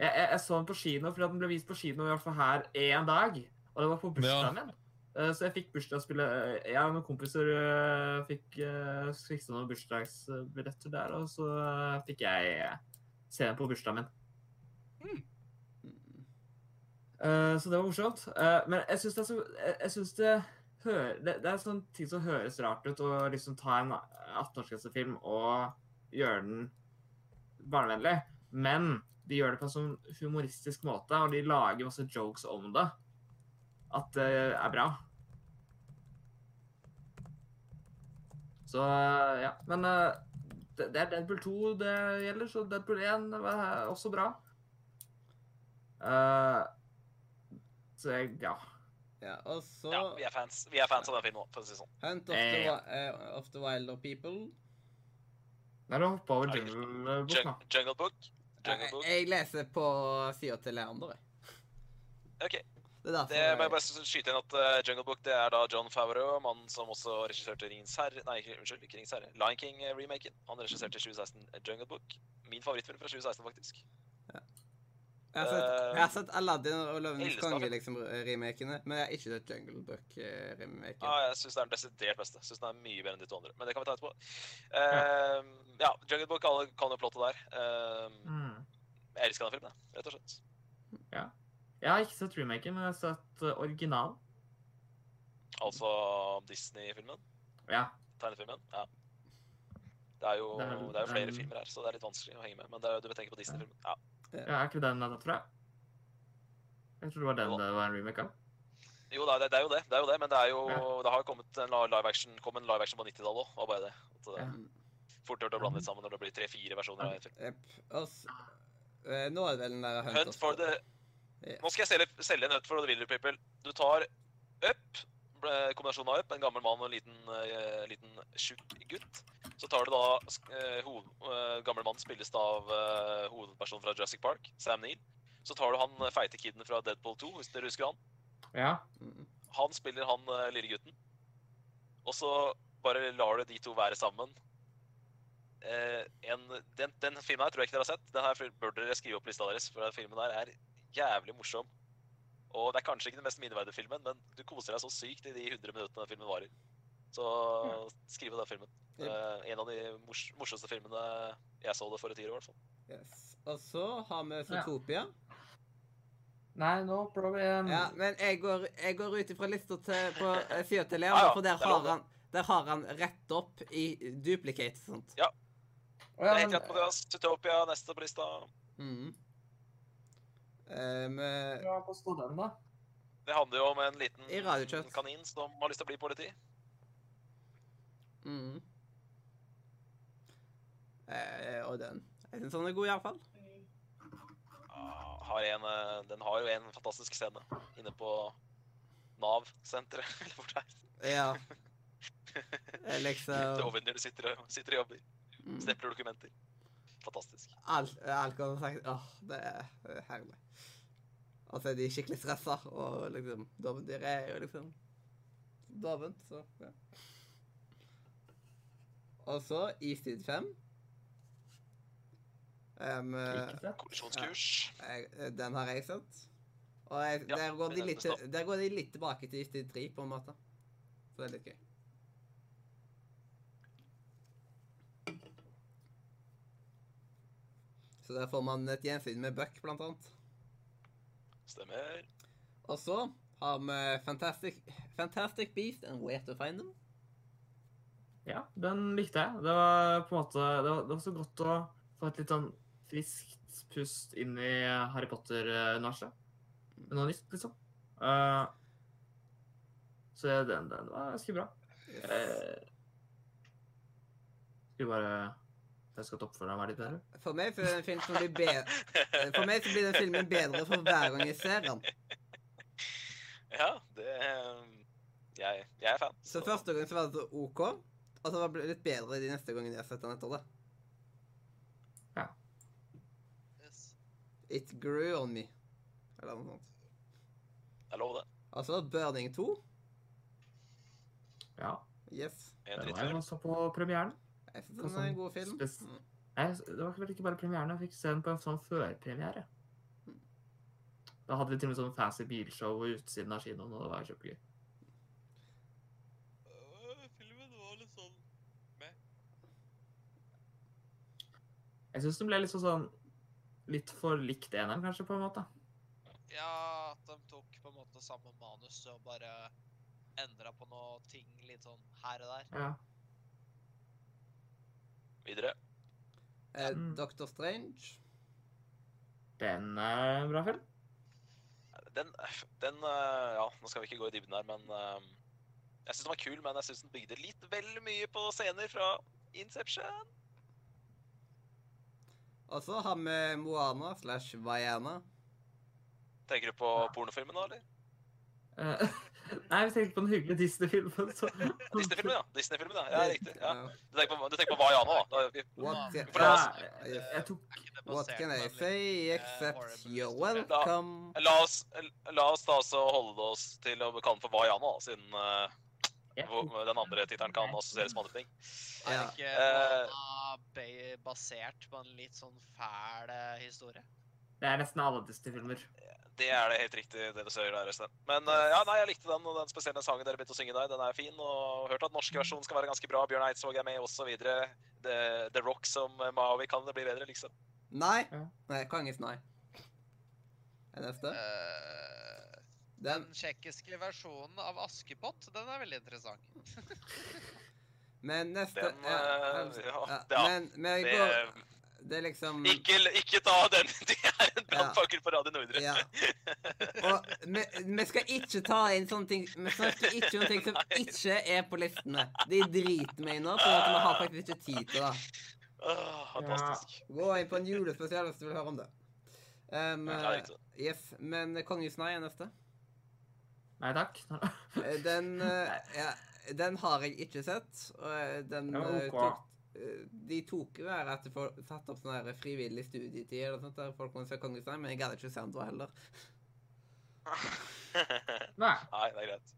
F: Jeg, jeg, jeg så den på kino fordi at den ble vist på kino i hvert fall her én dag. Og det var på
E: Ja.
F: bursdagen min. Eh, Så jeg fikk bursdagsspille Jeg og noen kompiser eh, fikk eh, fiksa noen bursdagsbilletter der, og så eh, fikk jeg eh, se den på bursdagen min. Eh, så det var morsomt. Eh, men jeg syns det er så Jeg, jeg synes det, hører, det, det er sånn ting som høres rart ut, å liksom ta en 18-årsgrensefilm og gjøre den barnevennlig. Men de gjør det på en sånn humoristisk måte, og de lager masse jokes om det. At det er bra. Så ja. Men eh, det, det er Deadpool 2 det gjelder, så Deadpool 1 var også bra. Eh, så jeg, ja.
A: Ja, og så
B: Ja, vi er fans Vi er fans av den filmen òg, for å si det sånn.
A: Hunt of the,
F: Eh, ja.
A: Wi- eh, of the Wilder People.
F: Nei, du hoppa over
B: Er det-
F: Jungle Book, da.
B: Jung Jungle Book? Jungle
A: Jeg,
B: Book?
A: Eh, jeg leser på sida til Leander, jeg.
B: Ok.
A: Det er derfor
B: Det må jeg
A: jeg,
B: bare skyte inn at eh, Jungle Book det er da John Favreau, mannen som også regisserte Ringens herre Nei, ikke- unnskyld, ikke Ringens herre. Lion King-remaken. Han regisserte i 2016 Jungle Book. Min favorittfilm fra 2016, faktisk.
A: jeg, har sett, jeg har
B: Eh,
A: sett Aladdin og Løvenes
B: Eldestad,
A: konge,
B: vet du.
A: liksom, remakene, men jeg har ikke sett Jungle eh, Book-remaken.
B: Ja, jeg syns det er den desidert beste. Synes den er mye bedre enn de to andre. Men det kan vi ta etterpå. Eh, ja, Jungle Book, alle kan jo plottet der. Eh,
F: Mm.
B: jeg elsker den filmen, jeg, rett og slett.
F: Jeg har ikke sett remaken, men jeg har sett eh, originalen.
B: Altså Disney-filmen.
F: Ja.
B: Tegnefilmen. Ja. Det er jo,
F: Det er vel
B: det er jo flere
F: den-
B: filmer her, så det er litt vanskelig å henge med. Men det er, jo- du bør tenke på Disney-filmen. Ja.
F: ja. Er ikke den jeg tatt fra? Jeg tror det var den
B: Jo.
F: det var en remake av.
B: Jo, nei, det, det er jo det, det er jo det, men det er jo
F: Ja.
B: Det har jo kommet en la- live action, kom en live action på 90-tallet òg, var bare det. At det
F: Ja. Mm.
B: er Fort gjort å blande litt sammen når det blir tre-fire versjoner av en film.
A: Jepp. Og s- eh, Nå er det vel den der Hunt,
B: Hunt
A: of
B: for the
A: Ja.
B: Nå skal jeg selge, selge en Hunt for the Wilder People. Du tar Up, ble- kombinasjonen av Up, en gammel mann og en liten, eh, liten tjukk gutt. Så tar du da eh, hoved, eh, Gammel mann spilles da av eh, hovedpersonen fra Jurassic Park, Sam Neill. Så tar du han eh, feite kiden fra Deadpool 2, hvis dere husker han.
F: Ja.
A: Mm.
B: Han spiller han eh, lille gutten. Og så bare lar du de to være sammen. Eh, en, den, den filmen her tror jeg ikke dere har sett. Den her bør dere skrive opp på lista deres, for den filmen her er jævlig morsom. Og det er kanskje ikke den mest minneverdige filmen, men du koser deg så sykt i de 100 minuttene den filmen varer. Så skriv den filmen.
A: Jep.
B: Eh, en av de mors morsomste filmene jeg så det for et år i hvert fall.
A: Yes. Og så har vi
F: Ja.
A: Zootopia.
F: Nei, no problem.
A: Ja, men jeg går, jeg går ut ifra lista til, på eh, sida til
B: Ah, Ja,
A: Leander,
B: ja,
A: for der
B: det er lov,
A: har, han, der har han rett opp i duplicate, sant?
F: Å,
B: Det
F: ja,
B: er helt
F: men,
B: rett, Mathias. Zootopia, neste på lista.
A: Mm. Eh, men-
F: ja, på stå den, da.
B: Det handler jo om en
A: I radiokjøtt.
B: liten kanin som har lyst til å bli politi.
A: mm. Eh, og den. Jeg syns han er god, iallfall.
B: Ja, har en, eh, den har jo en fantastisk scene inne på Nav-senteret. *laughs* eller hvor det er.
A: Ja. Eh,
B: Ute
A: Liksom
B: over når du sitter og, sitter og jobber.
A: mm.
B: Stempler dokumenter. Fantastisk.
A: Alt, alt kan sagt. Åh, det er det er herlig. Og så er de skikkelig stressa, og liksom Dovendyr er jo liksom dovent, så ja. Og så Istid 5. Um,
F: Ikke sett.
B: Kollisjonskurs.
A: jeg, eh, den har jeg sett. Og jeg,
B: Ja,
A: der, går
B: det
A: de
B: er
A: litt,
B: neste
A: der går de litt tilbake til Istid 3, på en måte. Så det er litt gøy. Så der får man et gjensyn med Buck, blant annet.
B: Stemmer.
A: Og så har vi Fantastic, Fantastic Beast and Where to Find Them.
F: Ja, den likte jeg. Det var på en måte Det var, det var så godt å få et litt sånn friskt pust inn i Harry Potter-universet. Med noe nytt, liksom. Eh, så den, den var ganske bra. Eh, Skulle bare Jeg skal toppe for deg være litt bedre.
A: For meg så er det en film som blir bedre Eh, For meg så blir den filmen bedre for hver gang jeg ser den.
B: *laughs* Ja, det eh, jeg, jeg er fan.
A: Så første gang så var det så OK, og så var det litt bedre de neste gangene jeg har sett den etter det.
G: Yes.
A: It grew on me. Eller noe sånt.
B: Jeg lover det.
A: Og så Burning 2.
F: Ja.
A: Yes.
B: En
F: Det var jeg
B: drittfilm.
F: også på premieren.
A: Jeg synes den er en god film.
F: Spes-
A: Mm.
F: Jeg, det var vel ikke bare premieren, jeg fikk se den på en sånn førpremiere. Da hadde vi til og med sånn fancy bilshow på utsiden av kinoen, og det var kjempegøy.
G: Øh, Filmen var litt sånn
F: Jeg syns den ble liksom sånn litt for likt NM, kanskje, på en måte.
G: Ja, at de tok på en måte samme manus og bare endra på noen ting litt sånn her og der.
F: Ja.
B: Videre.
A: Eh,
F: Mm.
A: Dr. Strange.
F: Den er en bra film.
B: Den, den eh, Ja, nå skal vi ikke gå i dybden her, men eh, Jeg syns den var kul, men jeg syns den bygde litt vel mye på scener fra Inception.
A: Og så har vi Moana slash Vaiana.
B: Tenker du på pornofilmen nå, eller?
F: Eh, *laughs* Nei, vi tenkte på den hyggelige Disney-filmen. så-
B: Disney-filmen, ja. Disney-filmen, ja. ja riktig. Ja.
A: Ja.
B: Du tenker på, du tenker på Vaiana, da. da.
A: What,
G: Ja,
A: can-
B: for det
F: *laughs* Ja,
B: er-
A: eh,
F: jeg tok
G: Er ikke det
A: what
G: basert
A: can
G: på
A: I
G: en
A: say
G: eh,
A: except
G: horrible
A: you're
G: historie?
A: welcome?
B: La oss, la oss da så holde oss til å kalle den for Vaiana, da, siden eh,
F: jeg tok-
B: hvor- den andre tittelen kan assosieres med andre ting.
G: Er
A: Ja.
G: ikke
B: Eh.
G: Moana ba- basert på en litt sånn fæl eh, historie?
F: Det er nesten alle Disney-filmer.
B: Det er det helt riktig, det du sier der, Øystein. Men eh, ja, nei, jeg likte den, og den spesielle sangen dere begynte å synge der, den er fin. Og hørt at norske versjonen skal være ganske bra. Bjørn Eidsvåg er med, osv. The, The Rock som eh, Maui kan det bli bedre, liksom.
A: Nei.
F: Ja.
A: Nei, Kongens nei. Er neste?
G: Eh,
A: Den,
G: den tsjekkiske versjonen av Askepott, den er veldig interessant.
A: men neste
B: Den,
A: ja, altså,
B: eh,
A: ja,
B: ja, ja,
A: Men, men jeg
B: det- eh,
A: går, det er liksom
B: Ikke, ikke ta den! *laughs* Det er en brannfakkel på Radio Nordre.
A: Ja. Og vi, vi skal ikke ta inn sånne ting Vi snakker ikke om ting som ikke er på listene. De driter meg i nå, for at vi har faktisk ikke tid til det.
B: Åh, fantastisk.
A: Gå inn på en julespesial hvis du vil høre om det. Um,
B: Ja, liksom. det er riktig.
A: yes, men Kongens nei er neste.
F: Nei takk. *laughs*
A: Eh, Den, eh, ja, den har jeg ikke sett. Og eh, den
F: Den var
A: eh,
F: ok.
A: tok eh, de tok jo her at de får satt opp sånn her frivillig studietid eller sånt der folk kunne se Kongens nei, men jeg gadd ikke se den da heller.
B: *laughs*
F: Nei,
B: Nei, det er greit.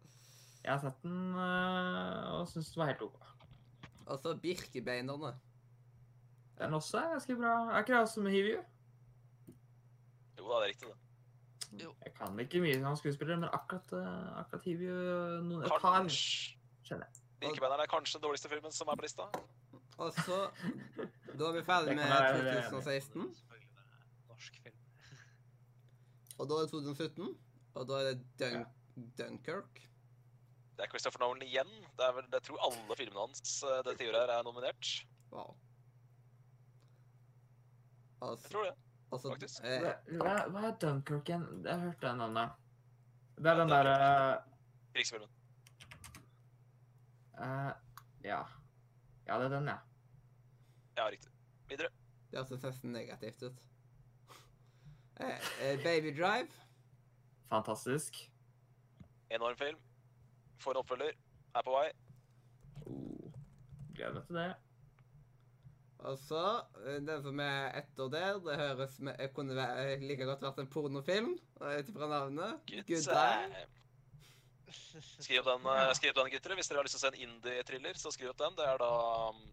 F: jeg har sett den eh, og syns den var helt OK.
A: Og så Birkebeinerne.
F: Den også er ganske bra. Er ikke det også med Hivju?
B: Jo da, det er riktig, det.
F: Jeg kan ikke mye som skuespiller, men akkurat, eh, akkurat Hivju noen et par
B: Kanskje
F: Skjønner
B: Likebeinerne er kanskje den dårligste filmen som er på lista.
A: Og så Da er vi ferdig
F: Det kan
A: med
F: være-
A: 2016.
C: Selvfølgelig det er en Norsk film.
A: Og da er det 2017. Og da er det Dun Dunkirk.
B: Det er Christopher Nolan igjen. Det er vel, jeg tror alle filmene hans eh, det tiåret her er nominert.
A: Wow. Og
B: Jeg
A: så,
B: tror det.
A: og så
B: faktisk.
A: eh,
F: Hva, hva er Dunkirk igjen? Jeg har hørt det navnet. Det er den eh,
B: Dunkirk.
F: derre
B: Krigsfilmen.
F: eh, Ja. Ja, det er den, ja.
B: Ja, riktig.
A: Det hørtes nesten negativt ut. Eh, eh, Baby Drive.
F: Fantastisk.
B: Enorm film. Får en oppfølger. Er på vei.
F: Oh. Gleder meg til det.
A: Og så eh, den som er etter der, det høres med, eh, kunne være, like godt vært en pornofilm eh, ut ifra navnet.
B: Good
A: Good Time.
B: time.
G: *laughs*
B: Skriv opp den, eh, skriv opp den, gutter. Hvis dere har lyst til å se en indie-thriller, så skriv opp den. Det er da um,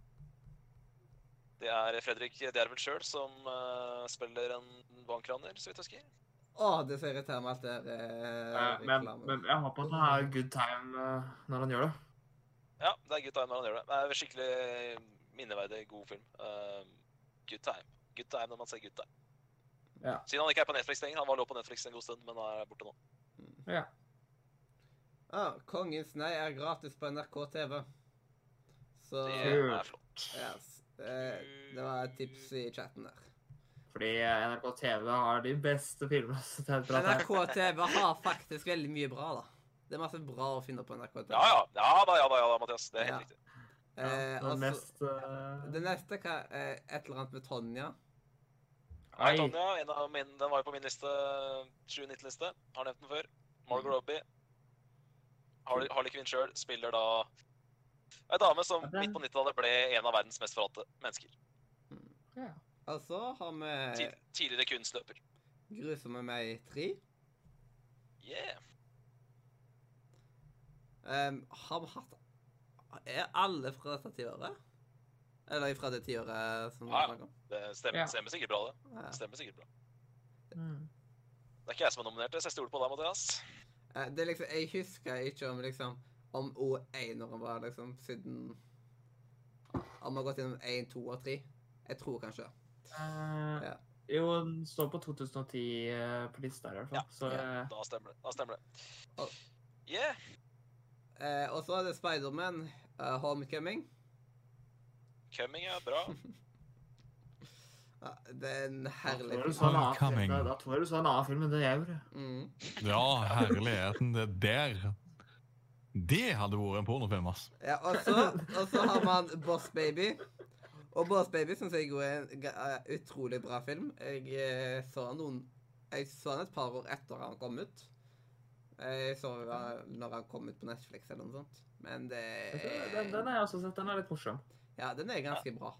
B: Det er Fredrik Djervel sjøl som eh, spiller en bankraner, så vidt jeg husker.
A: Å, det ser irriterende med alt det der eh,
F: Eh, men,
A: reklamen.
F: men jeg håper at han har good time eh, når han gjør det.
B: Ja, det er good time når han gjør det. Det er skikkelig eh, minneverdig god film. Eh, good time. Good time når man ser good time.
F: Ja.
B: Siden han ikke er på Netflix lenger. Han var lå på Netflix en god stund, men er borte nå.
A: Ah, Kongens nei er gratis på NRK TV. Så
B: Det
F: Kult.
B: er flott.
A: yes. eh, Det var et tips i chatten der.
F: Fordi eh, NRK TV har de beste filmene. Så det er et bra tegn.
A: NRK TV har faktisk veldig mye bra, da. Det er masse bra å finne på NRK TV.
B: Ja, ja. Ja da, ja da, ja da, Mathias. Det er helt
A: Ja.
B: riktig.
A: Eh,
F: Ja,
A: altså,
F: den mest eh,
A: det neste hva, eh, et eller annet med Tonja.
B: Nei,
F: Oi.
B: Tonja, en av min, den var jo på min liste. 7-19-liste. Har nevnt den før. Margot Robbie. Harley, Harley Quinn sjøl spiller da ei dame som
F: Ja, den-
B: midt på 90-tallet ble en av verdens mest forhatte mennesker.
A: Og så Altså, har vi
B: Tid, tidligere kunstløper.
A: Grusomme meg 3.
B: Yeah.
A: Um, har vi hatt Er alle fra dette tiåret? Eller fra det tiåret som vi
B: Ja.
A: snakker om?
B: Det stemmer,
F: Ja.
B: stemmer sikkert bra, det.
A: Ja.
B: Stemmer sikkert bra.
F: Mm.
B: Det er ikke jeg som er nominert, så jeg stoler på deg, Mathias.
A: Eh, Det er liksom, jeg husker ikke om liksom om O1-åren var liksom siden Om vi har gått gjennom 1, 2 og 3. Jeg tror kanskje.
F: Eh,
A: Ja.
F: Jo, den står på 2010 eh, på lista her i hvert fall.
B: Ja.
F: Så eh,
B: Da stemmer det. Da stemmer det.
A: Al-
B: Yeah.
A: Eh, og så er det Spiderman uh, Homecoming.
B: Coming er bra.
A: Ja, det er sånn. en
F: da
A: herlig
F: tror jeg du
A: film.
F: så en annen
E: Homecoming.
F: film- da- Da tror jeg du så en annen film enn det jeg gjorde.
A: Mm.
E: Ja, herligheten. Det der Det hadde vært en pornofilm, ass.
A: Ja, og så, og så har man Boss Baby. Og Boss Baby syns jeg er en ga- eh, utrolig bra film. Jeg eh, så han noen Jeg så han et par år etter han kom ut. Jeg så han når han kom ut på Netflix eller noe sånt. Men det er-
F: Den, den har jeg også sett. Den er litt morsom.
A: Ja, den er ganske bra.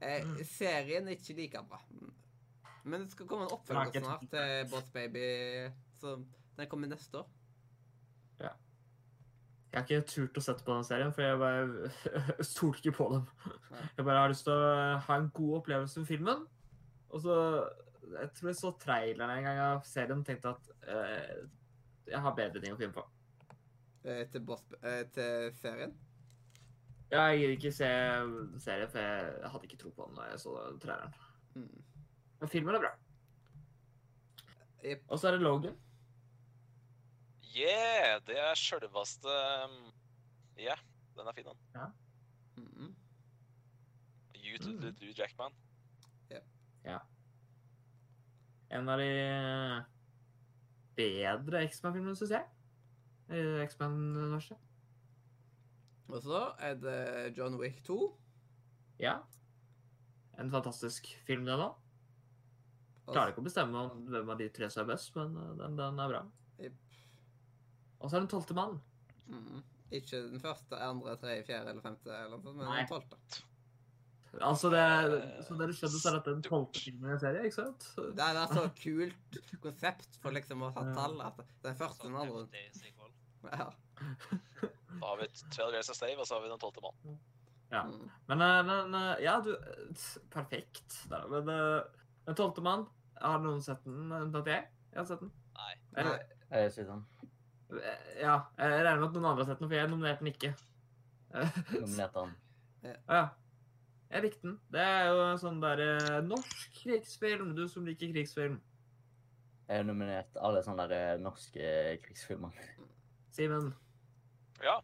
A: Eh,
F: Mm.
A: serien er ikke like bra. Men det skal komme en
F: Den har
A: oppfølger
F: ikke
A: snart til Boss Baby. Så den kommer neste år.
F: Jeg har ikke turt å sette på den serien, for jeg bare *laughs* stolte ikke på dem.
A: Nei.
F: Jeg bare har lyst til å ha en god opplevelse med filmen. Og så Jeg tror jeg så traileren en gang av serien og tenkte at eh, jeg har bedre ting å finne på.
A: Eh, til, boss, eh, til serien.
F: Jeg gidder ikke se serien, for jeg hadde ikke tro på den da jeg så traileren.
A: Mm.
F: Men filmen er bra.
A: Jepp.
F: Og så er det Logan.
B: Yeah, det er sjølveste um, Yeah, den er fin, den.
A: Mhm.
B: You to
F: Mm.
B: Lou Jackman.
F: En av de eh, bedre X-Man-filmene, syns jeg. I X-Man-universet.
A: Og så er det John Wick 2.
F: Ja. En fantastisk film, den òg.
A: Og
F: Klarer ikke å bestemme om hvem av de tre som er best, men eh, den, den er bra.
A: Jepp.
F: Og så er det Den tolvte mann.
A: Mhm. Ikke den første, andre, tredje, fjerde eller femte, eller noe sånt, men
F: Nei.
A: den tolvte.
F: Altså, det
B: Eh,
F: Som dere skjønner, så er dette den
B: stort.
F: tolvte filmen i en serie, ikke sant?
A: Det er et så kult konsept for liksom å ta
F: Ja.
A: tall. At den første, den
G: Sånn
A: andre
G: heftig sequel.
A: ja.
B: Da har vi Twelve Years a Slave, og så har vi Den tolvte mann.
F: Ja.
A: Mm.
F: Men, eh, men eh, Ja, du eh, t- Perfekt. Da, men eh, Den tolvte mann Har noen sett den? Unntatt jeg? Jeg har sett den.
G: Nei.
F: Eller,
D: Eh, sier han.
F: eh, ja. Jeg regner med at noen andre har sett den, for jeg nominerte den ikke. Eh, *laughs*
D: Nominerte han.
F: ja. Jeg likte den. Det er jo en sånn derre norsk krigsfilm, du som liker krigsfilm.
D: Jeg nominerte alle sånne der eh, norske krigsfilmer.
F: Simen,
B: Ja,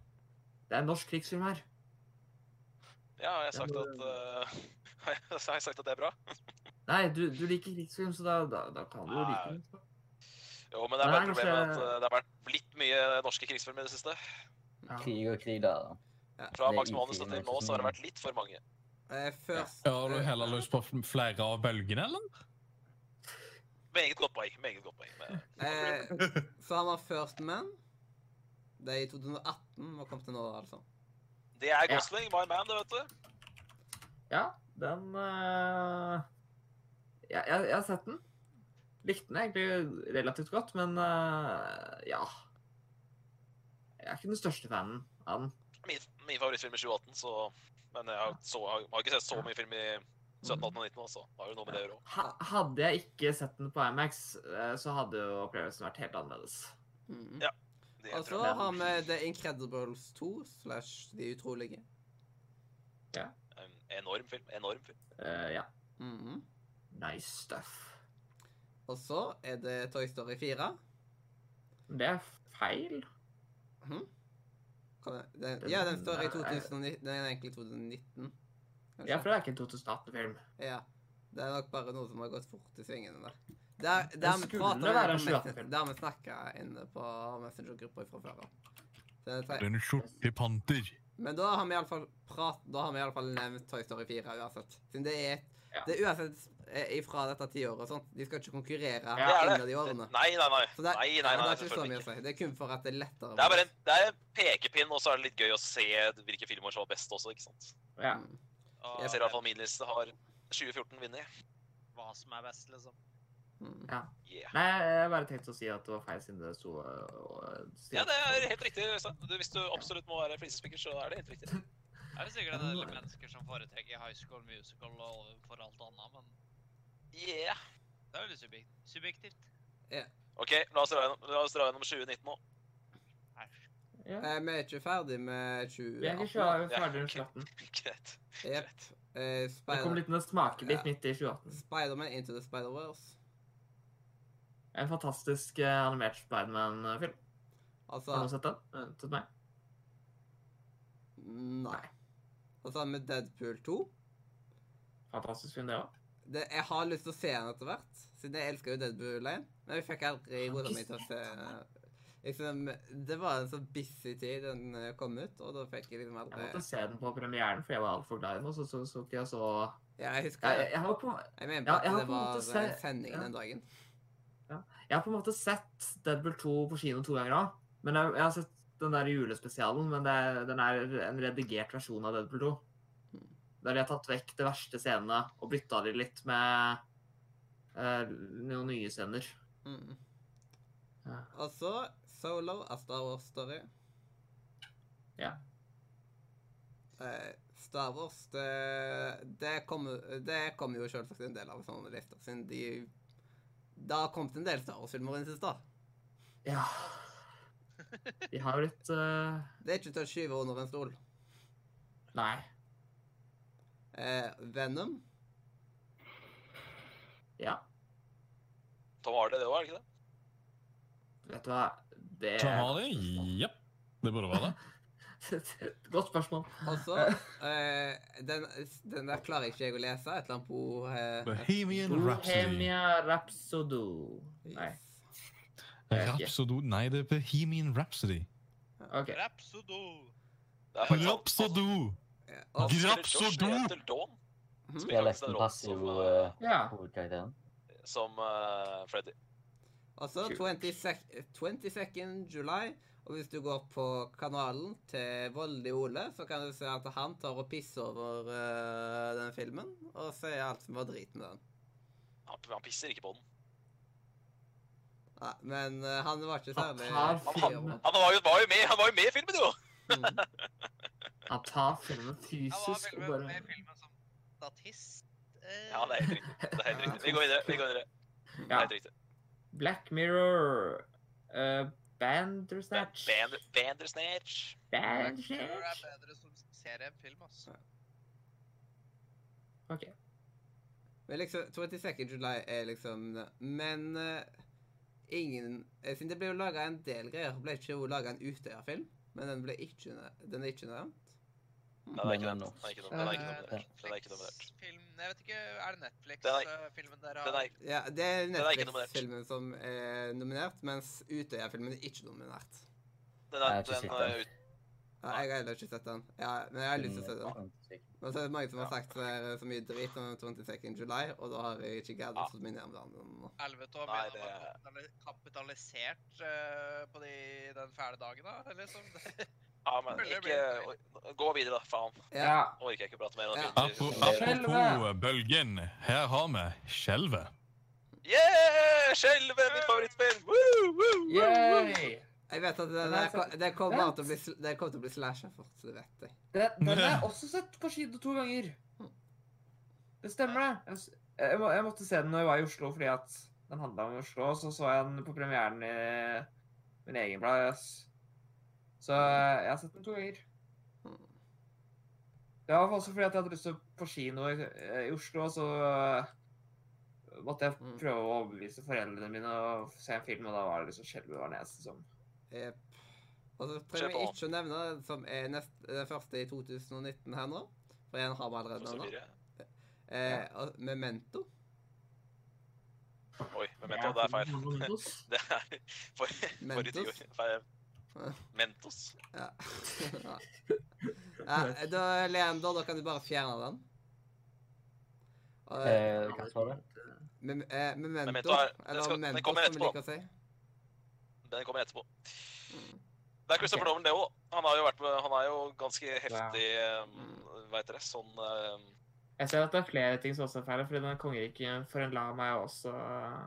F: det er en norsk krigsfilm her.
B: ja, har jeg sagt at
F: men-
B: uh, *laughs* Har jeg har jeg sagt at det er bra?
F: Nei, du, du liker krigsfilm, så da, da, da kan du jo like den.
B: Jo, men det er bare problemet
F: Nei,
B: at
F: kanskje-
B: uh, det har vært litt mye norske krigsfilmer i det siste.
F: Ja.
D: Krig og krig, da.
B: Fra
D: Det er
B: Max Manus og
D: utfilmer,
B: til
D: ikke
B: nå så har det
D: sånn-
B: vært litt for mange.
A: Eh, først Eh,
E: Ja, Har du heller lyst på flere av bølgene, eller?
B: Meget godt poeng. meget godt poeng. men-
A: eh, Så har man First Man. Det er i 2018 og kom til nå, altså.
B: Det er Gosling, my man, det, vet du.
F: Ja, den eh, ja, jeg, jeg har sett den. Likte den egentlig relativt godt, men eh, ja Jeg er ikke den største fanen av den.
B: Min, min favorittfilm i 2018, så Men jeg har, så, har, har ikke sett så mye film i 17, 18 og 19, altså. Det har jo noe med det å gjøre også.
F: Ha, hadde jeg ikke sett den på IMAX, eh, så hadde jo opplevelsen vært helt annerledes.
A: Mhm.
B: Ja, Det
A: Og så
B: tror jeg.
A: har vi The Incredibles 2 slash De utrolige.
B: En enorm film. Enorm film.
F: Eh, ja.
A: Mhm.
F: Nice stuff.
A: Og så er det Toy Story 4.
F: Men det er feil.
A: Kan jeg- Den,
F: Den-
A: ja, den står i
F: er-
A: 2019. Den er egentlig 2019. kanskje.
F: Ja, for det er ikke en 2018-film.
A: Ja. Det er nok bare noe som har gått fort i svingene der. Der, der
F: Den
A: vi
F: skulle
A: prater
F: være
A: vi om
F: en
A: Messenger-
F: 28-film.
A: der vi snakka inne på Messenger-gruppa fra før av. Den er tre-
E: Den er skjortepanter.
A: Men da har vi iallfall prat... Da har vi iallfall nevnt Toy Story 4 uansett. Siden det er,
F: Ja.
A: det er uansett eh, ifra dette tiåret og sånt. De skal ikke konkurrere
F: Ja,
B: det er
A: innad i
B: det.
A: årene.
B: Nei, nei, nei.
A: Så det,
B: Nei,
A: er-
B: nei,
A: ja,
B: nei,
A: det er ikke så mye
B: selvfølgelig
A: å
B: ikke.
A: si. Det er kun for at det er lettere.
B: Det er bare en, det er en pekepinn, og så er det litt gøy å se hvilke filmer som var best også, ikke sant.
F: Ja.
A: Mm.
G: Og
B: Jeg ser i hvert fall min liste har 2014 vunnet.
G: hva som er best, liksom.
A: Mm.
B: Yeah.
F: Nei, jeg bare tenkte å si at det var feil siden det sto eh, og-
B: Ja, det er helt riktig, Øystein. Du- Hvis du absolutt må være flisespikker, så er det helt riktig.
G: Det er jo sikkert en del mennesker som foretrekker High School Musical og overfor alt annet, men
B: Yeah.
G: det er veldig subjekt subjektivt.
B: OK, la oss dra gjennom, la oss dra gjennom 2019 nå. *laughs*
F: Ja.
A: Eh, vi er ikke ferdig med
F: Vi er
A: 2018.
F: ikke klar- ferdig med
B: Ja,
F: slatten.
B: Greit.
A: Jepp. Eh,
F: Det kom
A: Spider-
F: litt en smakebit
A: Ja.
F: midt i 2018.
A: Spider-Man Into the Spider-Wars.
F: En fantastisk eh, animert Spiderman-film. Har du
A: Altså
F: sett den? Eh, Til meg?
A: Nei. Og så har vi Deadpool 2.
F: Fantastisk film, det òg.
A: Det, jeg har lyst til å se den etter hvert, siden jeg elsker jo Deadpool 1. Men vi fikk aldri
F: Har
A: rota
F: ikke
A: meg til å
F: sett
A: se liksom, Det var en så busy tid den eh, kom ut, og da fikk jeg liksom
F: Jeg
A: aldri
F: måtte se den på premieren, for jeg var altfor glad i den. Og så så, så ikke jeg så
A: Ja, jeg
F: jeg,
A: husker
F: jeg, jeg, har på,
A: Jeg mener
F: Ja,
A: bare
F: jeg
A: at
F: har
A: det
F: på en måte
A: var
F: se-
A: en sending
F: ja.
A: den dagen.
F: jeg har på en måte sett Deadpool 2 på kino to ganger òg. Men jeg, jeg har sett den der julespesialen, men det, den er en redigert versjon av Deadpool 2. Der de har tatt vekk de verste scenene og bytta de litt med eh, noen nye scener.
A: Mm.
F: Ja.
A: Og så Solo, A Star Wars Story.
F: Ja.
A: Eh, Star Wars, det, det kommer det kommer jo selvsagt en del av sånne lister, siden de Det har kommet en del Star Wars-filmer i det siste.
F: Ja. De har jo litt eh,
A: Det er ikke til å skyve under en stol.
F: Nei.
A: Eh, Venom.
F: Ja.
B: Tom Hardy, det òg, er det ikke det?
F: Vet du hva Det
E: Tom Hardy? Jepp. Det burde
F: *laughs*
E: være det.
F: Godt spørsmål.
A: Og
F: *laughs*
A: så eh, den, den der klarer ikke jeg å lese. Et eller annet på eh,
E: Bohemian Rhapsody.
F: Bohemia Rhapsodo. Nei.
A: yes.
E: Rhapsody. Nei, det er Bohemian Rhapsody.
F: OK.
G: Rapsodo.
B: Det er faktisk sant.
E: Rhapsody!
A: Eh, og,
B: Han spiller
E: Grapsodo!
B: Josh i Etter Dawn,
A: Mhm.
B: spiller
D: Jeg er
B: faktisk
D: nesten
B: en rolle
D: passiv
B: som,
D: eh,
F: Ja.
D: hovedkarakteren.
B: eh, som eh, Freddy.
A: og så 20 Altså, sec- 22nd July. Og hvis du går på kanalen til Voldelig Ole, så kan du se at han tar og pisser over eh, den filmen. Og sier alt som var drit med den.
B: Han, han pisser ikke på den.
A: Nei, men eh, han var ikke
F: Han
A: særlig
F: tar
A: fyr
F: filmen.
B: Han var jo, var jo, med, han var jo med i filmen, jo!
A: over- Mm.
F: Han tar
C: Han
F: filmen
C: var
F: fysisk
C: veldig med,
F: og
C: med
F: bare
C: i filmen som statist. eh,
B: Ja, det er helt riktig. Det er helt riktig. Vi går videre. vi går videre. Det er
F: Ja.
B: helt riktig.
F: Black Mirror. Uh, Bandersnatch.
B: Band- Bandersnatch.
C: Black Mirror er
F: Bandersnatch.
C: bedre som serie enn film, altså.
F: OK.
A: Men liksom, 22nd July er liksom Men eh, ingen eh, Siden det ble jo laga en del greier, ble ikke jo laga en Utøya-film. Men den, ble ikke, ne- den er ikke nevnt.
B: Nei, det er ikke
D: Men
B: den.
D: norsk.
B: Den er ikke nominert. Den er ikke nominert. Den er
C: Eh,
B: ikke nominert.
C: Netflix-film Jeg vet ikke, er det
B: Den
C: Netflix-filmen dere
B: Den
C: har?
B: er,
A: Ja, Det er
B: er ikke nominert.
A: Netflix-filmen som er nominert, mens Utøya-filmen er ikke nominert.
B: den
D: Jeg har
B: er,
D: ikke
B: den
D: sett
B: er
D: den.
B: ut...
A: Ja, jeg har heller ikke sett den. Ja, men jeg har lyst til å se den.
D: Mm.
A: Men så er det mange som har sagt så, er det så mye drit om 22nd July, og da har jeg ikke greid å
B: Ja.
A: få meg ned om den. nå.
C: Helvete, og
B: Nei,
C: mener man kapitali- kapitalisert eh, på de, den fæle dagen, da? Eller liksom?
B: *laughs* Ja, men ikke Gå videre, da. Faen.
A: Ja.
F: Ja.
B: Orker jeg ikke prate mer om
A: Ja.
B: den
E: Apo-
B: filmen.
E: Apropos
F: Skjelvet.
E: bølgen. Her har vi Skjelvet.
B: Yeah! Skjelve, mitt favorittspill! Woo, woo, woo, woo.
F: Yay!
A: Jeg vet at den,
F: Den er
A: her ko-
F: så-
A: den kommer bare til å bli, sl- den kommer til å bli slasha fort, så det vet jeg.
F: Den, den har jeg også sett på kino to ganger. Det stemmer, det. Jeg, s- jeg, må, jeg måtte se den når jeg var i Oslo, fordi at den handla om Oslo. Og så så jeg den på premieren i min egen plass. Så eh, jeg har sett den to ganger.
A: Mm.
F: Det var også fordi at jeg hadde lyst til å på kino i, eh, i Oslo, og så eh, måtte jeg
A: Mm.
F: prøve å overbevise foreldrene mine og se en film, og da var det liksom Skjelvet var den eneste som
A: Jep. Og så
B: Kjør
A: trenger vi
B: på.
A: ikke å nevne den som er nest, den første i 2019 her nå. For den har vi allerede
B: Så
A: nevnt.
B: fire.
A: Eh, og Memento.
B: Oi, memento. Det er feil. *laughs* Det er for, forrige
A: Mentos?
B: tiår. Feil.
A: *laughs* Ja.
B: Mentos.
A: Ja. *laughs* ja, da, Leander, da kan du bare fjerne den. Og,
D: Eh, Hva var det?
A: mem eh, memento,
B: Memento er- den
A: eller
B: skal- den
A: Memento,
B: kommer
A: som vi liker å si.
B: Den kommer etterpå. Det er Christopher Nolan, det òg. Han, har jo vært med- han er jo ganske heftig um, Hva heter det? Sånn um,
F: Jeg ser at det er flere ting som også er feil, fordi den kongeriket for en la meg også eh,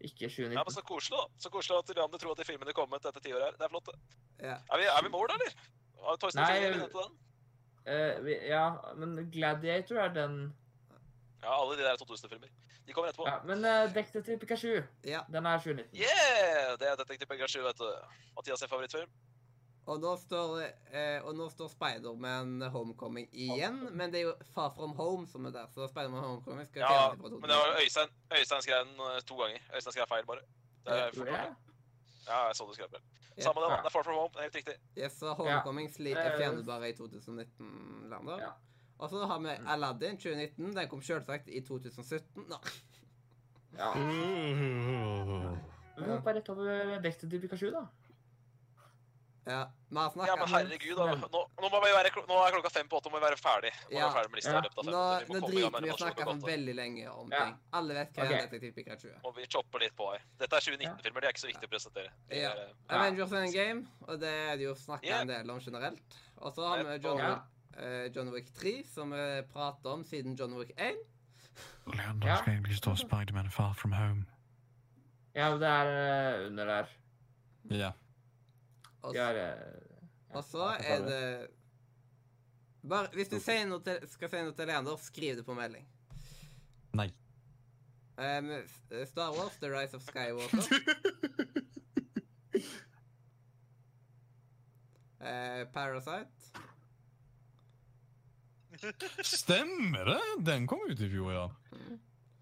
F: ikke
B: Ja, altså- men
F: 2019.
B: Så koselig da. Så koselig at Leander tror at de filmene kom ut etter tiåret her. Det er flott. det.
A: Ja.
B: Er vi, er vi i mål, da, eller? Har Toy Story
F: Nei,
B: 4 vunnet den?
F: Eh, vi- ja, men Gladiator er den
B: Ja, alle de der 2000-filmer. De kommer etterpå.
F: Ja, men uh, Detective Pikachu,
A: Ja.
F: den er 2019.
B: Yeah! Det er Detektiv Pegga 7, vet du. Mathias sin favorittfilm.
A: Og nå står, eh, og nå står Spiderman Homecoming igjen, men det er jo Far From Home som er der. Så Spiderman Homecoming skal
B: Ja,
A: fjerne fra
B: men det var Øystein, Øystein skrev den eh, to ganger. Øystein skrev feil, bare. Det er
F: Tror
B: fullt
F: jeg.
B: av- ja, jeg så du skrev feil.
A: Ja.
B: Samme det, da. Det er Far From Home. Det er helt riktig.
A: Yes, så Homecoming sli-
F: Eh,
A: fjerner bare i 2019-lander.
F: ja.
A: Og så har vi Aladdin 2019. Den kom selvsagt i 2017. Nå,
F: Ja. Vi hopper rett over dekk til Pikachu, da.
A: ja, vi har
B: Ja,
A: snakket
B: men herregud, da. Nå, nå, må vi være, klo- nå er klokka fem på åtte, nå må vi være ferdig. Nå må vi
A: Ja.
B: være ferdig med lista
F: Ja.
B: i løpet av fem
A: Nå,
B: minutter. Vi må
A: nå
B: komme i
A: driter
B: gang med
A: vi i å
B: animasjon
A: snakke
B: og
A: sånn
B: kontor.
A: veldig lenge om
F: Ja.
A: ting. Alle vet hva
F: Ok.
A: er Detektiv Pikachu er.
B: Og vi chopper litt på her. Dette er 2019-filmer, de er ikke så viktig å presentere. De
A: Ja.
B: er, eh,
F: Ja.
A: Avengers Endgame, og det er det jo snakket
B: Yeah.
A: en del om generelt. Og så har vi
B: Nettopp.
A: John,
F: Ja.
A: eh, John Wick 3, som vi prater om siden John Wick 1.
E: Leander
F: Ja.
E: skal egentlig stå Spiderman Far From Home.
F: Ja, det er eh, under der.
E: Ja.
A: Og,
F: De har eh, ja,
A: og så
F: jeg
A: er
F: forstår
A: det bare, Hvis du sier noe til, skal si noe til Leander, skriv det på melding. Eh,
E: Nei.
A: Em, Star Wars, The Rise of
F: *laughs*
A: Skywalker. Eh, Parasite.
E: Stemmer det! Den kom ut i fjor, ja.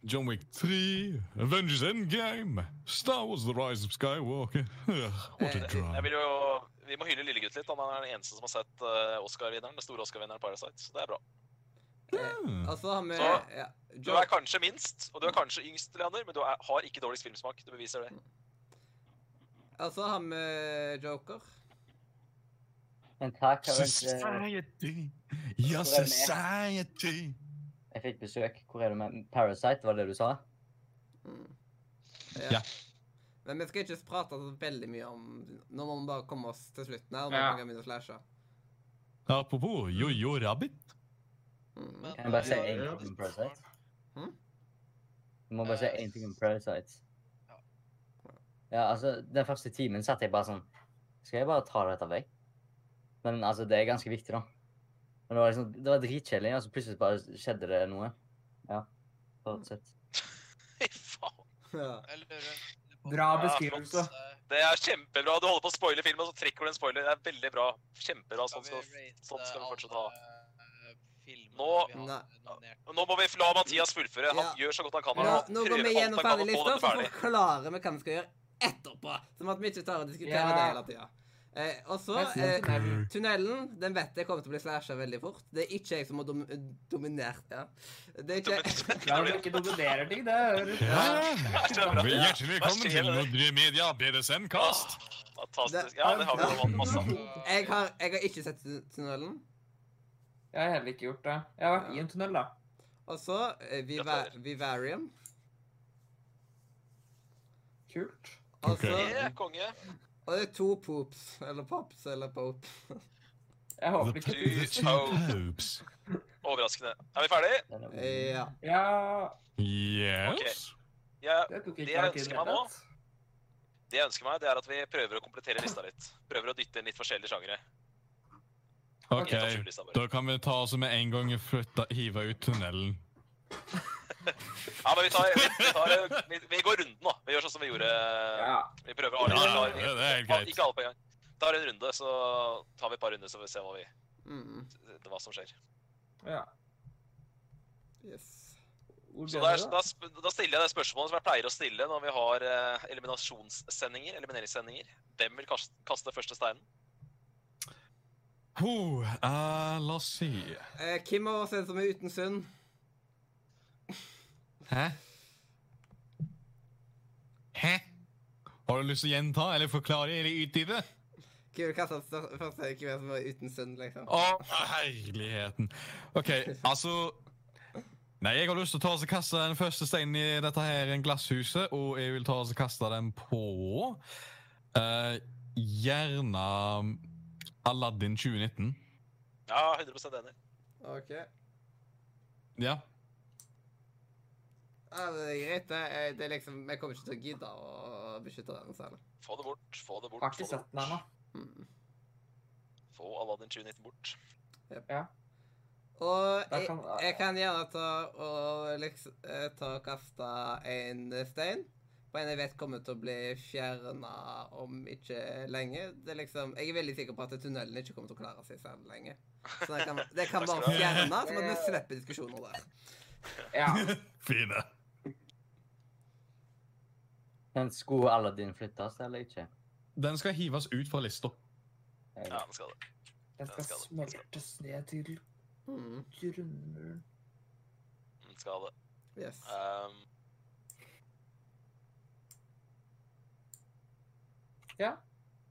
E: John Wick 3, Avengers Endgame, Star Wars The Rise of Skywalker. *laughs* Ugh, What a
A: Eh,
B: Jeg
E: drama.
B: vil jo, vi må hylle lillegutt litt. Han er den eneste som har sett eh, Oscar-vinneren, den store Oscar-vinneren Parasite. Så det er bra.
E: Ja.
A: Og så har vi
B: Så,
A: altså, ja,
B: Du
A: Joe-
B: er kanskje minst, og du er kanskje yngst, Leander, men du er, har ikke dårligst filmsmak. Du
A: Mm.
B: beviser det.
A: Og så har vi altså, Joker.
D: Men takk, Eh, har ikke
E: Society! Ja,
D: Hvor er det med?
E: society!
D: Jeg fikk besøk. Hvor er du med Parasite, var det du sa?
A: Mm.
E: Ja.
A: Men vi skal ikke prate så veldig mye om Nå må vi bare komme oss til slutten her. og
F: Ja.
A: vi kan begynne å slashe.
E: Apropos Jojo Rabbit.
A: Mm.
D: Kan jeg bare
C: eh,
D: si
F: Ja,
D: én
F: ja.
D: ting om Parasite?
A: Hm?
D: Du må bare si
G: Eh,
D: én ting om Parasite.
G: ja.
D: Ja, altså, den første timen satt jeg bare sånn Skal jeg bare ta dette vekk? Men altså, det er ganske viktig, da. Men det var liksom, det var dritkjedelig, og så plutselig bare skjedde det noe. Ja. Fortsett.
B: *laughs* Fy faen.
A: Ja.
G: Jeg lurer på-
F: Bra
B: Ja,
F: beskrivelse.
C: eh,
B: Det er kjempebra. Du holder på å spoile filmen, og så trekker du en spoiler. Det er veldig bra. Kjempebra.
G: Skal
B: Sånn
G: vi
B: skal,
G: rate
B: sånn skal vi fortsette ha.
G: alle, eh, filmene
B: Nå-
G: vi har
A: Nei.
G: nominert?
B: Nå må vi la Mathias fullføre. Han
A: Ja.
B: gjør så godt han kan.
A: Nå,
B: Han
A: nå går
B: prøver
A: vi
B: alt
A: gjennom
B: han kan å få
A: ferdiglista,
B: dette
A: så
B: *laughs* ferdig.
A: forklarer vi hva vi skal gjøre etterpå. Som at vi ikke tar og diskuterer
F: Ja.
A: det hele tida. Eh, og så
F: Jeg synes
A: eh,
F: den er-
A: Tunnelen den vet jeg kommer til å bli slasha veldig fort. Det er ikke jeg som har dom dominert ja. det. Er ikke...
F: Ja, men ikke dominerer ting, det hører
E: Ja.
B: Det er så bra.
E: Hjertelig
B: velkommen
E: velkommen
B: til
E: til Nordre Media BDSM-kast.
B: Ah, Fantastisk. Ja, det har vi jo vant masse av.
G: Så-
A: *laughs* jeg, har, jeg har ikke sett tun- Tunnelen.
F: Jeg har heller ikke gjort det. Jeg har vært i en tunnel, da.
A: Og så eh, Viva Vivarium.
F: Kult.
A: Og
E: Ok.
A: så
B: Det, konge.
A: Altså, og det er to poops. Eller pops eller pop.
F: Jeg håper ikke
B: The two
E: Hopes.
B: Overraskende. Er vi ferdige?
D: Den er-
A: Eh, Ja.
F: Ja,
E: Yes.
B: Jeg
F: det tok
B: Det
F: ikke lang
B: ønsker
F: tid. i det
B: man
F: hele
B: nå.
F: tatt.
B: Det jeg ønsker meg, det er at vi prøver å komplettere lista litt. Prøver å dytte inn litt forskjellige sjangere.
E: OK,
B: Ikke topp 20-lista bare.
E: da kan vi ta oss med en gang flytte, hive ut tunnelen.
B: Ja, men vi, tar, vi, vi, tar, vi, vi går runden, da. Vi gjør sånn som vi gjorde.
F: Ja.
B: Vi prøver å
E: Ja,
B: avgjøre.
E: det det er helt
B: Ja,
E: greit.
B: Ikke alle på en gang. Tar en runde, så tar vi et par runder, så får vi se hva, vi,
A: Mm.
B: hva som skjer.
F: ja.
A: Yes.
F: Hvor
B: Så
F: ble
B: da,
F: det,
B: da, sp- da stiller jeg det spørsmålet som jeg pleier å stille når vi har eh, eliminasjonssendinger. Elimineringssendinger. Hvem vil kaste, kaste første steinen?
E: Oh, eh, la oss si
A: Eh, Kim av oss er det som er uten sund.
E: Hæ? Hæ? Har du lyst til å gjenta eller forklare eller utdype?
A: Kim vil kaste oss stør- først er det Kim er som er uten sund, liksom.
E: Å, herligheten. OK, altså Nei, jeg har lyst til å ta oss og kaste den første steinen i dette her en glasshuset, og jeg vil ta oss og kaste den på eh, Gjerne Aladdin 2019.
B: Ja, 100 enig.
A: OK.
E: Ja.
A: Ja, det er greit, det. Eh, Det er liksom, Jeg kommer ikke til å gidde å beskytte den særlig.
B: Få det bort, få det bort.
F: da? Har
B: få
F: ikke
B: det
F: sett den ennå.
B: bort.
A: Mm.
B: Få Aladdin 2019 bort.
A: Og
F: Da
A: jeg,
F: kan-
A: jeg kan gjerne ta og liksom eh, ta og kaste en stein. på en jeg vet kommer til å bli fjerna om ikke lenge. Det er liksom, jeg er veldig sikker på at tunnelen ikke kommer til å klare seg særlig lenge. Så det kan, det kan
B: Takk
A: bare
B: skal du ha.
A: fjernes, men vi slipper diskusjoner der.
E: *laughs*
F: Ja.
E: Fine.
D: Men skulle Aladdin flyttes eller ikke?
E: Den skal hives ut fra lista.
D: Jeg-
B: Ja, den skal det.
F: Den skal smeltes ned til
A: Mm,
F: grunnmuren.
B: Den skal det.
A: yes.
B: Ehm,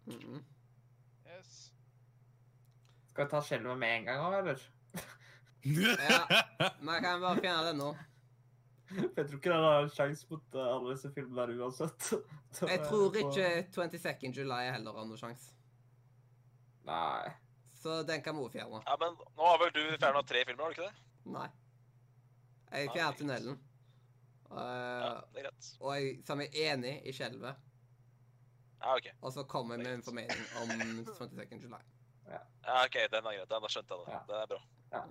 A: Mm.
G: Yes.
F: Skal vi ta skjelvet med en gang òg, eller?
E: *laughs*
A: Men jeg kan bare fjerne den nå.
F: For jeg tror ikke den har en sjanse mot eh, alle disse filmene der uansett. Da
A: Jeg
F: er
A: tror
F: det på-
A: ikke 22nd July heller har noen sjanse.
F: Nei.
A: Så den kan vi også fjerne.
B: ja, men nå har vel du fjerna tre filmer, har du ikke det?
A: Nei. Jeg
B: Nei,
A: fjerner
B: greit.
A: tunnelen.
B: Ja,
A: Eh,
B: det er greit.
A: og jeg, som jeg er enig i skjelvet.
B: Ja, OK.
A: Og så kommer jeg med en
B: Greit.
A: formening om 22nd July.
B: Ja, ok, Den er greit. Den, da skjønte jeg det.
F: Ja.
B: Det er bra.
F: Ja.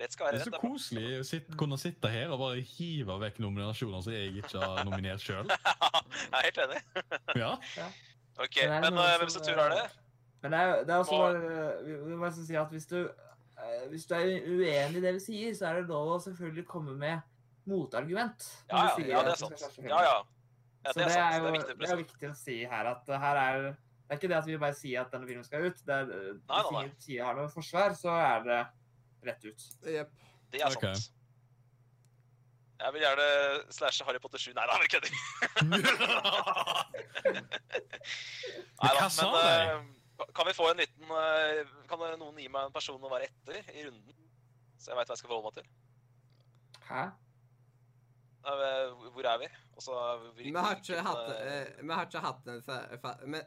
B: Rett skal være
E: Det er
B: rett.
E: så
B: det er bra.
E: koselig å sitte, kunne sitte her og bare hive vekk nominasjoner som jeg ikke har nominert sjøl.
B: *laughs* jeg er helt enig.
E: Ja.
B: OK,
F: er
B: men
F: noen
B: eh, hvem
F: som,
B: sin tur er det?
F: eh, Men det er, det er også
B: Hva-
F: bare Vi vi må nesten si at hvis du, eh, hvis du er uenig i det vi sier, så er det lov å selvfølgelig komme med motargument.
B: Ja,
F: når
B: ja,
F: du sier
B: ja,
F: at
B: det
F: du
B: er
F: skal
B: sant.
F: skjerpe filmen.
B: Ja, ja. ja
F: Så
B: det er sant. Det
F: jo
B: er viktig.
F: det er
B: presisering.
F: viktig å si her at eh, her er Det er ikke det at vi bare sier at denne filmen skal ut. Det er, eh,
B: Nei,
F: Hvis
B: nei,
F: ingen sier har noe forsvar, så er det rett ut.
A: Jepp.
B: Det er
E: Ok.
B: sant. Jeg vil gjerne slashe Harry Potter 7. Nei da, jeg
E: *laughs*
B: kødder. Nei da,
E: hva sa
B: men
E: de?
B: eh, ka- kan vi få en liten eh, Kan noen gi meg en person å være etter i runden? Så jeg veit hva jeg skal forholde meg til.
F: Hæ?
B: Eh, Hvor er vi? Og så
A: Vi
B: hvilken-
A: har ikke
B: hvilken,
A: hatt,
B: eh,
A: eh, vi har ikke hatt en se- fa- Men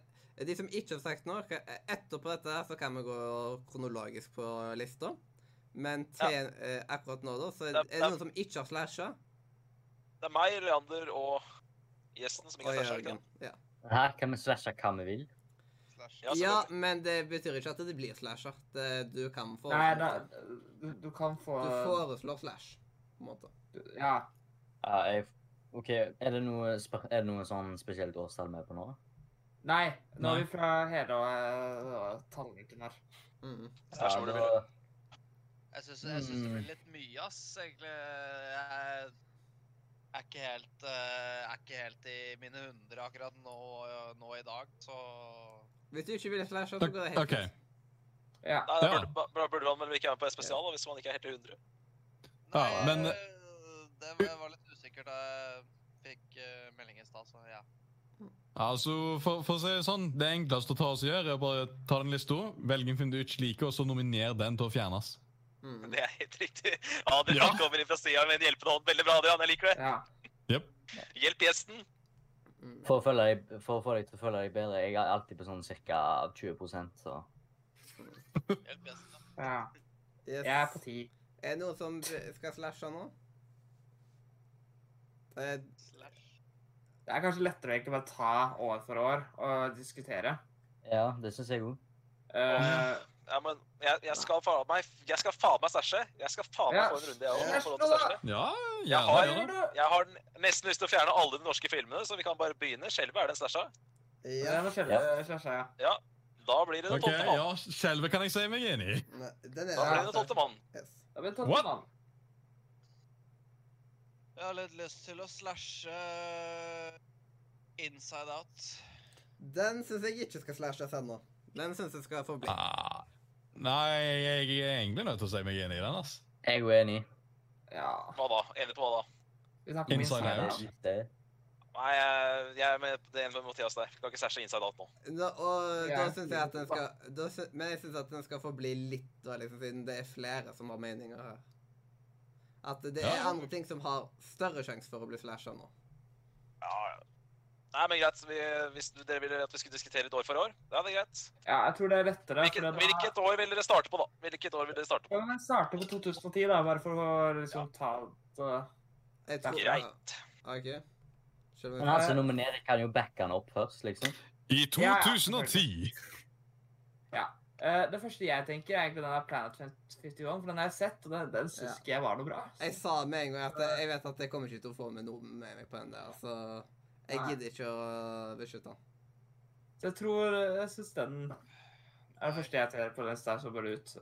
A: de som ikke har sagt noe eh, Etterpå dette her så kan vi gå kronologisk på lista. Men til, eh, akkurat nå, da, så er
B: Det-
A: er det
B: det-
A: noen som ikke har slasha.
B: Det er meg, Leander og gjesten som ikke
A: Og
B: har slasha.
A: Jørgen. Ja.
D: Her kan vi slashe hva vi vil.
G: Slash.
B: Ja,
A: ja,
B: selvfølgelig.
A: men det betyr ikke at det blir slasher. Det, du kan få
F: Nei, da, du, du kan få
A: Du foreslår slash, på en måte.
F: du- Ja.
D: Ja, jeg, ok, er det, noe, spe- er det noe sånn spesielt årstall med på nå?
F: Nei. Nå
E: Nei.
F: er vi fra hele eh, tallriken her.
A: Mhm.
B: Slash hvor du vil.
D: da-
C: Jeg syns, jeg synes det
D: Mm.
C: blir litt mye, ass, egentlig. Jeg er ikke helt, eh, er ikke helt i mine hundre akkurat nå, nå i dag, så
A: Hvis du ikke vil slashe, så
E: Tak-
A: går det helt
E: ok.
A: fint.
F: Ja.
B: Nei, da
E: Ja.
B: burde, ba- burde man vel ikke være med på en spesial da, hvis man ikke er helt i 100.
E: Ja, men-
C: eh, det var- var litt usikkert da jeg fikk eh, melding i stad, så ja.
E: Altså, for, for å si det sånn, det enkleste å ta oss og gjøre, er bare ta den lista, velge en film du ikke liker, og så nominer den til å fjernes.
A: Mhm.
B: Det er helt riktig. *laughs* Adrian
E: Ja.
B: kommer inn fra sida med en hjelpende hånd. Veldig bra, Adrian. Jeg liker det.
F: ja.
B: Hjelp gjesten.
A: Mhm.
D: For å, følge deg, for å få deg til å føle deg bedre, jeg er alltid på sånn ca. 20 så
G: Hjelp gjesten, da.
F: ja.
A: Yes.
F: Jeg er på ti.
A: Er det noen som skal slashe nå? Eh, Det er
G: Slash.
F: Det er kanskje lettere å egentlig bare ta år for år og diskutere.
D: ja, det syns jeg òg.
F: Eh,
B: Ja, men jeg, jeg skal faen meg Jeg skal faen meg stæsje. Jeg skal faen meg
F: Ja.
B: få en runde, jeg òg. Jeg, får lov til å
F: Stæsj nå, da.
B: stæsje.
E: Ja,
B: Jeg
E: gjerne
B: har-
E: gjør det.
B: jeg har n- nesten lyst til å fjerne alle de norske filmene, så vi kan bare begynne. Skjelvet er den stæsja.
F: det er noe skjell-
D: Ja.
F: skjell- ja.
B: Da blir det den
E: Ok,
B: tolvte mann.
E: ja, Skjelvet kan jeg si meg enig i.
A: Nei, den
B: Da blir det
A: er
B: den tolvte mann.
A: yes.
F: Da blir det
E: What?
F: tolvte mann.
G: Jeg har litt lyst til å slashe
C: eh,
G: Inside Out.
A: Den syns jeg ikke skal slashes ennå. Den syns jeg skal forbli.
E: Ah, nei, jeg er egentlig nødt til å si meg enig i den, ass.
D: Jeg er uenig.
F: Ja.
B: Hva da? Enig på hva da?
F: Vi snakker om
E: Inside
F: Inside
E: Out.
F: Out.
D: Det.
B: Nei, jeg, jeg er med det er en med Mathias der. Kan ikke stæsje inside out nå.
A: Nå, og da
F: Jeg
A: syns jeg at den skal da, sy- Men jeg syns at den skal forbli litt, da, liksom, siden det er flere som har meninger her. At det er
E: Ja.
A: andre ting som har større sjanse for å bli slasha nå.
B: Ja, ja. Nei, men greit. Vi, hvis dere ville at vi skulle diskutere et år for år, ja, det er greit.
F: Ja, jeg tror det er lettere.
B: Hvilket,
F: for det er da-
B: hvilket år vil dere starte på, da? Hvilket år vil dere starte på?
F: Ja, men starte på 2010, da, bare for å liksom ta det
A: Jeg tror
B: Greit.
A: OK. Selv om
D: Men
A: jeg
D: han som nominerer, kan jo backe han opp først, liksom.
E: I
F: Ja, ja,
E: 2010.
F: Eh, Det første jeg tenker, er egentlig den der Planet 51, for den har jeg sett, og den, den syns
A: Ja.
F: ikke jeg var noe bra.
A: Jeg sa med en gang at jeg vet at jeg kommer ikke til å få med noe med meg på den der, så Jeg
F: Nei.
A: gidder ikke å beskytte han.
F: Så jeg tror eh, Jeg syns den er det første jeg ser på den der så bare ut.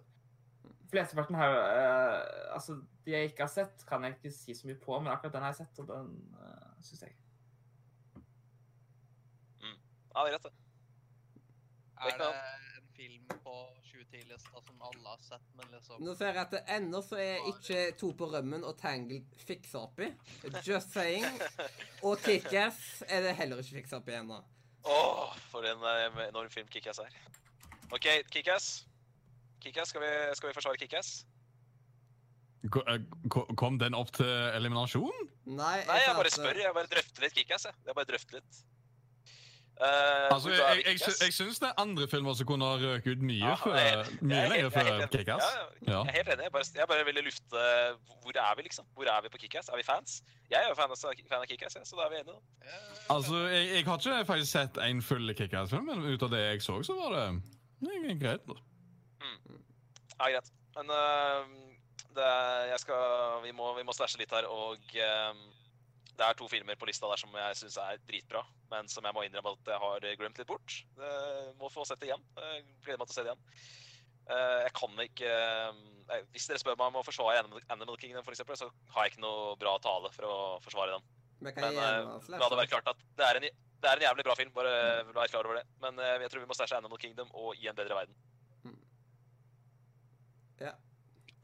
F: Flesteparten har jo eh, Altså, de jeg ikke har sett, kan jeg ikke si så mye på, men akkurat den har jeg sett, og den uh, syns jeg
B: Ja, det er greit, det.
G: Er
B: Det kan-
G: det en film på 2010-lista som alle har sett, men liksom
A: Nå ser jeg at det ennå så er ikke To på rømmen og Tangled fiksa opp i. Just saying. Og Kickass er det heller ikke fiksa opp i ennå.
B: Åh, for en eh, enorm film Kickass er. OK, Kickass. Kickass, skal, vi- skal vi forsvare Kickass?
E: Ko- eh, ko- Kom den opp til eliminasjon?
A: Nei,
B: Nei, jeg
A: sa
B: bare
A: at- eh,
B: spør. Jeg bare drøfter litt Kickass, jeg. Jeg bare drøfter litt. Eh,
E: Altså,
B: hvor
E: jeg,
B: er
E: jeg,
B: vi
E: jeg, sy-
B: Kick-Ass?
E: jeg syns det er andre filmer som kunne ha røket ut mye,
B: Ja,
E: før,
B: jeg er
E: mye
B: Jeg er
E: lenger
B: helt- jeg er
E: før
B: helt enig.
E: Kickass.
B: Ja,
E: Ja.
B: Jeg er helt enig. Jeg bare, jeg bare ville lufte Hvor er vi, liksom? Hvor er vi på Kickass? Er vi fans? Jeg er jo fan av, fan av Kickass, ja, så da er vi enige. da.
C: Eh,
E: Altså, jeg, jeg har ikke faktisk sett en full Kickass-film, men ut av det jeg så, så var det det er greit. da.
B: Ja, greit. Men øh, det, jeg skal, vi, må, vi må slashe litt her, og øhm, det er to filmer på lista der som jeg syns er dritbra, men som jeg må innrømme at jeg har glemt litt bort. Eh, må få sett det igjen. Eh, gleder meg til å se det igjen. Eh, jeg kan ikke øhm, eh, Hvis dere spør meg om å forsvare Animal, Animal Kingdom, for eksempel, så har jeg ikke noe bra tale for å forsvare den.
A: Vi kan
B: Men
A: gjerne
B: eh, la
A: slashe.
B: det være klart at det er en, det er en jævlig bra film, bare eh, vær klar over det. Men eh, jeg tror vi må stæsje Animal Kingdom og I en bedre verden.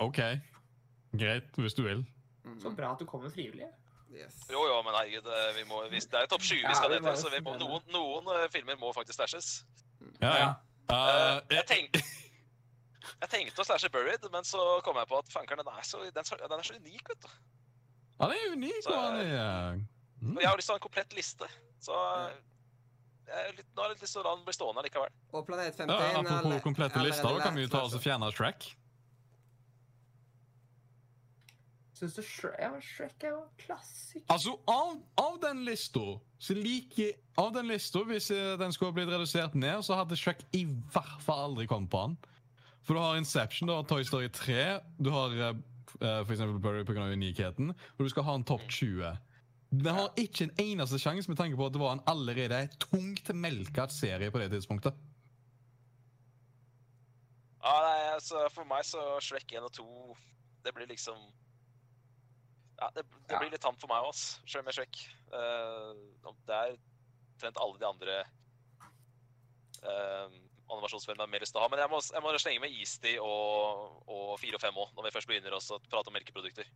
E: OK. Greit, hvis du vil.
F: Så
A: Mhm.
F: bra at du kommer frivillig.
A: Yes.
B: Jo, jo, men herregud, eh, vi må, vi, det er jo topp 20
F: Ja,
B: vi skal
F: vi
B: ned
F: må
B: til, så vi må,
F: jo
B: noen, noen eh, filmer må faktisk stæsjes.
E: Ja, ja.
B: Eh,
E: Eh,
B: jeg, tenk, jeg tenkte å stæsje Buried, men så kom jeg på at fankeren, den er så, den, så- den er så unik, vet du.
E: Han er unik, og han er Mm.
B: Og jeg eh, har lyst til å ha en komplett liste, så eh, jeg er litt, nå har jeg litt lyst til å la den bli stående likevel.
A: Og Planet 51
E: ja, Apropos
A: alle-
E: komplette
A: allerede
E: lister, da kan vi jo ta
A: lært
E: oss og
A: slashe.
E: fjerne Shrek.
F: Syns du Shrek, ja, Shrek er jo en klassiker?
E: Altså, av, av den lista så liker Av den lista, hvis eh, den skulle ha blitt redusert ned, så hadde Shrek i hvert fall aldri kommet på den. For du har Inception, du har Toy Story 3, du har eh, eh, for eksempel Burry pga. unikheten, og du skal ha en topp 20. Den har ikke en eneste sjanse med tanke på at det var en allerede tungt melka serie på det tidspunktet.
B: Ja, nei, altså for meg så Shrek 1 og 2 Det blir liksom Ja, det, det
F: Ja.
B: blir litt tamt for meg òg, sjøl med Shrek. Eh, og det er trent alle de andre uh, animasjonsfilmene jeg har mer lyst til å ha. Men jeg må, jeg må slenge med Eastie og, og 4 og 5 òg, når vi først begynner også å prate om melkeprodukter.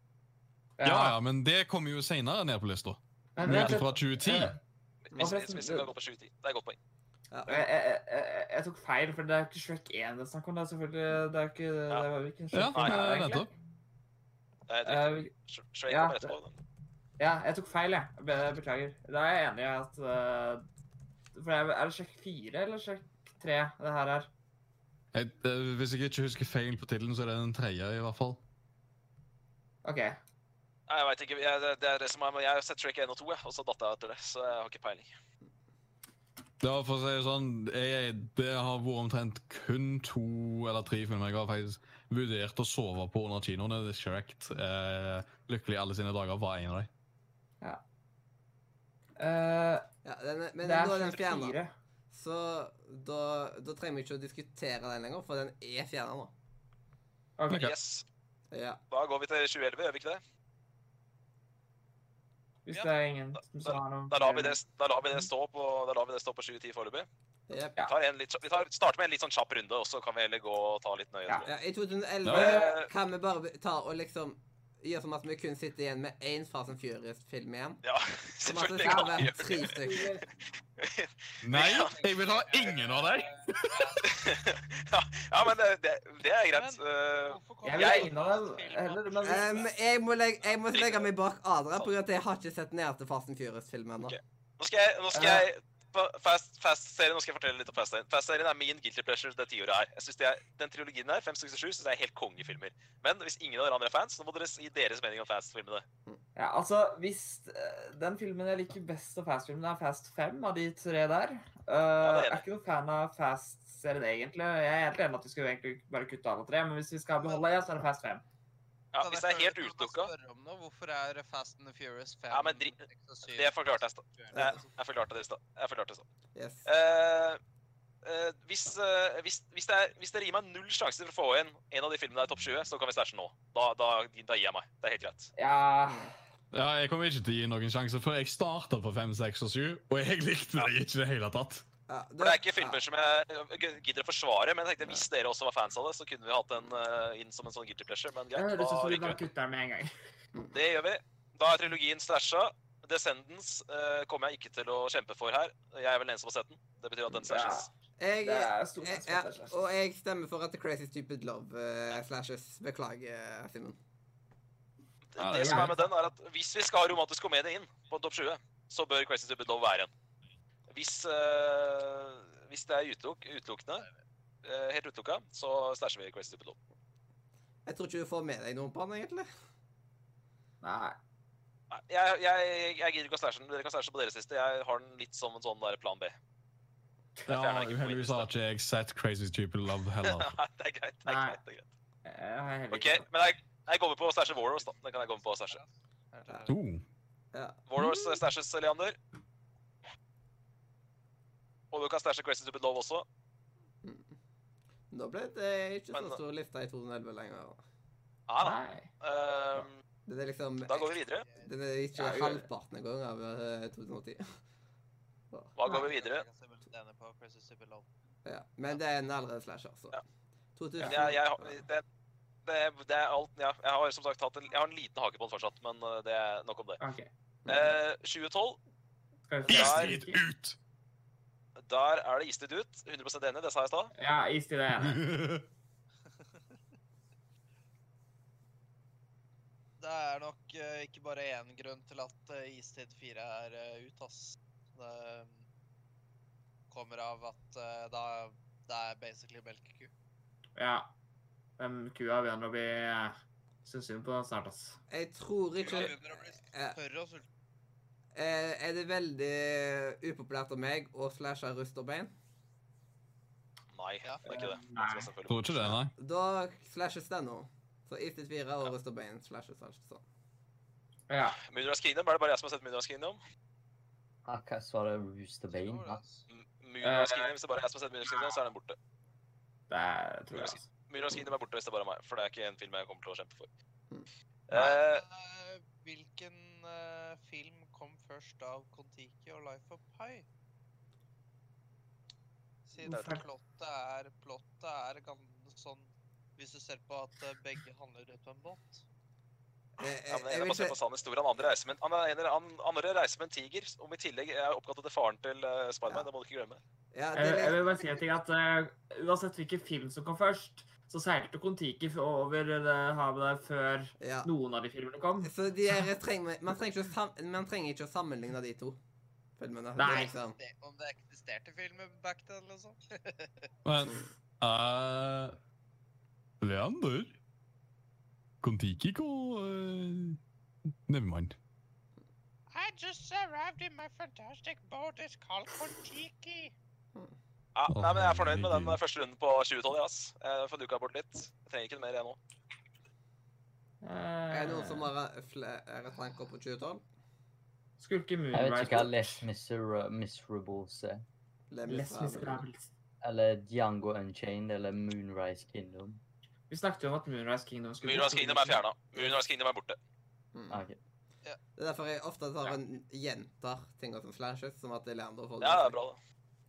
E: Ja, ja, men det kommer jo seinere ned på lista.
F: Men,
E: Men
F: men,
E: ikke fra 2010.
F: eh,
B: Hvis,
F: forresten,
B: hvis, hvis vi
F: det-
B: kan gå på 7-10. Det er et godt poeng.
A: Ja.
F: jeg, jeg, jeg, jeg tok feil, for det er jo ikke Shrek 1 det er snakk om. Det er selvfølgelig Det er jo ikke, det er jo ikke en
E: Ja,
F: Shrek film,
E: eh,
F: er det egentlig?
E: nettopp.
B: Det er
F: Eh,
B: riktig.
F: vi-
B: Sh- Shrek
F: ja,
B: kommer etterpå. den.
F: Ja, jeg tok feil, jeg. Be beklager. Da er jeg enig i at eh, For er er det sjekk fire eller sjekk tre, det her er?
E: Jeg, eh, hvis jeg ikke husker feil på tittelen, så er det den tredje, i hvert fall.
F: OK.
B: Nei, jeg vet ikke. Jeg, det- det er det som er, men jeg har sett Shrek 1 og 2, jeg, og så datt jeg etter det. Så jeg har ikke peiling.
E: Ja, for å si det sånn, jeg, det har vært omtrent kun to eller tre filmer jeg har faktisk vurdert å sove på under kinoene. Det er Shrek. Eh, lykkelig alle sine dager var en av dem.
F: Eh,
A: Ja, den, er- men
F: det
A: nå
F: er
A: er den
F: sjekk
A: fjerna.
F: fire.
A: Så da, da trenger vi ikke å diskutere den lenger, for den er fjerna nå.
F: Ok.
E: Ok.
B: Yes.
A: Ja.
B: Da går vi til 2011, gjør vi ikke det?
F: Hvis
B: Ja.
F: det er ingen som har noe
B: Da lar
A: Eh,
B: vi det, da lar vi det stå på, da lar vi det stå på 7-10 foreløpig.
A: Jep.
F: Ja.
B: Vi, tar en litt, vi tar, starter med en litt sånn kjapp runde, og så kan vi heller gå og ta litt nøye.
F: Ja.
B: tror jeg.
A: ja. I 2011
B: Ja.
A: kan vi bare ta og liksom gjøre som at vi kun sitter igjen med én Fast and Furious-film igjen.
B: Ja, *laughs*
A: Som at det
B: selvfølgelig
A: skal
B: kan vi
A: være
B: gjøre
A: tre
B: det. *laughs*
A: stykker.
E: Nei, jeg vil ha ingen av dem!
B: ja, ja, men det, det, det er greit. Uh,
F: Jeg
B: Jeg-
F: vil ingen av dem heller, men
A: Um, jeg, må legge, jeg må legge meg bak Adrian, på grunn av at jeg har ikke sett den eneste Fast and Furious-film ennå.
B: Ok. nå skal jeg, nå skal jeg på Fast, fast serien, nå skal jeg fortelle litt om Fast serien. Fast serien er min guilty pleasure det tiåret her. Jeg synes det er, Den trilogien her, 567, synes jeg er helt kongefilmer. Men hvis ingen av dere andre er fans, så må dere gi deres mening om Fast-filmene.
F: ja, altså, hvis eh, den filmen jeg liker best av Fast-filmene, er Fast 5 av de tre der eh,
B: det er
F: Jeg
B: det.
F: er ikke noen fan av Fast-serien, egentlig. Jeg er helt enig at vi skulle egentlig bare kutte alle tre, men hvis vi skal beholde ja, så er det Fast 5.
B: Ja,
C: Kan
B: hvis det
C: jeg
B: er helt
C: spørre- kan jeg
B: utelukka
C: spørre om noe? Hvorfor er Fast and the Furious 5
B: Ja, men dri-
C: seks og syv-
B: Det forklarte jeg i stad.
C: Ja.
B: Jeg, jeg forklarte det i stad. Jeg forklarte det i stad.
A: Yes.
B: Eh, eh, hvis, eh, hvis, hvis, det er, hvis dere gir meg null sjanser for å få inn en av de filmene i topp 20, så kan vi stæsje nå. Da, da, da gir jeg meg. Det er helt greit.
F: Ja
E: Ja, jeg kommer ikke til å gi noen sjanse, for jeg starta på 5, 6 og 7, og jeg likte det ikke i det hele tatt.
A: Ja, du-
B: For det er ikke filmer som jeg jeg gidder å forsvare, men jeg tenkte hvis dere også var fans av det, så kunne vi hatt den eh, inn som en sånn guilty pleasure, men
F: Det
B: greit.
F: høres ut
B: Da
F: som vi
B: ryker
F: bare
B: vi.
F: kutter den med en gang.
B: Det gjør vi. Da er trilogien stæsja. Descendants eh, kommer jeg ikke til å kjempe for her. Jeg er vel den eneste som har sett den. Det betyr at den stæsjes.
A: Jeg,
F: Det
A: jeg,
F: er stort sett
A: ja,
F: svært,
A: og jeg stemmer for at The Crazy Stupid Love eh, slashes. Beklager, eh, Simen.
E: Ja,
B: det
E: det
B: som
E: er
B: er med den, er at hvis vi skal ha romantisk komedie inn på topp 20, så bør Crazy Stupid Love være en. Hvis, eh, hvis det er utelukk, utelukkende, eh, helt utelukka, så stæsjer vi Crazy Stupid Love.
A: Jeg tror ikke du får med deg noen på den, egentlig.
F: Nei.
B: Nei, Jeg, jeg, jeg gidder ikke å stæsje den. Dere kan stæsje på deres liste. Jeg har den litt som en sånn der plan B. Jeg
E: Ja,
B: fjerner den ikke på min
E: Uheldigvis
B: liste.
E: har ikke jeg sett Crazy Stupid Love heller.
B: *laughs* *laughs* Nei, det er greit. det er
F: Nei.
B: greit, det er greit.
F: Jeg har heller
B: OK,
F: ikke
B: men jeg, jeg går med på å stæsje Warhorse, da. Det kan jeg gå med på å stæsje.
E: Oh.
F: Mm.
B: Warhorse stæsjes, Leander. Og du kan stæsje Crazy Stupid Love også.
A: Nå ble det ikke
B: Men-
A: så stor liste i 2011 lenger.
B: Ja da.
F: Nei.
B: Ah, Ehm,
A: Den er liksom
B: da går vi videre.
A: Den er ikke
F: Ja, jo.
A: halvparten engang av eh, *laughs* 2010.
B: Da går vi videre.
C: Denne på Crazy Stupid Love.
A: Ja. Men det er en allerede slasher, så.
B: Ja.
A: 2000.
B: Men jeg, jeg, har- det, det, det er alt ja, Jeg har som sagt hatt en, jeg har en liten hake på den fortsatt, men eh, det er nok om det.
F: OK.
B: Eh, 2012,
F: Skal vi
B: Is
F: se.
B: Istid
E: Istid ut!
B: der er det istid ut. 100 enig, det sa jeg i stad.
F: Ja, is til det ene.
C: Det er nok eh, ikke bare én grunn til at eh, Istid 4 er eh, ut, ass. Det eh, kommer av at eh, da, det er basically melkeku.
F: Ja. Den kua begynner å bli Syns synd på den snart, ass.
A: Jeg tror
C: Kua
A: ikke
C: begynner å bli
A: eh,
C: tørr og sulten.
A: eh, Er det veldig eh, upopulært av meg å slashe rusterbein?
B: Nei, det er ikke det.
F: Nei.
B: Det skal jeg
E: *laughs*
B: selvfølgelig-
E: Tror ikke det, nei.
A: Da slashes den nå. Så Istid 4 og rusterbein slashes altså.
F: Ja.
B: Moonrise Kingdom, er det bare jeg som har sett Moonrise Kingdom?
D: Ah, hva var det? Rooster Bane?
C: Tror det,
D: Ja.
C: ass.
B: M- Moonrise Kingdom, Hvis det bare er jeg som har sett Moonrise Kingdom, så er den borte.
F: Det er, tror jeg. ass.
B: Moonrise Kingdom er borte hvis det bare er meg, for det er ikke en film jeg kommer til å kjempe for.
A: Mm.
B: Eh,
C: Eh, Hvilken eh, film kom først av Kon-Tiki og Life of Pi? Siden
F: Hvorfor?
C: plottet er, plottet er gan- sånn Hvis du ser på at eh, begge handler ut på en båt.
A: Jeg, Eh,
B: Ja,
A: jeg,
B: men
A: jeg
B: jeg
A: vil
B: må se på
A: ikke
B: sann historie. Han andre reiser med en, han er en- han, han andre reiser med en tiger, om i tillegg er oppkalt etter faren til uh, Spiderman. Det må du ikke glemme.
A: ja, det er
F: Jeg, jeg
A: litt,
F: vil bare si en ting at eh, uansett hvilken film som kom først, så seilte Kon-Tiki f- over det havet der før
A: ja.
F: noen av de filmene kom.
A: Så de er, trenger, man, trenger ikke å sam, man trenger ikke å sammenligne de to filmene. Det er
F: Nei.
A: Liksom.
C: Det, om det eksisterte filmer back then, eller sånn. sånt.
E: Men eh, Leander? Kon-Tiki og uh, Nevermind.
C: I just arrived in my fantastic boat. It's called Kon-Tiki.
B: Ja,
E: Å,
B: nei, men Jeg er fornøyd med den eh,
E: herregud.
B: første runden på 2012. ass. Jeg får duka bort litt. Jeg trenger ikke mer, jeg nå.
A: Er det noen som har eh, flere tanker på 2012?
F: Skulker
D: Jeg vet ikke hva Les
F: Eh, Moonrise
D: Misera- Miserables er.
A: Les
F: Les
A: Miserables.
F: Miserables.
D: Eller Django Unchained eller Moonrise Kingdom.
F: Vi snakket jo om at Moonrise Kingdom skulle bli
B: Moonrise
F: stor.
B: Kingdom er fjerna. Moonrise Kingdom er borte.
A: Mm.
D: Ah, ok.
A: Det er derfor jeg ofte tar en jentar tinga som slashes, som at Leander får
B: Ja, det er bra, det.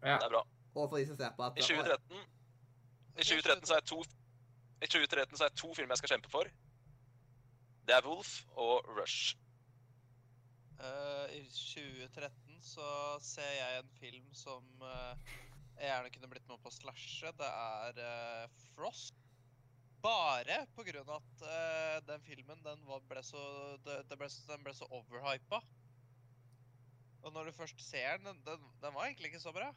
F: Ja.
B: det er bra.
A: Og for de som ser på at
B: I 2013 I 2013 så er jeg to I 2013 så er jeg to filmer jeg skal kjempe for. Det er Wolf og Rush.
C: Eh, I 2013 så ser jeg en film som eh, jeg gjerne kunne blitt med på å slashe. Det er eh, Frost. Bare på grunn av at eh, den filmen den var, ble så, det, det ble, så- den ble så overhypa. Og når du først ser den, den, den, den var egentlig ikke så bra.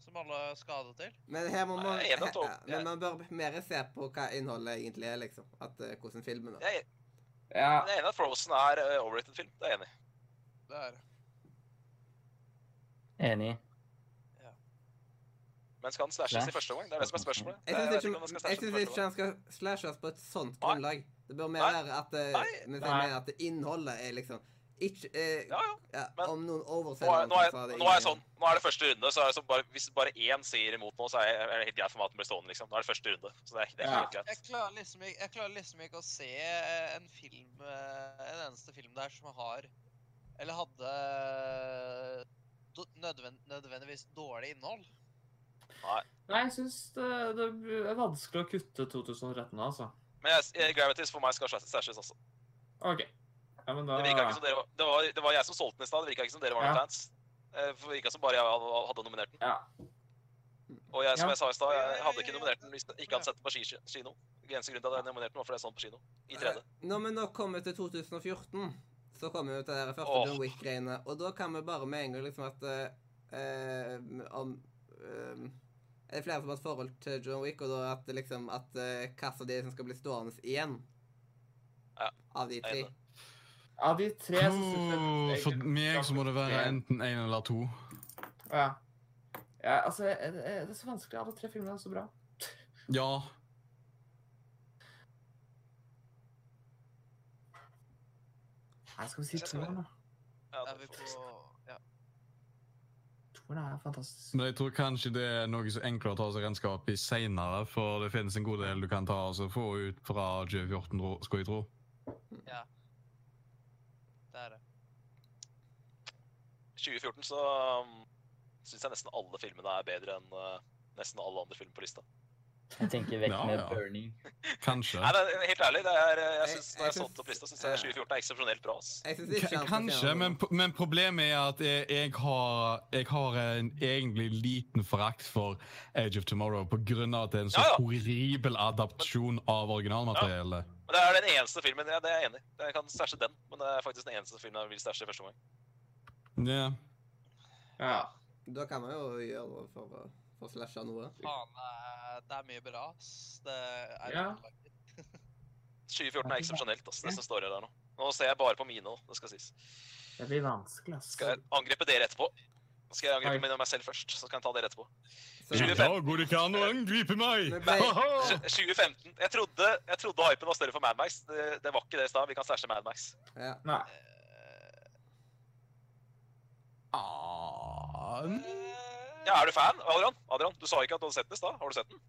C: Som alle skadet til.
A: Men her må
B: Nei,
A: man
B: jeg er enig at
A: he- *laughs*
B: det-
A: Men man bør mer se på hva innholdet egentlig er, liksom. At, eh, hvordan filmen er.
B: Jeg, jeg
F: Ja.
B: er enig i at Frozen er eh, overrated film. Det er jeg enig i.
C: Det er
D: Enig.
B: Men skal han slashes i
D: Slash?
B: første omgang? Det er det som er spørsmålet.
A: Jeg
B: Jeg vet
A: syns
B: ikke om han
A: ikke, jeg synes
B: skal slashes i første
A: ikke
B: omgang.
A: han skal slashes på et sånt
B: Nei.
A: grunnlag. Det bør mer
B: Nei.
A: være at, eh,
B: Nei.
A: men så
F: Nei.
A: mener jeg at innholdet er liksom ikke eh,
B: Ja, ja.
A: ja,
B: men-
A: Om noen
B: Nå
A: overselger
B: er, nå,
A: noe,
B: er,
A: så
B: nå er jeg
A: ingen-
B: sånn. Nå er det første runde, så er det sånn bare, hvis bare én sier imot noe, så er jeg- er det helt greit for meg at den blir stående, liksom. Nå er det første runde, så det er, det er
F: Ja.
B: helt greit.
G: Jeg klarer, liksom, ikke- jeg klarer liksom ikke å se eh, en film eh, En eneste film der som har Eller hadde eh, do- nødvend, nødvendigvis dårlig innhold.
F: Nei, jeg syns det, det er vanskelig å kutte 2013, altså.
B: Men jeg, jeg, Gravities for meg skal slashes- slashes også.
F: OK. Ja, men da
B: Det virka ikke som dere var, det var, det var jeg som solgte den i stad. Det virka ikke som dere var noen
F: Ah. Ja.
B: fans. Eh, for Det virka som bare jeg hadde hadde nominert den.
F: Ja.
B: Og jeg, som
F: Ja.
B: jeg sa i stad, jeg hadde
G: Ja, ja,
B: ikke
G: ja.
B: nominert den hvis jeg ikke hadde sett den på ski- kino. Eneste grunn til at jeg nominerte den, var fordi jeg så den på kino. I 3D.
A: Når vi nå kommer til 2014, så kommer vi til det der første
B: Åh.
A: John Wick-greiene. Og da kan vi bare med en gang liksom at eh, eh, om eh, Er det flere som har et forhold til John Wick, og da at det liksom at eh, hva som de som skal bli stående igjen?
B: Ja,
A: Av de
B: er
A: tre.
B: enig.
F: Av de tre så syns
E: Åh,
F: jeg
E: For meg så må det være enten én eller to.
F: Ja. ja altså, det er det er så vanskelig. Alle tre filmene er så bra.
E: Ja.
F: Nei, skal vi si
B: Jeg skal-
F: toeren, da?
B: Ja,
G: Er
B: det
G: vi
B: får-
G: på ja.
F: Toeren er fantastisk.
E: Men jeg tror kanskje det er noe så enklere å ta seg regnskap i seinere, for det finnes en god del du kan ta og få ut fra 2014, tro- skal jeg tro.
G: Det er det.
B: 2014 så syns jeg nesten alle filmene er bedre enn eh, nesten alle andre filmer på lista.
D: Jeg tenker vekk
E: Ja,
D: med
E: ja.
D: Bernie.
E: Kanskje.
B: Nei, det er, helt ærlig, det er, eh, jeg
A: Jeg-
B: synes, når jeg
A: jeg
B: satte opp
A: synes-
B: lista, syns jeg
A: ja.
B: 2014 er eksepsjonelt bra. ass.
A: Jeg synes ikke
E: K-
A: han
E: Kanskje,
A: fortjener
E: men,
A: noe.
E: pro- men problemet er at jeg, jeg, har, jeg har en egentlig liten forakt for Age of Tomorrow på grunn av at det er en så
B: Ja, ja.
E: horribel adaptasjon av originalmateriellet.
B: Men det er den eneste filmen ja, det er jeg enig i. Jeg kan stæsje den, men det er faktisk den eneste filmen jeg vil stæsje i første omgang.
E: Ja.
F: Ja.
A: Da kan man jo gjøre noe for å for å slashe noe.
G: Faen, det er- det er mye bra, ass. Det er
F: Ja.
G: det.
B: 2014 er eksepsjonelt, ass, det som står her nå. Nå ser jeg bare på mine, nå, det skal sies.
F: Det blir vanskelig, ass.
B: Skal jeg angripe dere etterpå? Nå skal jeg
F: Oi.
B: angripe meg- meg selv først, så kan jeg ta dere etterpå.
A: Så-
B: 25.
E: går det ikke an å angripe meg?
A: Men ble-
E: Ha-ha! *laughs*
B: Tj- 2015. Jeg trodde, jeg trodde hypen var større for Mad Max. Det, det var ikke det i stad. Vi kan stæsje Mad Max.
A: Ja.
F: Nei.
G: eh,
E: Ah,
F: Mm.
B: Ja, Er du fan, Adrian? Adrian, Du sa ikke at du hadde sett den i stad. Har du sett den?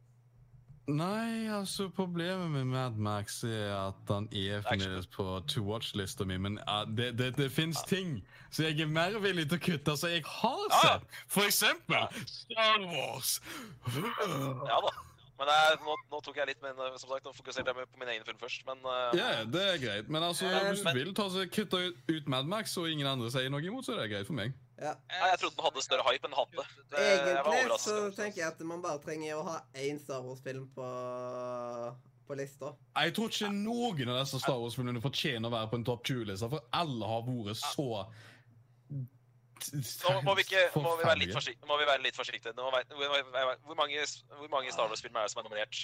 E: Nei, altså problemet med Mad Max er at han er fremdeles på to watch-lista mi, men ah, det, det, det fins ting som jeg er mer villig til å kutte som jeg har
B: Ja, Ah, ja. Ah.
E: sett. For eksempel Star Wars.
B: Ja da. Men jeg, nå, nå tok jeg litt, men eh, som sagt, nå fokuserte jeg på min egen film først. Men eh,
E: Ja, det er greit, men altså,
A: Eh,
E: hvis du
B: men-
E: vil ta seg kutte ut, ut Mad Max, og ingen andre sier noe imot, så er det greit for meg.
G: eh,
B: Nei, jeg trodde den hadde større hype enn den hadde. Det, jeg var
A: Egentlig så
B: overrasket.
A: tenker jeg at man bare trenger å ha én Star Wars-film på, på lista.
E: Jeg tror ikke noen av disse Star Wars-filmene fortjener å være på en topp 20-liste, for alle har vært så
B: Nå Ah. må vi, ikke, må vi være litt
E: forferdelige.
B: forsiktige. Må vi være litt forsiktige. Nå vet- hvor, hvor, hvor mange, hvor mange Star Wars-filmer er det som er nominert?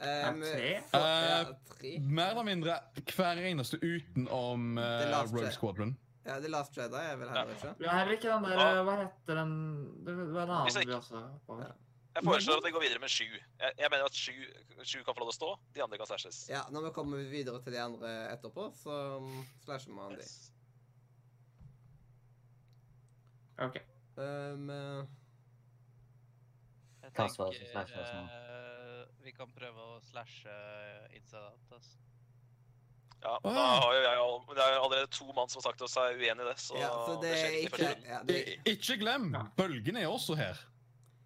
A: Um,
F: tre?
A: for- ja,
E: Eh,
A: tre.
E: Mer eller mindre hver eneste utenom
A: The
E: uh,
A: Last
E: Rogue
A: Jedi.
E: Squadron.
A: Ja, The Last Jedi er vel heller ikke.
F: Vi har heller ikke den der
B: Ja.
F: eh, Hva heter den Det var en
B: Hvis jeg
F: annen vi
B: ikke-
F: også var.
B: Jeg foreslår at vi går videre med sju. Jeg, jeg mener at sju, sju kan få lov å stå. De andre kan stæsjes.
A: Ja, når vi kommer videre til de andre etterpå, så um, slasher vi han de.
G: Yes.
F: OK.
A: Um, eh,
G: Jeg
D: Ta svar som
G: tenker
D: slasher oss nå.
G: eh, vi kan prøve å slashe Inside Out. ass.
B: Ja,
E: Åh.
B: da har jo jeg all- Det er jo allerede to mann som har sagt oss er uenig i det, så,
A: ja, så det
B: skjer
A: er
B: ikke i
A: ikke
B: første runde. *laughs*
A: ja, det, eh,
E: I- Ikke glem!
F: Ja.
E: Bølgen er også her.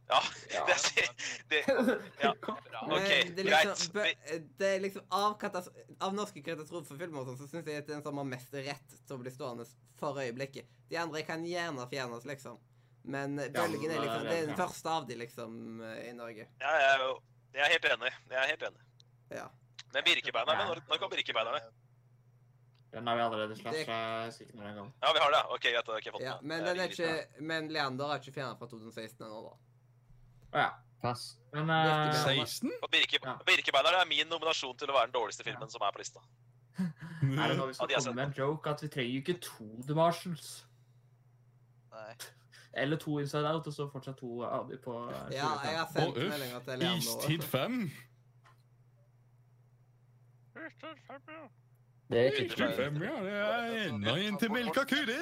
B: Ja,
F: Ja.
B: det sier det,
A: *laughs*
F: *laughs*
B: Ja.
G: Bra.
A: Men
B: Ok,
A: det er liksom, bø- Det er liksom av, katas- av norske katastrofefilmer og sånn, så syns jeg at den som har mest rett til å bli stående for øyeblikket. De andre kan gjerne fjernes, liksom. Men Bølgen er
E: eh,
A: liksom, det er den
F: ja.
A: første av de, liksom, eh, i Norge.
B: ja, jeg, er jo- jeg er helt enig. Jeg er helt enig.
A: Ja.
B: Men Birkebeinerne, når, når kom Birkebeinerne?
F: Den har vi allerede
A: Det-
F: slasha sikkert en gang.
B: Ja, vi har det. ja. Ok, greit. da har jeg ikke fått
A: ja.
B: med.
A: Men,
B: Jeg
A: den er
B: ligger litt
A: ikke, men Leander er ikke fjernet fra 2016 ennå, da.
F: Å ja.
D: Pass.
F: Men
A: Virkelig
F: eh,
A: bra.
E: 16?
B: nær. Og Birke,
F: Ja.
B: Birkebeinerne er min nominasjon til å være den dårligste filmen som er på lista.
F: er det nå vi
B: Ja,
F: skal
B: de har sett
F: komme med en joke at vi trenger jo ikke to The Martians?
G: Nei.
F: Eller to Inside Out, og så fortsatt to Adi på eh,
A: Ja, jeg har
E: Å,
A: sendt meldinger
E: uff.
A: til Leander.
E: Istid 5.
D: Det er
E: Istid
D: ikke
E: 5, ja. Det er enda en til Melka Ku, det.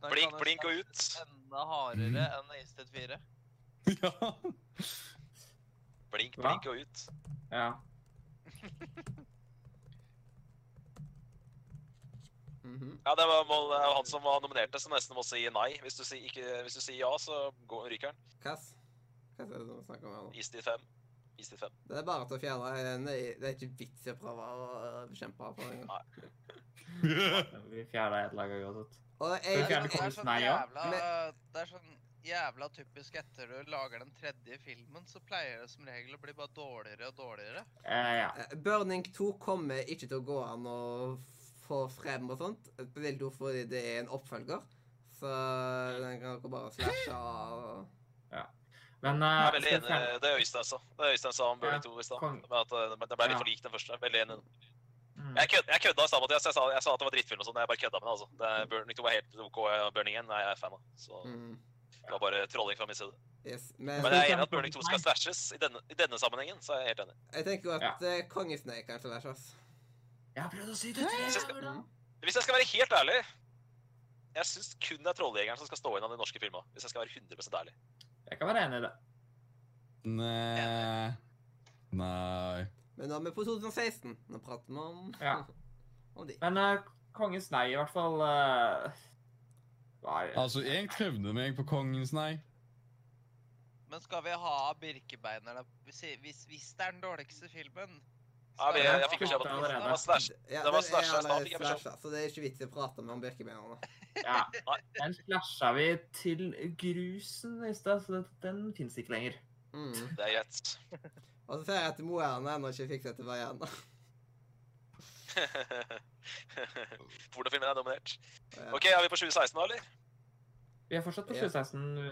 G: Da
B: Blink,
G: kan en
B: blink og
G: slags
B: ut.
G: Enda hardere enn Isted 4.
E: *laughs* Ja.
B: Blink,
F: Hva?
B: blink og ut.
F: Ja.
A: *laughs* Mhm.
B: Ja, det var må- det var han som var nominerte, så nesten må si nei. Hvis du sier, ikke, hvis du sier ja, så går, ryker han.
A: Kass? Hva er det som snakker om her nå?
B: Istid 5. Istid 5.
A: Det er bare til å fjerne den. Det er ikke vits i å prøve å øh, bekjempe her på en gang.
F: Vi fjerna ett lag uansett.
A: Og
F: Skal vi
A: jeg,
F: fjerne
A: jeg,
G: Det er
F: kongen?
G: sånn
F: Nei, ja.
G: jævla,
A: Men-
G: det er sånn jævla typisk etter du lager den tredje filmen, så pleier det som regel å bli bare dårligere og dårligere.
F: Eh, ja.
A: Eh, Burning 2 kommer ikke til å gå an å få frem og sånt. Spesielt jo fordi det er en oppfølger. Så den kan dere bare slashe av.
F: Men eh,
B: Jeg er veldig
F: skal vi
B: enig.
F: fjerne-
B: Det er Øystein sa. Det er Øystein sa om Burning
F: Ja,
B: 2 i stad.
F: kong.
B: Men at eh, men det ble
F: Ja.
B: litt for lik den første. Veldig enig.
F: Mm.
B: Jeg kødda, jeg kødda i stad, Mathias. Jeg sa, jeg sa at det var drittfilm og sånn. Jeg bare kødda med det, altså. Det er, Burning 2 er helt OK. Burning 1 er jeg fan av. Så
A: Mm.
B: det var bare trolling fra min side.
A: Yes. Men
B: Men jeg er enig i at
F: Nei.
B: Burning 2 skal slashes. I denne, I denne sammenhengen så er jeg helt enig.
A: jeg tenker jo at eh, ja. kongesnei kan slashes.
F: Jeg har prøvd å si det tre
B: Jeg synes-
F: ganger! da.
B: Hvis jeg skal være helt ærlig jeg syns kun det er Trolljegeren som skal stå igjen av de norske filmene. Hvis jeg skal være 100 ærlig.
F: Jeg kan være enig i det.
E: Nei. Nei.
A: Men nå er vi på 2016. Nå prater vi om,
F: Ja.
A: *laughs* om de.
F: Men eh, Kongens nei, i hvert fall eh, var,
E: Altså, jeg krevde meg på Kongens nei.
G: Men skal vi ha Birkebeinerne Hvis, hvis, hvis det er den dårligste filmen
B: Ja,
G: skal
B: vi,
G: vi
B: jeg,
G: ha
B: fikk beskjed om at
F: Allerede.
B: det var slash.
A: Ja,
B: Det var
A: den er
B: slasha i stad,
A: allerede
B: fikk jeg beskjed om.
A: slasha, Så det er ikke vits i å prate med om birkebeinerne.
B: *laughs*
F: Ja. Den slasha vi til grusen i stad, så den- den fins ikke lenger.
A: Mm.
B: Det er greit. *laughs*
A: Og så ser jeg at Moerne ennå ikke fikk seg til Variana.
B: Hvordan filmen er nominert. OK, er vi på 2016 nå, eller?
F: Vi er fortsatt på
A: Ja. Mm.
F: 2016. eh,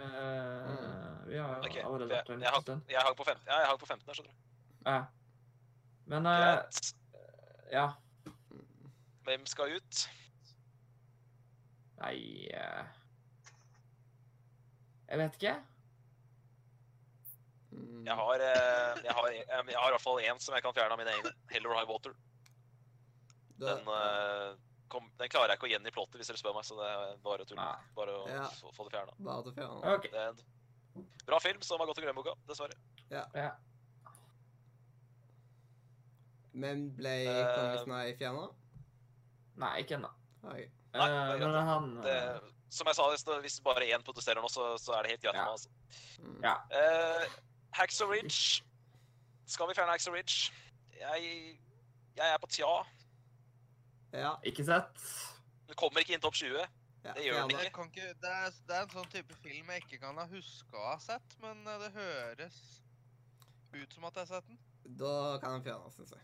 F: vi har
B: Ok,
F: allerede
B: jeg,
F: vært der
B: jeg,
F: en liten
B: hang,
F: stund.
B: jeg hang på 15 ja, jeg hang på 15 her, skjønner du.
F: Ja. Men eh,
B: Greit.
F: ja.
B: Hvem skal ut?
F: Nei eh, Jeg vet ikke.
A: Mm.
B: Jeg har, eh, jeg har, jeg, jeg har i hvert fall én som jeg kan fjerne av mine egne. Hell or High Water.
A: Da-
B: Den, eh, kom, den klarer jeg ikke å gjengi plottet, hvis dere spør meg, så det er bare tull.
F: Nei.
B: Bare å
A: Ja.
B: få, få det fjerna.
A: Bare til fjerne.
F: OK.
B: Det er en bra film som har gått i glemmeboka, dessverre.
F: Ja.
A: Men ble
B: Eh,
A: kongesnei fjerna?
F: Nei, ikke ennå.
A: Okay.
B: Nei, det
F: Eh,
B: er greit,
F: men
B: det.
F: han
B: Det, som jeg sa, hvis det- hvis bare én protesterer nå, så, så er det helt greit for
F: Ja.
B: meg. Altså.
A: Mm.
F: Ja.
B: Eh, Hacks of Ridge. Skal vi fjerne Hacks of Ridge? Jeg, jeg er på tja.
A: ja.
F: Ikke sett.
B: Den kommer ikke inn topp 20.
A: Ja,
B: Det gjør
A: fjerne.
B: den ikke.
G: Jeg kan ikke, det, er, det er en sånn type film jeg ikke kan ha huska å ha sett, men eh, det høres ut som at jeg har sett den.
A: Da kan han fjerne, syns jeg.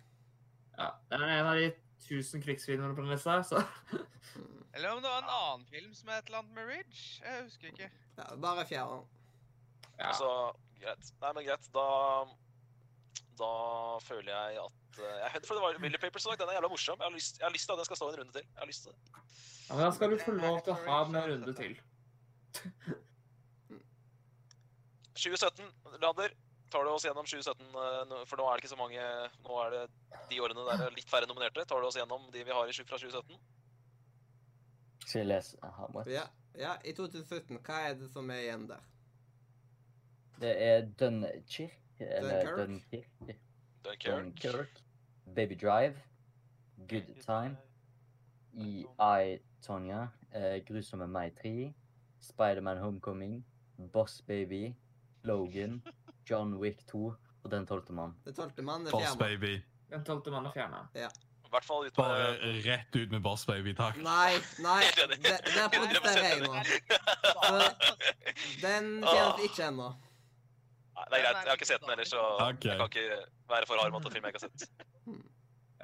F: Ja. Det er en av de 1000 krigsfilmene på den lista, så *laughs*
A: Mm.
G: Eller om det var en annen film som het et eller annet med Ridge. Jeg husker
A: *laughs*
G: ikke.
A: Ja, bare fjerne. den.
F: ja.
B: Så greit. Nei, men greit. Da, da føler jeg at eh, Jeg er redd for det var Willy Papers i dag. Den er jævla morsom. Jeg har lyst, jeg har lyst til at den skal stå en runde til. Jeg har lyst til det.
F: Ja, men da skal du få lov til å ha den en runde til.
B: 2017, Lander. Tar du oss gjennom 2017, eh, nå- for nå er det ikke så mange Nå er det de årene der det er litt færre nominerte. Tar du oss gjennom de vi har i, sju- fra 2017?
D: Skal jeg lese? Aha, what?
A: Ja. ja, i 2017, hva er det som er igjen der?
D: Det er Dunkirk. Eller
A: Dunkirk?
D: Dunkirk.
B: Dunkirk.
D: Dunkirk. Baby Drive. Good Time. EI Tonya. eh, Grusomme meg 3. Spiderman Homecoming. Boss Baby. *laughs* Logan. John Wick 2. Og Den tolvte mann.
A: Det tolvte mann er
E: Boss
A: fjerna.
E: Baby.
F: Den tolvte mannen er fjerna.
B: I hvert fall ut på
E: Bare rett ut med Boss Baby, takk.
A: Nei, nei,
B: *laughs* Helt
A: det-
B: enig.
A: der protesterer jeg nå. Den fjernes ikke ennå.
B: Nei, det er greit. Jeg har ikke sett den heller, så
E: Ok.
B: jeg kan ikke være for hard mot en film jeg ikke har sett.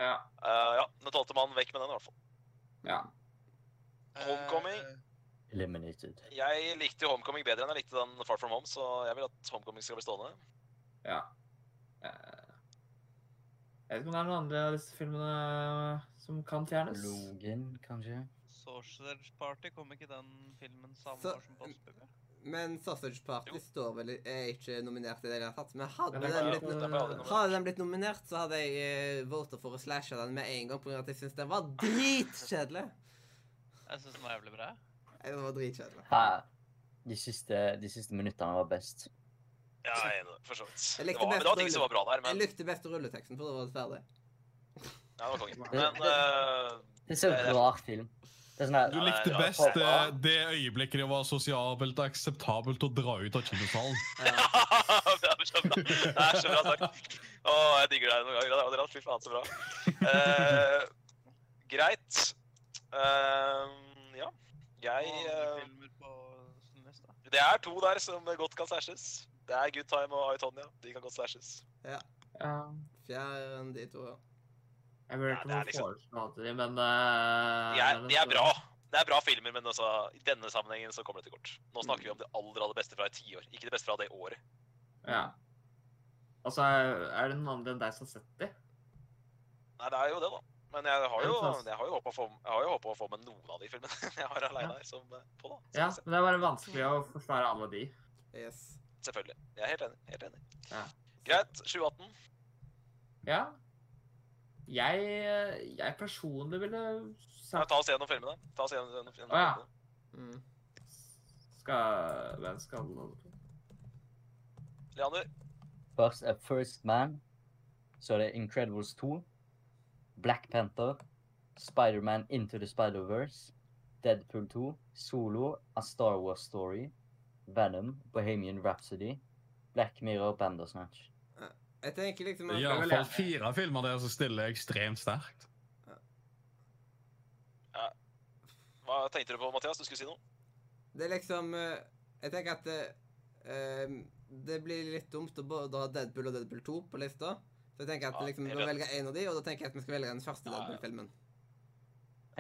F: Ja.
B: Eh, ja, Den tolvte mann, vekk med den, i hvert fall.
F: ja.
B: Homecoming.
G: Eh,
D: Eliminated.
B: Jeg likte jo Homecoming bedre enn jeg likte den Far From Home, så jeg vil at Homecoming skal bli stående.
F: Ja. Eh, Jeg vet ikke om det er noen andre av disse filmene eh, som kan fjernes.
D: Logan, kanskje?
G: Sausage Party, kom ikke den filmen samme
A: Så-
G: år som Boss Baby?
A: Men Sausage Party
B: Jo.
A: står vel, er ikke nominert i det hele tatt. Men hadde
F: Den er
A: den
F: ikke-
A: blitt, no-
B: Den ble aldri nominert.
A: hadde den blitt nominert, så hadde jeg eh, votet for å slashe den med en gang, på grunn av at jeg syntes den var dritkjedelig.
G: Jeg syns den var jævlig bra.
A: Nei, Den var dritkjedelig.
D: Ha, de, siste, de siste minuttene var best.
B: Ja, jeg er enig, i det, for så vidt.
A: Jeg
B: Det
A: likte
B: var, men det
A: best
B: var ting som var bra der,
A: Jeg
B: men ja,
A: likte best rulleteksten, for da var det ferdig.
B: det var konge.
F: Wow.
B: Men eh, *laughs*
D: Det ser ut som en rar film. Det er
B: Du
D: sånn her,
E: Du likte
B: ja,
E: best eh,
D: ja.
E: det, det øyeblikket det var sosiabelt akseptabelt å dra ut av kinosalen.
B: det er så bra. Det er så bra sagt. Å, jeg digger deg noen ganger, Adrian. Fy faen, så bra. Eh, greit. Eh, ja. Jeg
G: Og andre
B: eh,
G: filmer på sånn lista.
B: Det er to der som godt kan slashes. Det er Good Time og Aitonia. De kan godt slashes.
F: Ja.
A: Fjern de to. ja.
F: Jeg burde
B: Ja,
F: ikke
B: det er
F: få
B: liksom-
F: foreslå det, men eh,
B: De er,
F: men
B: de er
F: så-
B: bra. Det er bra filmer, men altså, i denne sammenhengen så kommer det til kort. Nå snakker
F: Mm.
B: vi om det aller aller beste fra et tiår, ikke det beste fra det året.
F: Ja. Altså, er det noen andre enn deg som har sett dem?
B: Nei, det er jo det, da. Men jeg har jo,
F: Ja, sant.
B: jeg har jo håpa å få, jeg har jo håpet å få med noen av de filmene *laughs* jeg har aleine her. Som, eh, på da. Så
F: Ja,
B: vi ser.
F: men det er bare vanskelig å forsvare alle de.
A: Yes.
B: Selvfølgelig. Jeg er helt enig. helt enig.
F: Ja.
B: Greit. 2018.
F: Ja. Jeg, jeg personlig ville
B: Ja,
F: sagt
B: ta oss gjennom filmene. Ta oss gjennom, gjennom, gjennom
F: Å, ja.
B: filmene.
A: Mm.
F: Skal Hvem skal
B: Leander,
D: Først er First Man. Så er det Incredibles 2. Black Panther. Spider-Man Into the Spider-Verse. Deadpool 2. Solo. A Star Wars Story. Venom. Bohemian Rhapsody. Black Mirror. Bandersnatch.
A: Jeg tenker liksom
E: I
A: at
E: alle fall fire filmer der som stiller ekstremt sterkt.
B: hva tenkte du på, Mathias? Du skulle si noe?
A: Det er liksom eh, Jeg tenker at det, ehm, det blir litt dumt å både ha Deadpool og Deadpool 2 på lista. Så jeg tenker at
B: Ja,
A: liksom, vi
B: jeg
A: bør
B: vet.
A: velge en av de, og da tenker jeg at vi skal velge den første
B: Ja, ja.
A: Deadpool-filmen.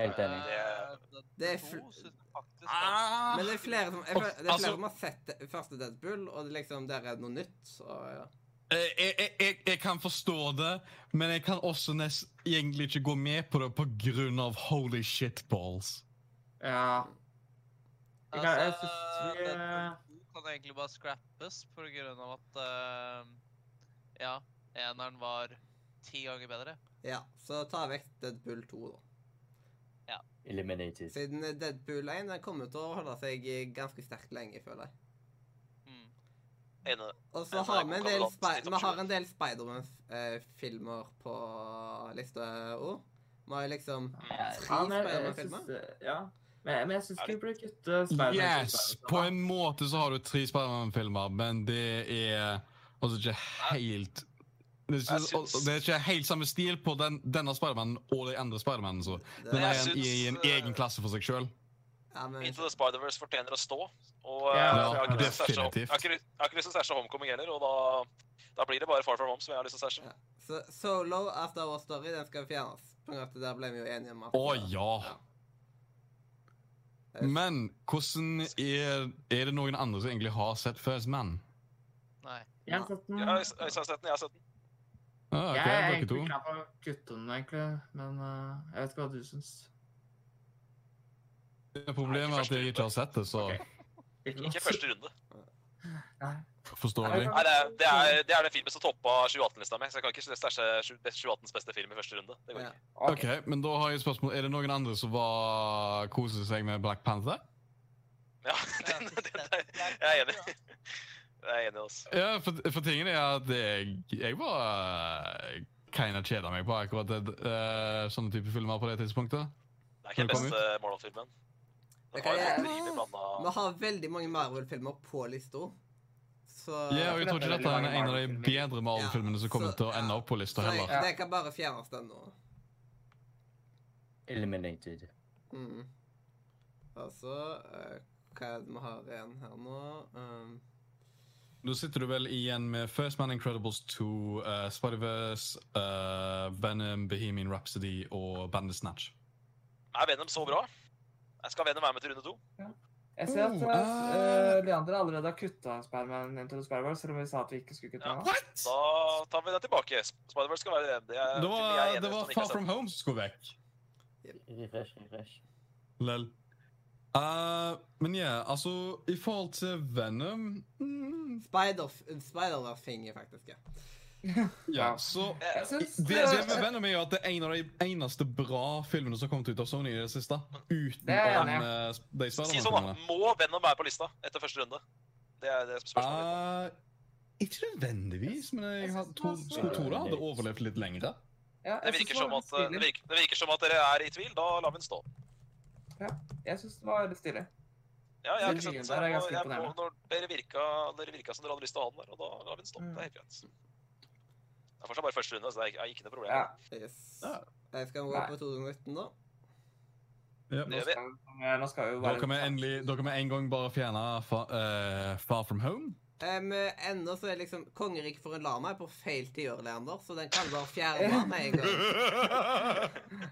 D: Helt enig.
B: Eh,
A: det er
G: fl...
A: fl-
G: faktisk
F: Ah,
A: Men det er flere som, jeg, føler- det er flere
E: Altså-
A: som har sett det- første Deadpool, og det liksom, der er det noe nytt. Så, ja.
E: Eh, Jeg, jeg, jeg, jeg kan forstå det, men jeg kan også nest, egentlig ikke gå med på det på grunn av holy shitballs.
F: Ja. Jeg kan- jeg synes vi, eh,
G: den Altså, kan egentlig bare scrappes på grunn av at eh, Ja, eneren var ti ganger bedre.
A: ja, så ta vekk Deadpool 2, da.
D: Eliminated.
A: Siden Deadpool 1 den kommer til å holde seg ganske sterk lenge, føler jeg.
G: Mm.
B: Enig.
A: Og så
B: Jeg
A: har vi
B: bare
A: en
B: kommer
A: del,
B: opp
A: spi
B: litt opp
A: vi har
B: sjøl.
A: en del Spiderman-filmer på lista òg. Vi har liksom
D: Ja,
A: tre
F: Ja, men jeg, jeg
A: Spiderman-filmer.
F: synes, ja. Men, men jeg syns
B: Er
F: ikke
B: det-
F: vi burde kutte Spiderman.
E: Yes! På en måte så har du tre Spiderman-filmer, men det er altså ikke helt det er,
B: Jeg
E: ikke, og- og det er ikke helt samme stil på den, denne Spidermanen og de andre Spidermanene. så.
A: Det-
E: Den er
B: Jeg
E: en, i, i en
B: syns, eh,
E: egen klasse for seg sjøl.
A: Ja, men
B: Into the Spider-Verse fortjener å stå. Og
F: Ja,
B: eh,
F: Ja,
B: jeg har ikke lyst til å stashe-
E: definitivt.
B: jeg har ikke lyst- jeg har ikke lyst til å stæsje Homecoming heller, og da, da blir det bare Far From Home som jeg har lyst til å stæsje.
A: Ja. så Solo After Our Story den skal fjernes. På grunn av at Der ble vi jo enige om at
E: Å ja!
A: Ja.
E: Men hvordan er, er det noen andre som egentlig har sett First Man?
G: Nei.
F: Jeg har sett den.
B: Ja, jeg, jeg har sett den, jeg har sett den.
E: Ah,
F: Jeg er
E: okay, dere
F: egentlig
E: to.
F: klar for å kutte den, egentlig, men eh, jeg vet ikke hva du syns.
E: Problemet er at jeg ikke har sett det, så
B: Ikke første runde.
F: Nei.
E: forstår jeg.
B: Nei, det er det, er, det, er den filmen som toppa 2018-lista mi, så jeg kan ikke stæsje 2018s beste film i første runde. Det går
A: Ja.
B: ikke.
E: Ok, men da har jeg et spørsmål. Er det noen andre som var koser seg med Black Panther?
B: Ja, *laughs* den, den, den, jeg er enig. *laughs* Jeg er enig, altså.
E: Ja, for, for tingen er at jeg, jeg var eh, kinda kjeda meg på akkurat det, eh, sånne type filmer på det
A: Eh,
E: tidspunktet.
B: Det er ikke den
E: Velkommen.
B: beste Marvel-filmen. Den
A: Ok,
B: har
A: jeg-
B: en rimelig blanda
A: Vi har veldig mange Marvel-filmer på lista. Så,
E: Ja, og jeg tror ikke dette er en av de
F: Marvel-filmer.
E: bedre Marvel-filmene som kommer
A: Ja, så-
E: til å ende opp på
A: så
E: lista
A: jeg,
E: heller.
A: det kan bare fjernes, den nå.
D: Eliminated.
A: Mm. Altså eh, Hva er det vi har igjen her nå? Um,
E: Da sitter du vel igjen med First Man Incredibles 2, eh, Spider-Verse, eh, Venom, Bohemian Rhapsody og Bandersnatch.
B: Er Venom så bra? Skal Venom være med til runde to?
F: Jeg ser at
E: Oh,
F: eh,
E: eh.
F: Leander allerede har kutta Spiderman Into the Spider-Verse, selv om vi sa at vi ikke skulle kutte
B: Ja.
F: den.
E: What?!
B: Da tar vi den tilbake. Spider-Verse skal være eh, det. Det er,
E: Det
B: filmen jeg liksom, er enig i,
E: var, det
B: som
E: var
B: ikke har
E: Far
B: sett.
E: From Home som skulle vekk.
D: Refresh, refresh.
E: Lell. Eh, men ja, altså I forhold til Venom mm,
A: Spider, Spider-finger, faktisk. ja.
E: Ja, så
F: Jeg eh, syns
E: Det, det med Venom er jo at det er en av de eneste bra filmene som har kommet ut av Sony i det siste.
F: Det er jeg
E: Utenom
F: enig
E: eh, de
B: Mm. Si sånn, da.
E: Spiderman-filmene.
B: Må Venom være på lista etter første runde? Det er det spørsmålet. mitt.
E: Eh, ikke nødvendigvis, men jeg
F: Jeg
E: har-
F: synes
E: tror-
F: det var
E: skulle tro det hadde
D: svart.
E: overlevd litt lengre.
F: ja,
E: Ah,
B: Det
F: jeg synes
B: virker, som
F: var
B: at, eh, det,
F: litt
B: virker, det virker som at dere er i tvil. Da lar vi den stå.
F: stilig. Jeg syns det var litt stilig.
B: Ja, jeg har ikke
F: Den
B: sett den,
F: tingen
B: så
F: der er
B: jeg må,
F: ganske
B: jeg må,
F: imponerende.
B: når dere, virka, dere virka som dere hadde lyst til å ha den der, og da lar vi den stå.
F: Mm.
B: Det er helt greit. Det er fortsatt bare første runde, så det er ikke- er ikke noe problem. *laughs*
F: Ja.
A: Yes.
E: Ja.
A: Jeg skal gå
F: Nei.
A: på 2019 nå.
E: Ja.
B: Det gjør vi.
F: Skal, vi- nå skal vi jo
E: Da
F: være
E: kan vi endelig da kan vi en gang bare fjerne fa, eh, Far From Home.
A: Um, ennå så er liksom Kongeriket for en lama er på feil tiår, Leander, så den kan bare
F: *laughs*
A: fjerne med en gang.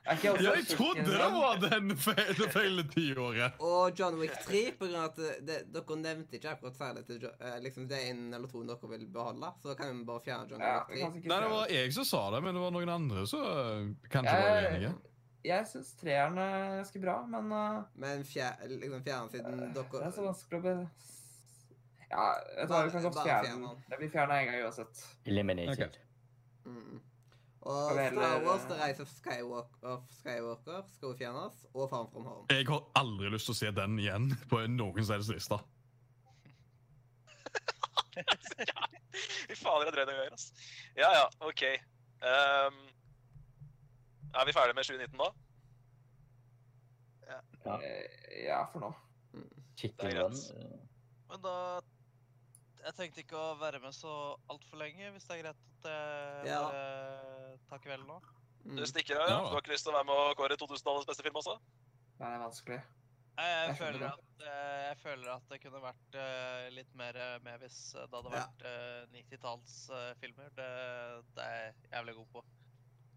F: Er ikke også
E: Jeg trodde
F: sulten i
E: det
F: den?
E: var den feil- det feile tiåret.
A: Og John Wick 3, på grunn av at det, dere nevnte ikke akkurat særlig til Jo- eh, liksom det er en eller to dere vil beholde, så da kan vi bare fjerne John
F: Ja,
A: Wick 3.
F: vi kan sikkert
E: Nei, det
F: gjøre
E: var jeg som sa det, men det var noen andre som eh, kanskje var
F: Jeg,
E: uenige.
F: jeg syns treeren er ganske bra, men uh,
A: Men fjer, liksom fjerne siden
F: Eh, det
A: dere
F: er sånn så vanskelig å be... Ja, vet du hva, vi kan godt
A: Bare- bare
F: fjerne
A: fjerne
F: den. Det blir fjerna en gang uansett.
D: Eliminated.
E: Ok.
A: mm. Og
F: Skal vi
A: Star
F: heller-
A: Wars The Rise of Skywalker, of Skywalker skal jo fjernes, og Farm From Home.
E: Jeg har aldri lyst til å se den igjen på noen som helst liste.
B: Fy fader, jeg drøy noen ganger, ass. Ja, ja, OK. Ehm, er vi ferdige med 2019 da?
D: Ja.
F: Eh, Ja, for nå.
D: Chicken
B: Det er
D: Run.
B: greit.
D: eh,
G: Men da Jeg tenkte ikke å være med så altfor lenge, hvis det er greit at jeg
A: Ja.
G: bare tar kvelden nå.
A: Mm.
B: Du stikker her, ja.
E: Ja.
B: Du har ikke lyst til å være med og kåre 2000-tallets beste film også?
F: Nei, det er vanskelig.
G: Jeg, jeg,
F: Jeg skjønner
G: føler
F: det.
G: at, eh, jeg føler at det kunne vært eh, litt mer eh, med hvis eh, det hadde
A: Ja.
G: vært 90-tallsfilmer. det, det er jeg jævlig god på.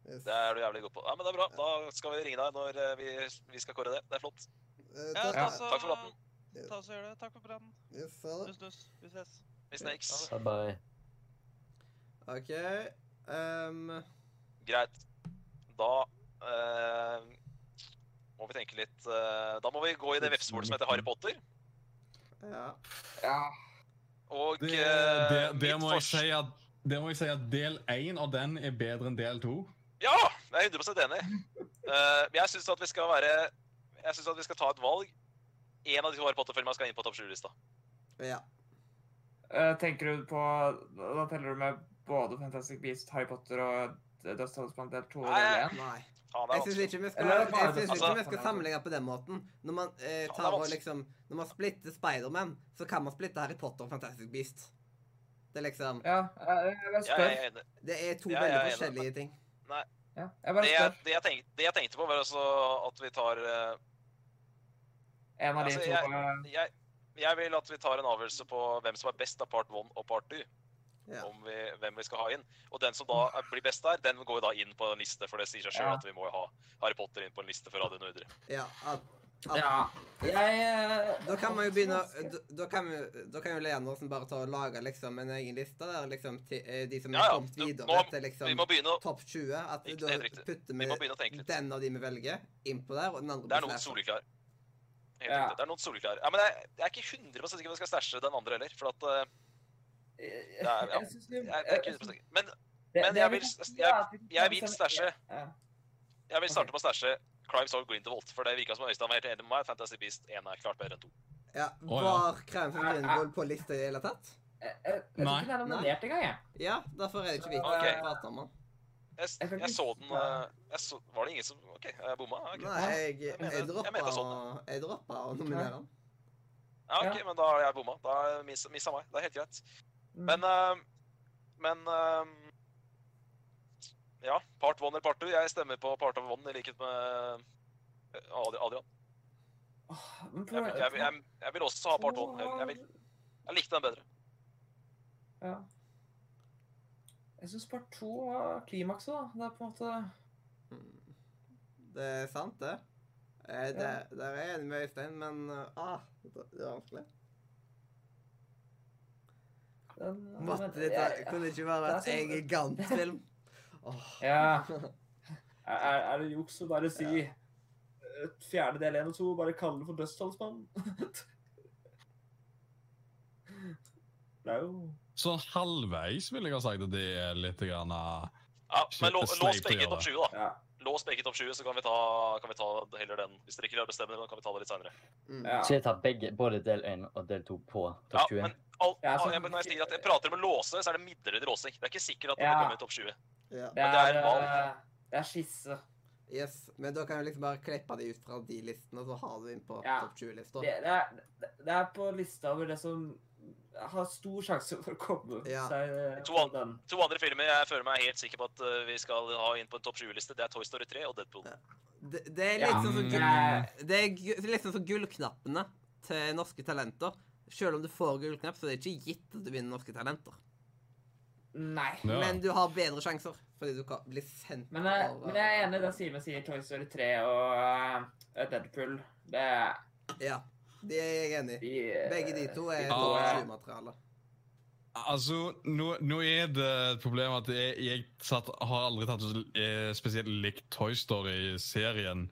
A: Yes.
B: Det er du jævlig god på. Ja, men det er bra. Da skal vi ringe deg når eh, vi, vi skal kåre det. Det er flott.
A: Eh,
G: Ja,
A: takk.
G: ta
F: Ja,
G: så,
B: takk for praten.
G: Ta så gjør det. Takk for praten.
A: Yes, ha det.
G: Nuss, nuss. Vi ses.
B: Vi snakes.
D: Bye bye.
A: OK. ehm,
B: Greit. Da eh, må vi tenke litt eh, Da må vi gå i det vepsebolet som heter Harry Potter.
A: ja.
F: Ja.
B: Og
E: Det,
B: eh,
E: det, det,
B: mitt
E: må jeg
B: fors-
E: si at, det må jeg si at del én av den er bedre enn del to.
B: Ja! Jeg er 100 enig. Eh, jeg syns at vi skal være Jeg synes at vi skal ta et valg. En av de to Harry Potter-filmene skal inn på topp 7-lista.
A: ja.
F: Eh, tenker du på Da teller du med både Fantastic Beast, Harry Potter og Dødsdalens planet 2 og
B: Nei,
F: del 1?
A: Nei.
B: Faen, det er
A: Jeg syns
B: vanskelig.
A: ikke vi skal,
F: Eller er
A: jeg
F: det bare
A: synes
F: det
A: ikke
F: samme?
A: vi skal sammenligne på den måten. Når man eh,
B: Faen, det er
A: tar og
B: vanskelig.
A: liksom Når man splitter Spiderman, så kan man splitte Harry Potter og Fantastic Beast. Det er liksom
F: Ja, jeg, jeg bare
B: Ja,
F: spør.
B: jeg er enig.
A: Det er to
B: Ja, jeg
A: veldig
B: er enig.
A: forskjellige ting.
F: Ja, jeg
B: Det
F: bare
B: jeg,
F: spør.
B: det, jeg tenkte, det jeg tenkte på, var altså at vi tar eh,
F: En av de
B: altså,
F: to
B: jeg-
F: eh,
B: jeg, jeg vil at vi tar en avgjørelse på hvem som er best av part 1 og part 2.
A: Ja.
B: Om vi, hvem vi skal ha inn. Og den som da er- blir best der, den går jo da inn på en liste, for det sier seg sjøl
F: Ja.
B: at vi må jo ha Harry Potter inn på en liste for Radio Nordre.
A: Ja, at, at,
F: Ja. Jeg eh,
A: Da kan man jo begynne å- da, da kan jo- da kan jo Leandersen bare ta og lage liksom en egen liste der liksom til, eh, de som
B: Ja,
A: er
B: ja,
A: kommet
B: du-
A: videre
B: nå-
A: til
B: Vi
A: liksom
B: må begynne å,
A: topp 20. At
B: Ikke
A: da
B: helt riktig.
A: putter
B: vi må
A: vi
B: begynne å tenke litt.
A: den av de vi velger, innpå der, og den andre
B: Det er
A: blir
B: noen
A: slasher.
B: soleklare. Helt
F: Ja.
B: riktig. Det er noen soleklare. Ja, men jeg, jeg er ikke 100 sikker på om vi skal stæsje den andre heller. For at, eh,
F: Jeg,
B: Ja, ja.
F: jeg synes vi-
B: jeg, jeg er ikke
F: jeg-
B: 100 sikker. Men
F: det-
B: men
F: det
B: jeg
F: vi
B: vil-
F: kan si,
B: jeg-
F: er sånn- at vi
B: jeg
F: kan
B: vil
F: bestemme-
B: stæsje.
F: Ja.
B: jeg vil starte med å stæsje Crimes of Grindelwald. For det virka som Øystein var helt enig med meg. Fantasy Beast 1 er klart bedre enn 2.
A: Ja,
E: Å, ja.
A: Var Krem for Grindvoll på lista i det hele tatt?
F: Jeg, jeg, jeg tror
E: Nei.
F: ikke den er
A: Nei.
F: nominert engang, jeg.
A: Ja, derfor er det ikke vi
B: Ok.
A: okay. prater om den.
B: Jeg, s-
F: Jeg kan
B: jeg
F: ikke
B: så den
F: svare.
B: eh, jeg så, Var det ingen som OK, jeg bomma. Ja, ok.
A: Nei, jeg,
B: jeg mener-
A: jeg
B: jeg
A: droppa
B: mener sånn,
A: å- jeg droppa å nominere den.
B: Ja, ok,
F: Ja.
B: men da har jeg bomma. Da har jeg mis- missa meg. Det er helt greit.
F: Mm.
B: Men eh, Men eh, Ja, part one eller part two. Jeg stemmer på part of one, i likhet med eh, Adri- Adrian.
F: Åh, men
B: Jeg, vil- jeg, vil- jeg, jeg vil også ha part one. Jeg, jeg, vil, jeg likte den bedre.
F: Ja. Jeg syns part to var klimakset, da. Det er på en måte
A: Mm. Det er sant, det. Eh, det
F: Ja.
A: Der er jeg enig med Øystein, men eh, ah, det det er vanskelig.
F: den,
A: Måtte
F: den-
A: det
F: jeg-
A: kunne det ikke bare
F: Det er
A: vært en
F: sånn- *laughs*
A: gigantfilm. Åh.
F: Ja. Er, er det juks å bare si et eh, fjerde del 1 og 2 og bare kalle det for dødstalsmann. *laughs* det er jo
E: Sånn halvveis vil jeg ha sagt at det er litt grann eh,
B: Ja, men lå-
E: Shit, det er
B: lås
E: sleip å
B: begge i
E: gjøre.
B: topp 20, da.
F: Ja.
B: Lås begge i topp 20, så kan vi ta, kan vi ta heller den. Hvis dere ikke klarer å bestemme det, da kan vi ta det litt seinere.
A: Mm.
F: ja.
D: Så jeg tar begge, både del 1 og del 2 på
B: Ja,
D: topp 20.
B: men all,
F: Ja, så-
B: all, jeg, Ah, men når jeg sier at jeg prater om å låse, så er det midlertidig låsing. Det er ikke sikkert at det
F: Ja.
B: kommer i topp
A: Ja.
B: 20.
F: Det
B: Men det er
F: er,
B: en valg.
F: eh, det er skisse.
A: Yes. Men da kan du liksom bare klippe de ut fra de listene, så har du inn på
F: Ja.
A: topp 20-lista.
F: Det, det, er, det er på lista over det som har stor sjanse for å komme
A: Ja.
F: seg eh,
B: To an-
F: på den.
B: To andre filmer jeg føler meg helt sikker på at eh, vi skal ha inn på en topp 20-liste, det er Toy Story 3 og Deadpool.
A: Det, det er litt
F: Ja.
A: sånn som
E: Mm.
A: gull, det er gu- litt sånn som gullknappene til norske talenter. Selv om du får gullknapp, så er det ikke gitt at du vinner norske talenter.
F: Nei.
E: Ja.
A: Men du har bedre sjanser, fordi du kan bli sendt
F: Men, jeg-
A: av-
F: men jeg er enig i det Simen sier, Toy Story 3 og eh, Deadpool. Det er
A: Ja, det er jeg enig i.
F: de, eh,
A: Begge de to er
F: de
E: to
A: topp
E: er-
A: 20-materiale.
E: Altså, nå, nå er det et problem at jeg, jeg satt, har aldri tatt så eh, spesielt likt Toy Story-serien.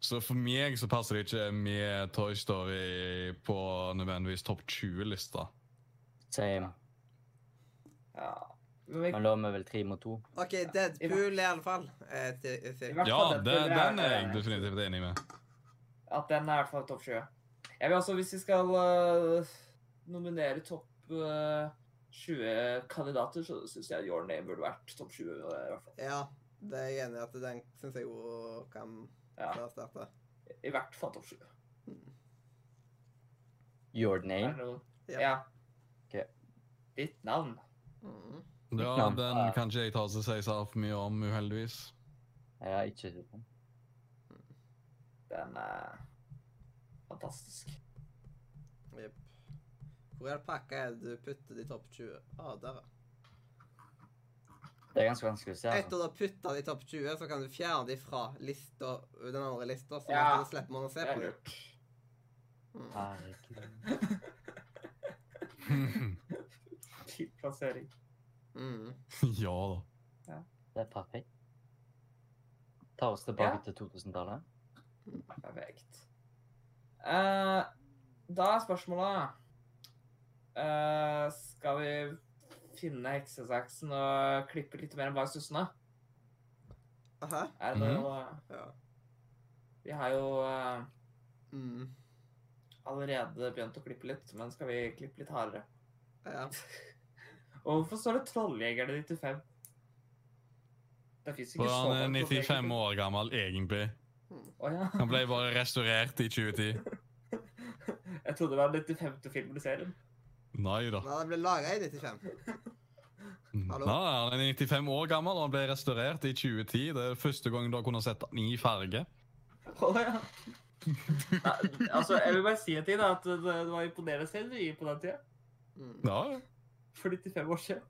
E: Så for meg så passer det ikke med Toy Story på nødvendigvis topp 20-lista.
D: Same.
F: Ja. Men vi,
D: Men da er vi vel tre mot to.
A: OK, Deadpool i alle fall. Eh, til- til-
F: i hvert
E: Ja,
F: fall
E: det,
F: Deadpool
E: den er jeg definitivt enig med.
F: At den er i hvert fall topp 20. Jeg vil også, hvis vi skal øh, nominere topp øh, 20 kandidater, så syns jeg Your Name burde vært topp 20. øh, I hvert fall.
A: Ja, det er jeg enig i at den syns jeg jo kan
F: Ja,
A: få starte.
F: I hvert fall topp 20.
D: Your
F: Er det
D: name.
F: noen?
A: Ja.
F: Ja.
D: Ok.
F: Ditt navn.
A: Mm.
E: Ja,
D: navn.
E: den kan ikke jeg ta så si så altfor mye om, uheldigvis. *laughs*
D: Jeg har ikke sett den.
F: Den er fantastisk.
A: Jepp. Hvor i all pakka er det du putter de topp 20? Ah, der, ja.
D: Det er ganske vanskelig å se.
A: Etter
D: Altså.
A: å ha putta de topp 20, så kan du fjerne de fra lista, den andre lista, så
F: Ja.
A: da slipper man å se
F: Det
A: på
F: er
A: dem.
F: lurt.
A: Mm.
D: Herregud.
F: *laughs* Fin plassering.
A: Mm.
E: ja da.
D: Det er perfekt. Ta oss tilbake
F: Ja.
D: til 2000-tallet.
F: Perfekt. Eh, da er spørsmålet eh, Skal vi finne heksesaksen og klippe litt mer enn bare sussene?
A: Hæ?
F: Er det
E: Mhm.
F: noe
A: Ja.
F: Vi har jo eh,
A: Mm.
F: allerede begynt å klippe litt, men skal vi klippe litt hardere?
A: ja.
F: Og hvorfor står det 'Trolljegerne 95'? Det fins ikke
E: For
F: så
E: han er
F: mange
E: 95 år gammel, egentlig.
F: Å ja. *laughs*
E: Han ble bare restaurert i 2010.
F: Jeg trodde det var den 95. filmen i serien.
E: Nei da.
A: Nei, det ble laga i 95. Hallo?
E: Nei, han er 95 år gammel, og han ble restaurert i 2010. Det er første gang du har kunnet sett han i farge.
F: Å ja. Nei, altså, jeg vil bare si en ting, da. At det, det var imponerende selv du gir på den tida.
A: Mm.
E: Ja, ja.
F: For 95 år siden.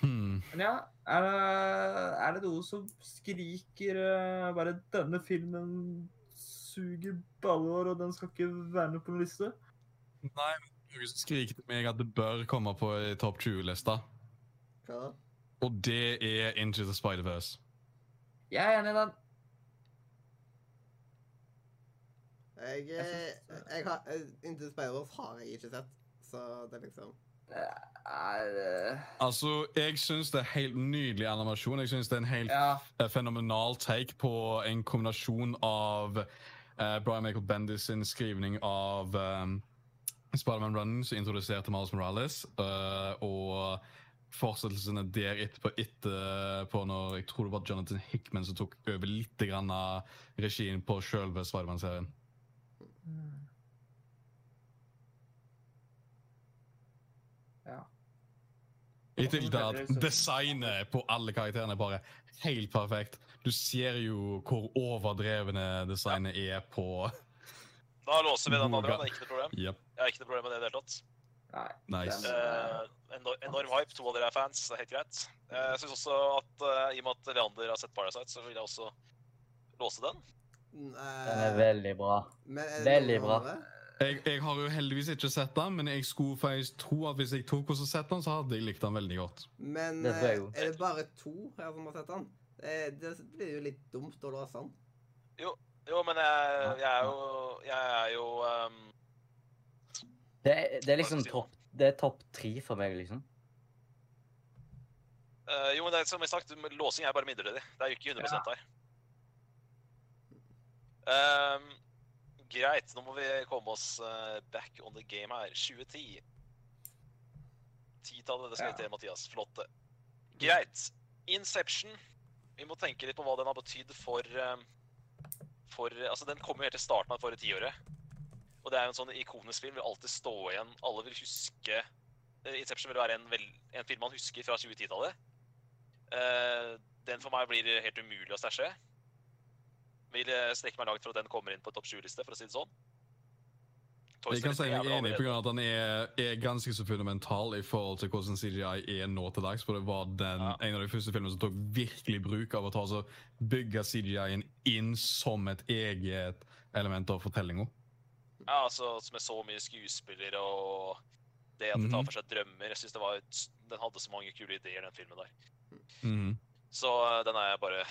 E: Hmm.
F: Men ja, er det, er det noe som skriker eh, bare 'denne filmen suger ballår, og den skal ikke være med på noen liste'?
E: Nei, men noen som skriker til meg at det bør komme på i topp 20-lista.
A: Hva da?
E: Og det er Into the Spider-Verse.
F: Jeg er enig i den.
A: Jeg,
F: Jeg
A: eh,
F: synes-
A: jeg har, eh, Inntil Speidervårs har jeg ikke sett, så det er liksom
F: Er, eh,
E: Altså, jeg syns det er helt nydelig animasjon. Jeg syns det er en helt
F: ja.
E: eh, fenomenal take på en kombinasjon av eh, Brian Michael Bendis sin skrivning av um, Spiderman Running, som introduserte Miles Morales, eh, og fortsettelsene der etterpå, etterpå når jeg tror det var Jonathan Hickman som tok over litt grann av regien på sjølve Spiderman-serien.
F: Ja.
E: I tillegg til at designet på alle karakterene er bare helt perfekt. Du ser jo hvor overdrevne designet er på
B: Da låser vi den
E: Moga.
B: andre, det er ikke noe problem.
E: Jepp.
B: Jeg har ikke noe problem med det i det hele tatt.
F: Nei.
E: Nice.
F: Den-
B: Eh, enor- enorm hype, to av dere er fans, det er helt greit. Eh, Jeg synes også at eh, i og med at Leander har sett Parasite, så vil jeg også låse den.
A: Eh.
D: Den er veldig bra. veldig bra.
E: Jeg, jeg har jo heldigvis ikke sett den, men jeg skulle faktisk tro at hvis jeg tok og så sett den, så hadde jeg likt den veldig godt.
A: Men
D: Det tror jeg
A: eh,
D: jo.
A: er det bare to her som har sett den? Eh, Det blir jo litt dumt å låse den.
B: Jo, men jeg, jeg er jo Jeg er jo ehm,
D: Det, er- det er
B: Hva
D: liksom
B: sier
D: topp Det er topp tre for meg, liksom.
B: eh, Jo, men det er som jeg sagt, låsing er bare midlertidig. Det er jo ikke 100 her. Ehm, greit, nå må vi komme oss eh, back on the game her. 2010. Titallet, det skal vi til, Mathias. Flott, det. Greit. Inception. Vi må tenke litt på hva den har betydd for ehm, For Altså, den kom jo helt til starten av forrige tiåret. Og det er jo en sånn ikonisk film. Vil alltid stå igjen. Alle vil huske Eh, Inception vil være en, vel, en film man husker fra 2010-tallet. Eh, den for meg blir helt umulig å stæsje. Vil eh, strekke meg langt for at den kommer inn på topp 20-liste, for å si det sånn. Toy
E: Jeg kan si
B: Story 3
E: meg
B: er vel
E: enig
B: allerede-
E: pga. at den er, er ganske så fundamental i forhold til hvordan CGI er nå til dags. For det var den,
B: Ja.
E: en av de første filmene som tok virkelig bruk av å ta så bygge CGI-en inn som et eget element av fortellinga.
B: Ja, altså med så mye skuespillere og det at det tar for seg drømmer. Jeg synes det var, et- Den hadde så mange kule ideer, den filmen der.
E: Mhm.
B: Så eh, den er jeg bare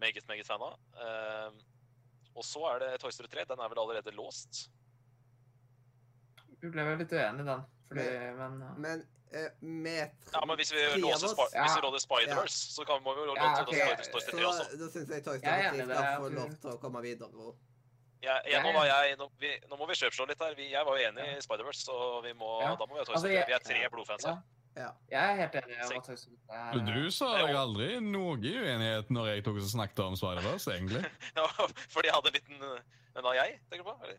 B: meget, meget fan av. Ehm, og så er det Toy Story 3. Den er vel allerede låst?
F: Du ble vel litt uenig i den, fordi Men eh,
A: Men eh, med tre
B: Ja, men hvis vi
A: tre av
B: låser,
A: oss-
B: Spi- hvis vi
F: Ja.
B: låser Spider-Verse, så kan, må vi jo låse låse
F: Ja, ok.
B: Spider- Toy Story 3 også.
A: Så da syns jeg Toy
F: Jeg er
A: Story
F: enig
A: 3
F: i det,
A: skal
F: jeg
A: få
F: tror-
A: lov til å komme videre. og-
B: Jeg, jeg, nå,
F: Ja,
B: var
F: ja.
B: jeg, nå, vi, nå må vi kjøpslå litt her. Vi, jeg var jo enig i Spider-Verse, så vi må,
F: Ja.
B: da må vi ha Toy
F: Altså,
B: Story 3.
F: jeg-
B: Vi er tre
F: ja.
B: blodfans
F: Ja.
B: her. *laughs*
F: jeg er helt enig om
B: Sek-
F: at Høysterettsdommen er eh,
E: Du sa
B: det er
E: jeg
B: jo-
E: aldri noe uenighet når jeg tok og snakket om Spider-Verse, egentlig.
B: Ja, fordi jeg hadde en liten Den har jeg, tenker du på? Eller?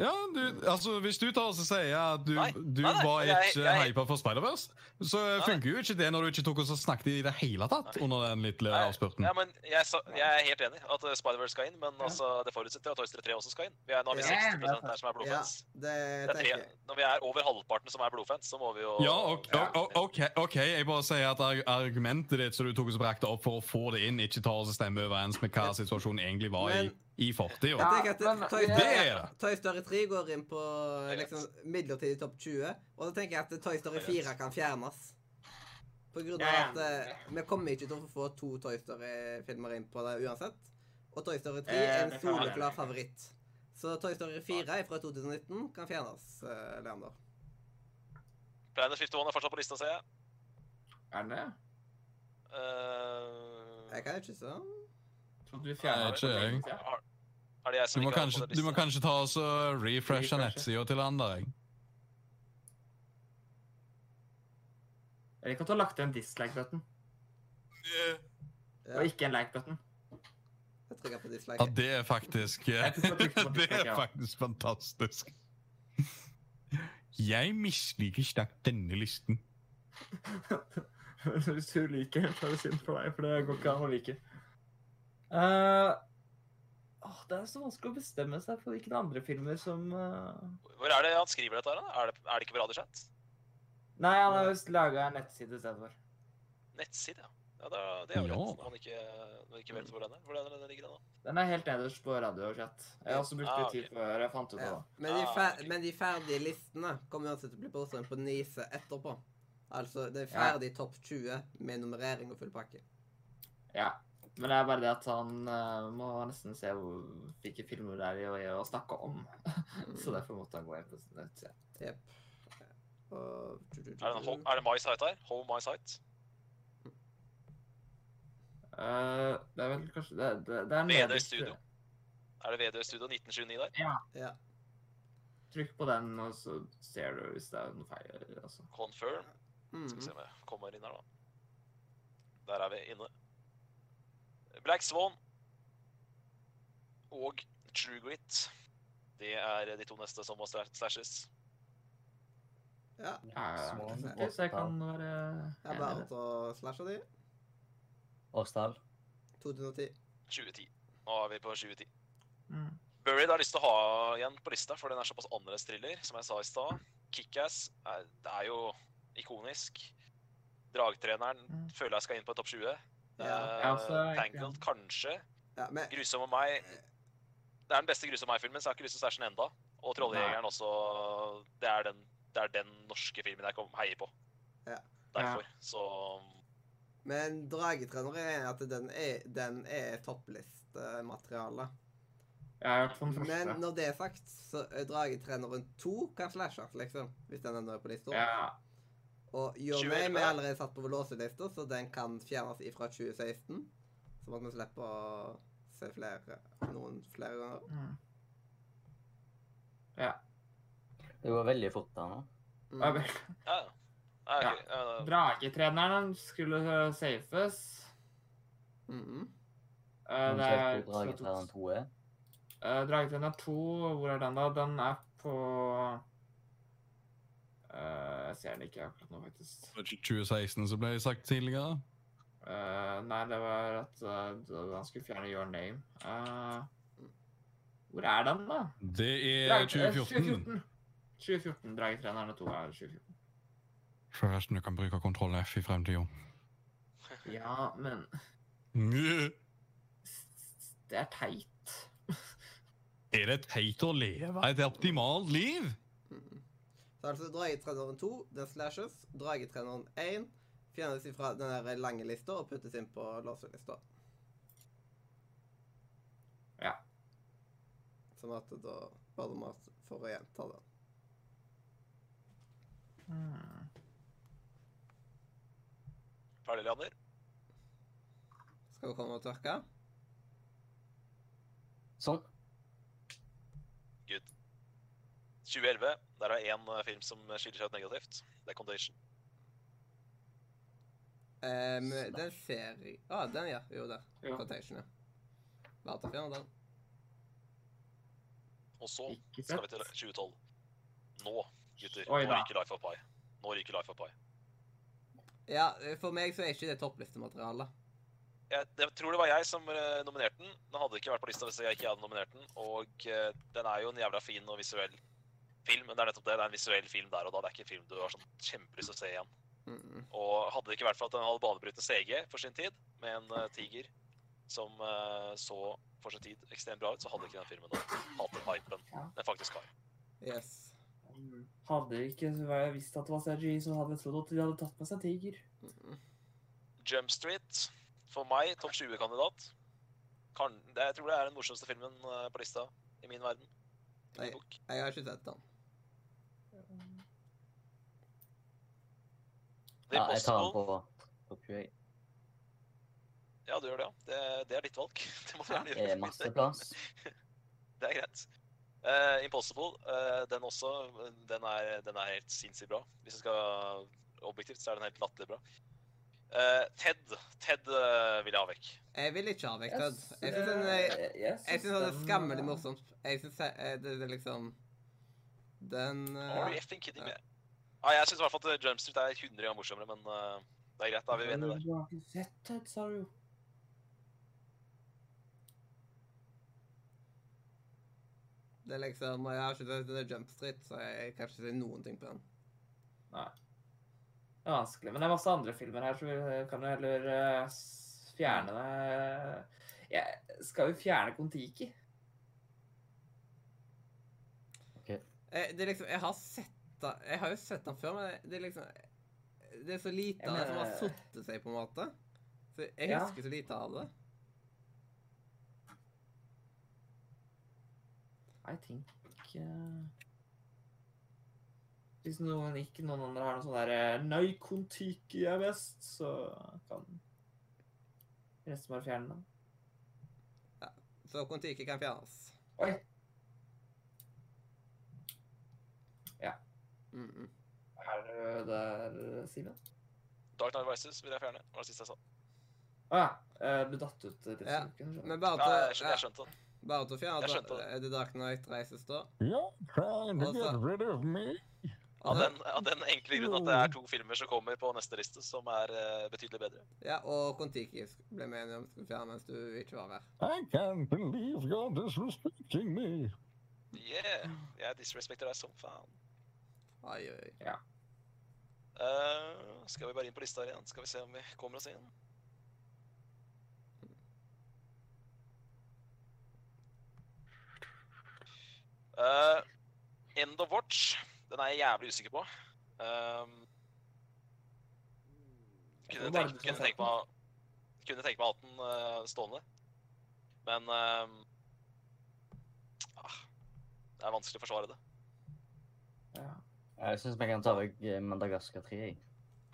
E: Ja, du, altså Hvis du tar og så sier at du,
B: Nei,
E: du
B: nei, nei,
E: var
B: jeg-
E: ikke
B: jeg-
E: hypa for Spider-Verse, så
B: Nei.
E: funker jo ikke det når du ikke tok og så snakket i det hele tatt
B: Nei.
E: under den lille
B: Nei,
F: Mm.
E: avspurten.
B: Ja, men jeg, sa, jeg er helt enig at eh, Spider-Verse skal inn, men altså, det forutsetter at Toy Story 3 også skal inn. Vi er, nå har vi
A: Ja,
F: ja,
B: 60 her som er
A: Ja,
B: blodfans.
A: det
B: Det er
A: tenker
B: tre,
A: jeg.
B: når vi er over halvparten som er blodfans, så må vi jo
E: Ja, ok,
F: Ja.
E: o- o- ok, ok, jeg bare sier at arg- argumentet ditt som du tok og så brakte opp for å få det inn, ikke tar og så stemmer overens med hva situasjonen egentlig var i,
A: Men-
E: i 40
A: Jeg
E: år.
F: Ja,
A: tenker at
F: men-
A: Toy
E: Det
A: Story,
E: er det!
A: Toy Story 3 går inn på
B: Det er greit.
A: liksom, midlertidig topp 20, og da tenker jeg at Toy Story
B: Det er
A: 4 kan fjernes. På grunn av
F: Ja, ja.
A: at eh, vi kommer ikke til å få to Toy Story-filmer inn på det uansett. Og Toy Story 3
F: Eh,
A: er en
F: det kan være det.
A: soleklar favoritt. Så Toy Story 4 fra 2019 kan fjernes, eh, Leander.
B: Planet 51 er fortsatt på lista, ser jeg.
F: Er den det?
B: Eh,
A: Jeg kan ikke se den.
F: Trodde du fjerna
E: Nei, ikke jeg.
B: har- er det jeg
E: Du
B: som
E: må
B: ikke har
E: kanskje,
B: på den
E: du må
B: lista?
E: kanskje ta og så refreshe
F: Refreshe.
E: nettsida til andre. jeg.
F: Eller kan du ha lagt til en dislike-button,
A: Ja,
F: og ikke en like-button? *laughs*
A: jeg trykker på
E: Ja,
A: dislike.
E: det er faktisk eh,
F: Jeg tror jeg
E: *laughs*
F: trykte på
E: Det
F: dislike,
E: er
F: ja.
E: faktisk fantastisk. Jeg misliker sterkt denne listen.
F: Hvis du liker det, så er det synd for deg, for det går ikke an å like. Eh, åh, det er så vanskelig å bestemme seg for hvilke andre filmer som eh,
B: Hvor er det han skriver dette? her? da? Er det, er det ikke på Radioshat?
F: Nei, han har visst laga en nettside istedenfor.
B: Nettside, ja. ja det, er- det er jo
E: Ja,
B: rett.
E: da.
B: Man ikke, man ikke vet hvor den er. Hvor er den, den ligger den, da?
F: Den er helt nederst på radio og chat. Jeg har også brukt
B: Ah,
F: litt
B: ok.
F: tid før jeg fant ut av
A: Ja.
F: det.
A: Men, de
B: Ah,
A: fer
B: ok.
A: men de ferdige listene kommer uansett til å bli postet på Nise etterpå. Altså det er ferdig topp 20 med nummerering og full
F: *laughs*
A: pakke.
F: Ja. Men det er bare det at han eh, må nesten se hvor, hvilke filmer det er i å, i å snakke om. Så derfor måtte han gå inn på sånn sin nettside.
A: Jepp. Og
B: Er
A: Mm.
B: det, en ho- er det My Sight her? Home My Sight?
F: Eh, det er vel kanskje Det, det, det er
B: Bedre
F: nederst.
B: studio. Er det VD Studio 1929 der?
F: Trykk på den, og så ser du hvis det er noe feil. Altså.
B: Confirm. Ah, Skal
F: Mhm.
B: vi se
A: Mm.
B: om jeg kommer inn her, da. Der er vi inne. Black Swan og True Grit. Det er de to neste som må stra- stashes.
A: Ja.
F: Ja,
D: Swan,
F: ja. Så jeg kan
D: Åsdal,
F: være
A: Jeg
F: enig i
A: bare
F: det.
A: tar slasha di.
D: Åsdal.
A: 2010.
B: 2010. Nå er vi på 2010.
F: Mm.
B: Buried har lyst til å ha igjen på lista, for den er såpass annerledes thriller, som jeg sa i stad. Kickass er, det er jo ikonisk. Dragtreneren
F: Mm.
B: føler jeg skal inn på topp 20.
A: Ja.
B: Eh,
F: Ja, altså, jeg-
B: Tangled, kanskje.
A: ja, men
B: Grusom og meg Det er den beste Grusom og meg-filmen, så jeg har ikke lyst til å stæsje den enda. Og Trolljegeren også. Det er den, det er den norske filmen jeg kom, heier på.
A: Ja.
B: Derfor. Så
A: Men dragetrenner er at den er, den er topplistemateriale.
F: Jeg har hørt på den
A: Men
F: første.
A: når det er sagt, så er dragetreneren to kan slashes, liksom. Hvis den ender på lista.
F: Ja.
A: Og Your
B: 20
A: Name
B: elleve.
A: er allerede satt på låselista, så den kan fjernes ifra 2016. Sånn at vi slipper å se flere, noen flere ganger.
F: Mm.
D: Det går veldig fort da nå.
F: Ja,
A: Mm.
F: vel.
B: Ja, ja. Nei,
F: Ja.
B: ok, ja, da-
F: Dragetreneren skulle eh, safes.
A: Mhm.
F: Eh,
D: Men
F: Det er
D: sjekk hvor dragetreneren to E. er.
F: Eh, Dragetreneren 2, hvor er den da? Den er på eh, Jeg ser den ikke akkurat nå, faktisk.
E: 2016 som ble sagt tidligere.
F: Eh, nei, det var at eh, da- han skulle fjerne Your Name. Eh, hvor er den, da?
E: Det er
F: Drage- eh,
E: 2014.
F: 2014. Dragetrenerne 2
B: *laughs*
F: er 2014.
E: Forresten, du kan bruke kontroll F i fremtiden.
F: Ja, men
E: Er
F: s- det er teit.
E: det teit å leve et optimalt liv?
A: Mhm. Så altså dragetreneren 2, den slashes. Dragetreneren 1 fjernes ifra den der lange lista og puttes inn på låselista.
F: Ja.
A: Sånn at da bare må for å gjenta det.
F: Hmm.
B: Ferdig, Leander.
A: Skal vi komme og tørke?
D: Sånn.
B: 2011. Der er én eh, film som skiller seg ut negativt. Det er Contagion.
A: Um, den ser jeg Å, den, ja. Jo, der.
F: Jo.
A: Contagion, ja. Bare ta fjerne den.
B: Og så
F: Ikke
B: skal vi
F: sett.
B: til 2012. Nå, gutter.
F: Oi
B: Nå
F: da.
B: ryker Life of Pi. Nå ryker Life of Pi.
A: Ja, for meg så er ikke det topplistemateriale.
B: Jeg, jeg tror det var jeg som eh, nominerte den. Den hadde ikke vært på lista hvis jeg ikke hadde nominert den. Og eh, den er jo en jævla fin og visuell film, men det er nettopp det. Det er en visuell film der og da. Det er ikke en film du har sånn kjempelyst til å se igjen.
A: Mm.
B: Og hadde det ikke vært for at den hadde banebrytende CG for sin tid, med en eh, tiger som eh, så for sin tid ekstremt bra ut, så hadde ikke den filmen hatt den hypen den faktisk har.
A: Yes.
F: Hadde vi ikke visst at det var CG, så hadde jeg trodd at de hadde tatt med seg tiger.
A: Mm.
B: Jump Street, for meg, topp 20-kandidat. Kan, det, jeg tror det er den morsomste filmen eh, på lista i min verden. I
A: Nei.
B: min bok.
A: Jeg har ikke sett den.
B: The
D: Ja, jeg tar den
B: Impossible.
D: på topp 20.
B: Ja, du gjør det, ja. Det, det er ditt valg. *laughs* Det må du gjerne
D: Det
B: gjøre.
D: er Eh, masse plass.
B: Det er greit. Eh, Impossible, eh, den også, den er, den er helt sinnssykt bra. Hvis jeg skal objektivt, så er den helt latterlig bra. Eh, Ted Ted eh, vil jeg ha vekk.
A: Jeg vil ikke ha vekk den.
F: Yes,
A: Jeg syns den er
F: eh, yes,
A: Jeg syns det er
F: den,
A: skammelig
F: eh,
A: morsomt. Jeg syns det, det er liksom Den
B: Are
A: eh,
B: you effing kidding me? Ja, jeg syns i hvert fall at Jump Street er 100 ganger morsommere, men eh, det er greit. Da er vi enige der.
F: Du har ikke sett Ted, sa du jo.
A: Det er liksom Jeg har ikke sett den er Jump Street, så jeg kan ikke si noen ting på den.
F: Det er vanskelig. Men det er masse andre filmer her, så vi kan jo heller eh, s- fjerne det. Jeg skal jo fjerne Kon-Tiki.
A: Eh, Det er liksom Jeg har sett den Jeg har jo sett den før, men det er liksom Det er så lite av det som har
F: mener-
A: sittet seg, på en måte. Så jeg
F: Ja.
A: husker så lite av det.
F: I think eh, Hvis noen, ikke noen andre har noe sånn derre Nei, Kon-Tiki er best, så kan resten bare fjerne den.
A: Så Kon-Tiki kan fjernes.
F: Oi. Ja.
A: Mm -mm.
F: Er du der, Simen?
B: Dark Night Rises vil jeg fjerne. var det siste jeg sa.
F: Å ja. eh, Du datt ut litt.
A: Ja,
F: Ja.
A: Men bare
B: Ja, jeg,
A: til,
B: skjønte, jeg
A: ja,
B: skjønte det.
A: bare til å fjerne
B: Jeg skjønte det.
A: eh, The Dark Knight Reises, da.
E: Ja, trying
A: to get
E: rid of me.
B: Av den, av den enkle grunn at det er to filmer som kommer på neste liste, som er eh, betydelig bedre.
A: Ja, og Kon-Tiki sk- ble vi enige om skulle fjerne mens du ikke var her.
E: I can't believe you're disrespecting me.
B: Yeah, jeg disrespekter deg som faen.
A: Oi, oi, oi.
B: Eh, skal vi bare inn på lista her igjen? Skal vi se om vi kommer oss inn? Eh, End of Watch. Den er jeg jævlig usikker på. Ehm, Eh, Kunne
F: Hvor var
B: tenke,
F: det du
B: kunne
F: sa
B: tenke meg Kunne tenke meg å ha den eh, stående. Men eh, ah, Det er vanskelig å forsvare det.
D: Jeg syns vi kan ta vekk eh, Madagaskar 3. jeg.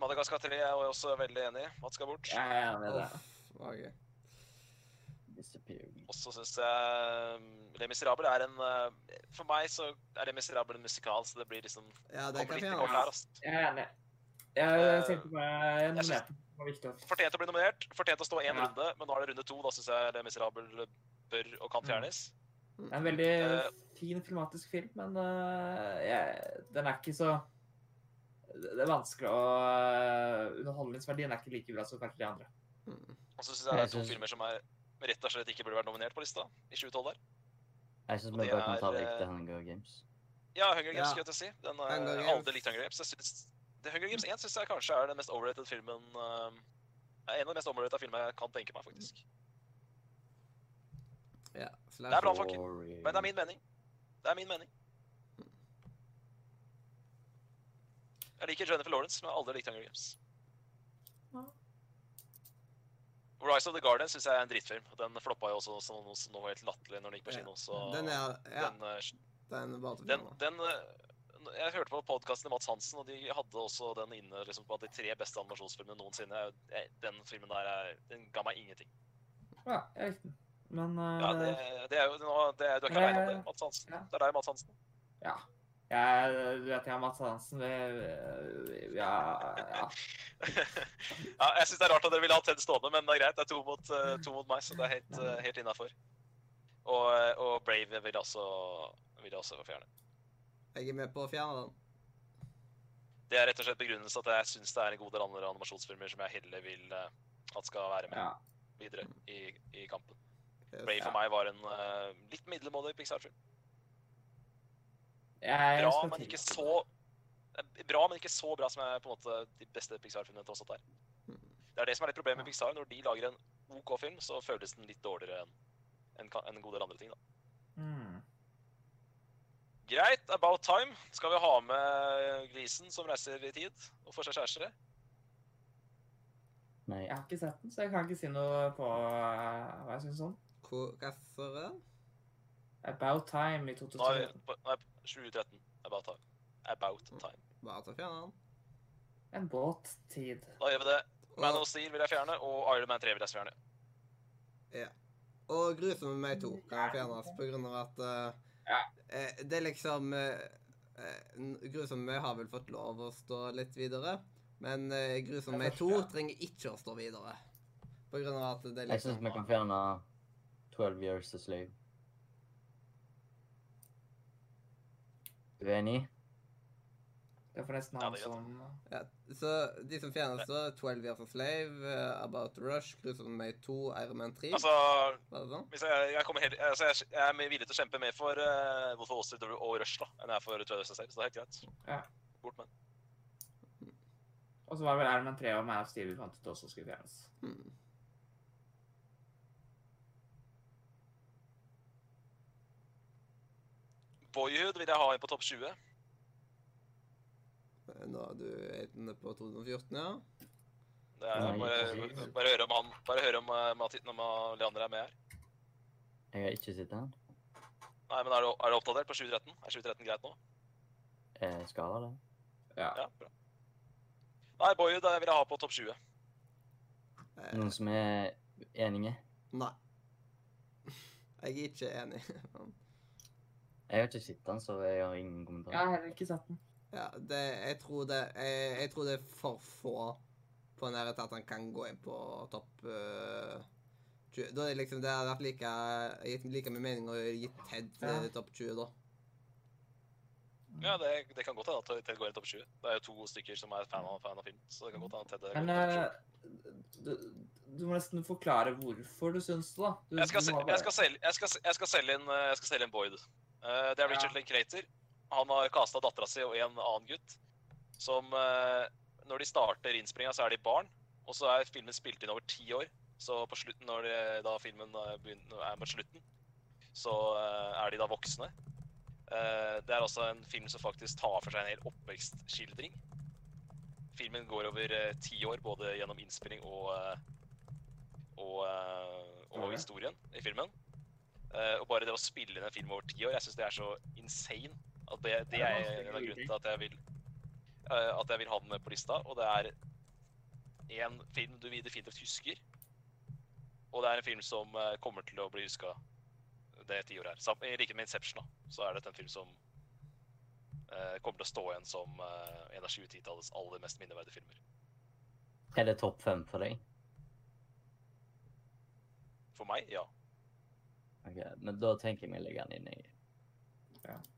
B: Madagaskar 3 er jeg også veldig enig i. Mats skal bort.
D: Ja, ja, med det.
A: Uff, ok.
D: Disappearing.
B: Og så syns jeg um, Les Miserables er en eh, For meg så er Les Miserables en musikal, så det blir liksom
A: Ja, det
B: Kommer
A: kan
B: litt
A: jeg
B: kort
A: gjøre.
B: her, altså. ass.
F: Jeg er enig. Jeg
B: Eh,
F: tenkte meg
B: jeg synes-
F: nominerte. Det var viktig. å-
B: Fortjente å bli nominert. Fortjente å stå én
F: Ja.
B: runde, men nå er det runde to. Da syns jeg Les Miserables bør og kan
F: Mm.
B: fjernes.
F: Det er en veldig
B: Eh,
F: fin filmatisk film, men eh, jeg, den er ikke så Det det er vanskelig å eh, Underholdningsverdien er ikke like bra som kanskje de andre.
A: Mm.
B: Og så syns jeg det
D: Jeg
B: er to
D: synes-
B: filmer som er rett og slett ikke burde vært nominert på lista i 2012 der.
D: Jeg syns
B: Og
D: vi
B: det
D: bare kan ta
B: er,
D: vekk
B: eh,
D: The Hunger Games.
B: Ja, Hunger Games
A: Ja.
B: skulle jeg til å si. Den er,
A: Hunger
B: jeg har
A: Games.
B: aldri likt Hunger Games. Jeg synes, det Hunger Games 1 syns jeg kanskje er den mest overrated filmen um, er En av de mest overrated filmene jeg kan tenke meg, faktisk.
A: Ja,
B: Det er
A: slash.
B: bra, folk.
D: Boring.
B: Men det er min mening. Det er min mening. Jeg liker Jennifer Lawrence, men jeg har aldri likt Hunger Games. Rise of the Guardian syns jeg er en drittfilm. Den floppa jo også som noe som noe helt latterlig når den gikk på
A: Ja.
B: kino. Så
A: Den er Ja,
B: den, eh,
A: den var til
B: Den,
A: å
B: den eh, Jeg hørte på podkasten til Mats Hansen, og de hadde også den inne liksom, på at de tre beste animasjonsfilmene noensinne. Jeg- Den filmen der er, den ga meg ingenting.
F: Ja, jeg likte den. Men eh,
B: Ja, det, det er jo, nå- det, er- du er ikke
F: Nei,
B: aleine om
F: ja,
B: det, Mats Hansen.
F: ja.
B: Det er deg, Mats Hansen.
F: ja. Jeg, du vet, jeg og Mads Hansen vi, vi- Ja. ja.
B: ja, jeg syns det er rart at dere ville ha Ted stående, men det er greit. Det er to mot, eh, to mot meg, så det er helt, eh, helt innafor. Og, eh, og Brave vil jeg også, vil jeg også fjerne.
A: Jeg er med på å fjerne den.
B: Det er rett og slett begrunnelse at jeg syns det er en god del andre animasjonsfilmer som jeg heller vil eh, at skal være med
F: ja.
B: videre i, i kampen.
A: Yes.
B: Brave for meg var en eh, litt middelmådig Pixar-film.
F: Jeg,
B: Bra,
F: skal
B: men
F: til-
B: ikke så eh, Bra, men ikke så bra som er på en måte de beste Pixar-filmene tross alt er. Det er det som er litt problemet med Pixar. Når de lager en OK film, så føles den litt dårligere enn enn ka- enn en god del andre ting. da.
F: Mm.
B: Greit, about time. Skal vi ha med grisen som reiser i tid og får seg kjæreste?
D: Nei.
F: Jeg har ikke sett den, så jeg kan ikke si noe på eh, hva jeg syns om den.
A: Hvor reiser den?
F: About Time
B: Nå
F: i
B: er
F: 2013.
B: vi på- nei, 2013. About time. About time.
A: Bare til å fjerne den.
F: En båttid.
B: Da gjør vi det. Man
A: Og,
B: of Steel vil jeg fjerne, og Iron Man 3 vil jeg fjerne.
A: og grusomme meg to kan fjernes på grunn av at eh, eh, det er liksom eh, eh, n- Grusomme meg har vel fått lov å stå litt videre, men eh, grusomme meg to trenger ikke å stå videre. På grunn av at det er
D: Jeg syns
A: liksom
D: vi kan fjerne 12 Years to Slave. Uenig?
F: Det er forresten
B: Ja,
F: han
B: det er
F: som
A: ja, Så de som fjernes, da 12 Years a Slave, eh, About Rush, Grusomme meg 2, Iron Man 3
B: Altså,
A: Var det sånn?
B: Hvis jeg, jeg, kommer helt, altså jeg, jeg er mer villig til å kjempe mer for uh, Wolf of Wall Street og- og Rush da, enn jeg er for Travis selv, så det er helt greit.
F: Ja.
B: Bort med den.
F: Og så var det vel Iron Man 3 og Man of Steel vi fant ut også skulle fjernes.
A: Hmm.
B: Boyhood vil jeg ha inn på topp 20.
A: Eh, Nå er du inne på 2014, ja?
B: Det er,
D: Nei,
B: bare,
D: ikke.
B: bare høre om han, bare høre om eh, Mati- når Ma- Leander er med her.
D: Jeg har ikke sett den.
B: Nei, men er du, er du oppdatert på 2013? Er 2013 greit nå?
D: Eh, skal være det.
F: Ja.
B: Ja, bra. Nei, Boyhood eh, vil jeg ha på topp 20.
A: Eh,
D: Noen som er enige?
A: Nei. *laughs* Jeg er ikke enig. *laughs*
D: Jeg har ikke sett den, så jeg har ingen
F: Jeg har
D: kommentar.
F: heller ikke sett den.
A: Ja, det, jeg, tror det, jeg, jeg tror det er for få på nære til at han kan gå inn på topp eh, 20. Da er det liksom, det hadde vært like, gitt like mye mening å gi Ted til
F: Ja.
A: topp 20, da.
B: Ja, det, det kan godt hende at Ted går inn topp 20. Det er jo to stykker som er fan av, fan av film, så det kan godt hende at Ted går
F: Men
B: inn topp 20.
F: eh, du, du må nesten forklare hvorfor du syns det, da. Du,
B: Jeg skal,
F: du
B: se,
F: må bare-
B: jeg, skal selge, jeg, skal, se- jeg skal selge inn, eh, jeg skal selge inn Boyd. Eh, Det er
F: Ja.
B: Richard Linklater. Han har kasta dattera si og en annen gutt. Som eh, Når de starter innspillinga, så er de barn. Og så er filmen spilt inn over ti år. Så på slutten, når de, da filmen eh, begynner, er mot slutten, så eh, er de da voksne. Eh, Det er også en film som faktisk tar for seg en hel oppvekstskildring. Filmen går over eh, ti år, både gjennom innspilling og eh, og, eh, og
F: Ok.
B: historien i filmen. Eh, og bare det å spille inn en film over ti år, jeg syns det er så insane. At det, det
F: Ja,
B: er en
F: det er
B: av
F: vanskelig å
B: grunnene
F: gjøre.
B: til at jeg vil eh, at jeg vil ha den med på lista. Og det er en film du definitivt husker. Og det er en film som eh, kommer til å bli huska det tiåret her. Sam- I likhet med Inception, da, så er dette en film som eh, kommer til å stå igjen som eh, en av 2010-tallets aller mest minneverdige filmer.
D: Er det topp fem for deg?
B: For meg, ja.
D: Ok, Men da tenker jeg vi legger den inn i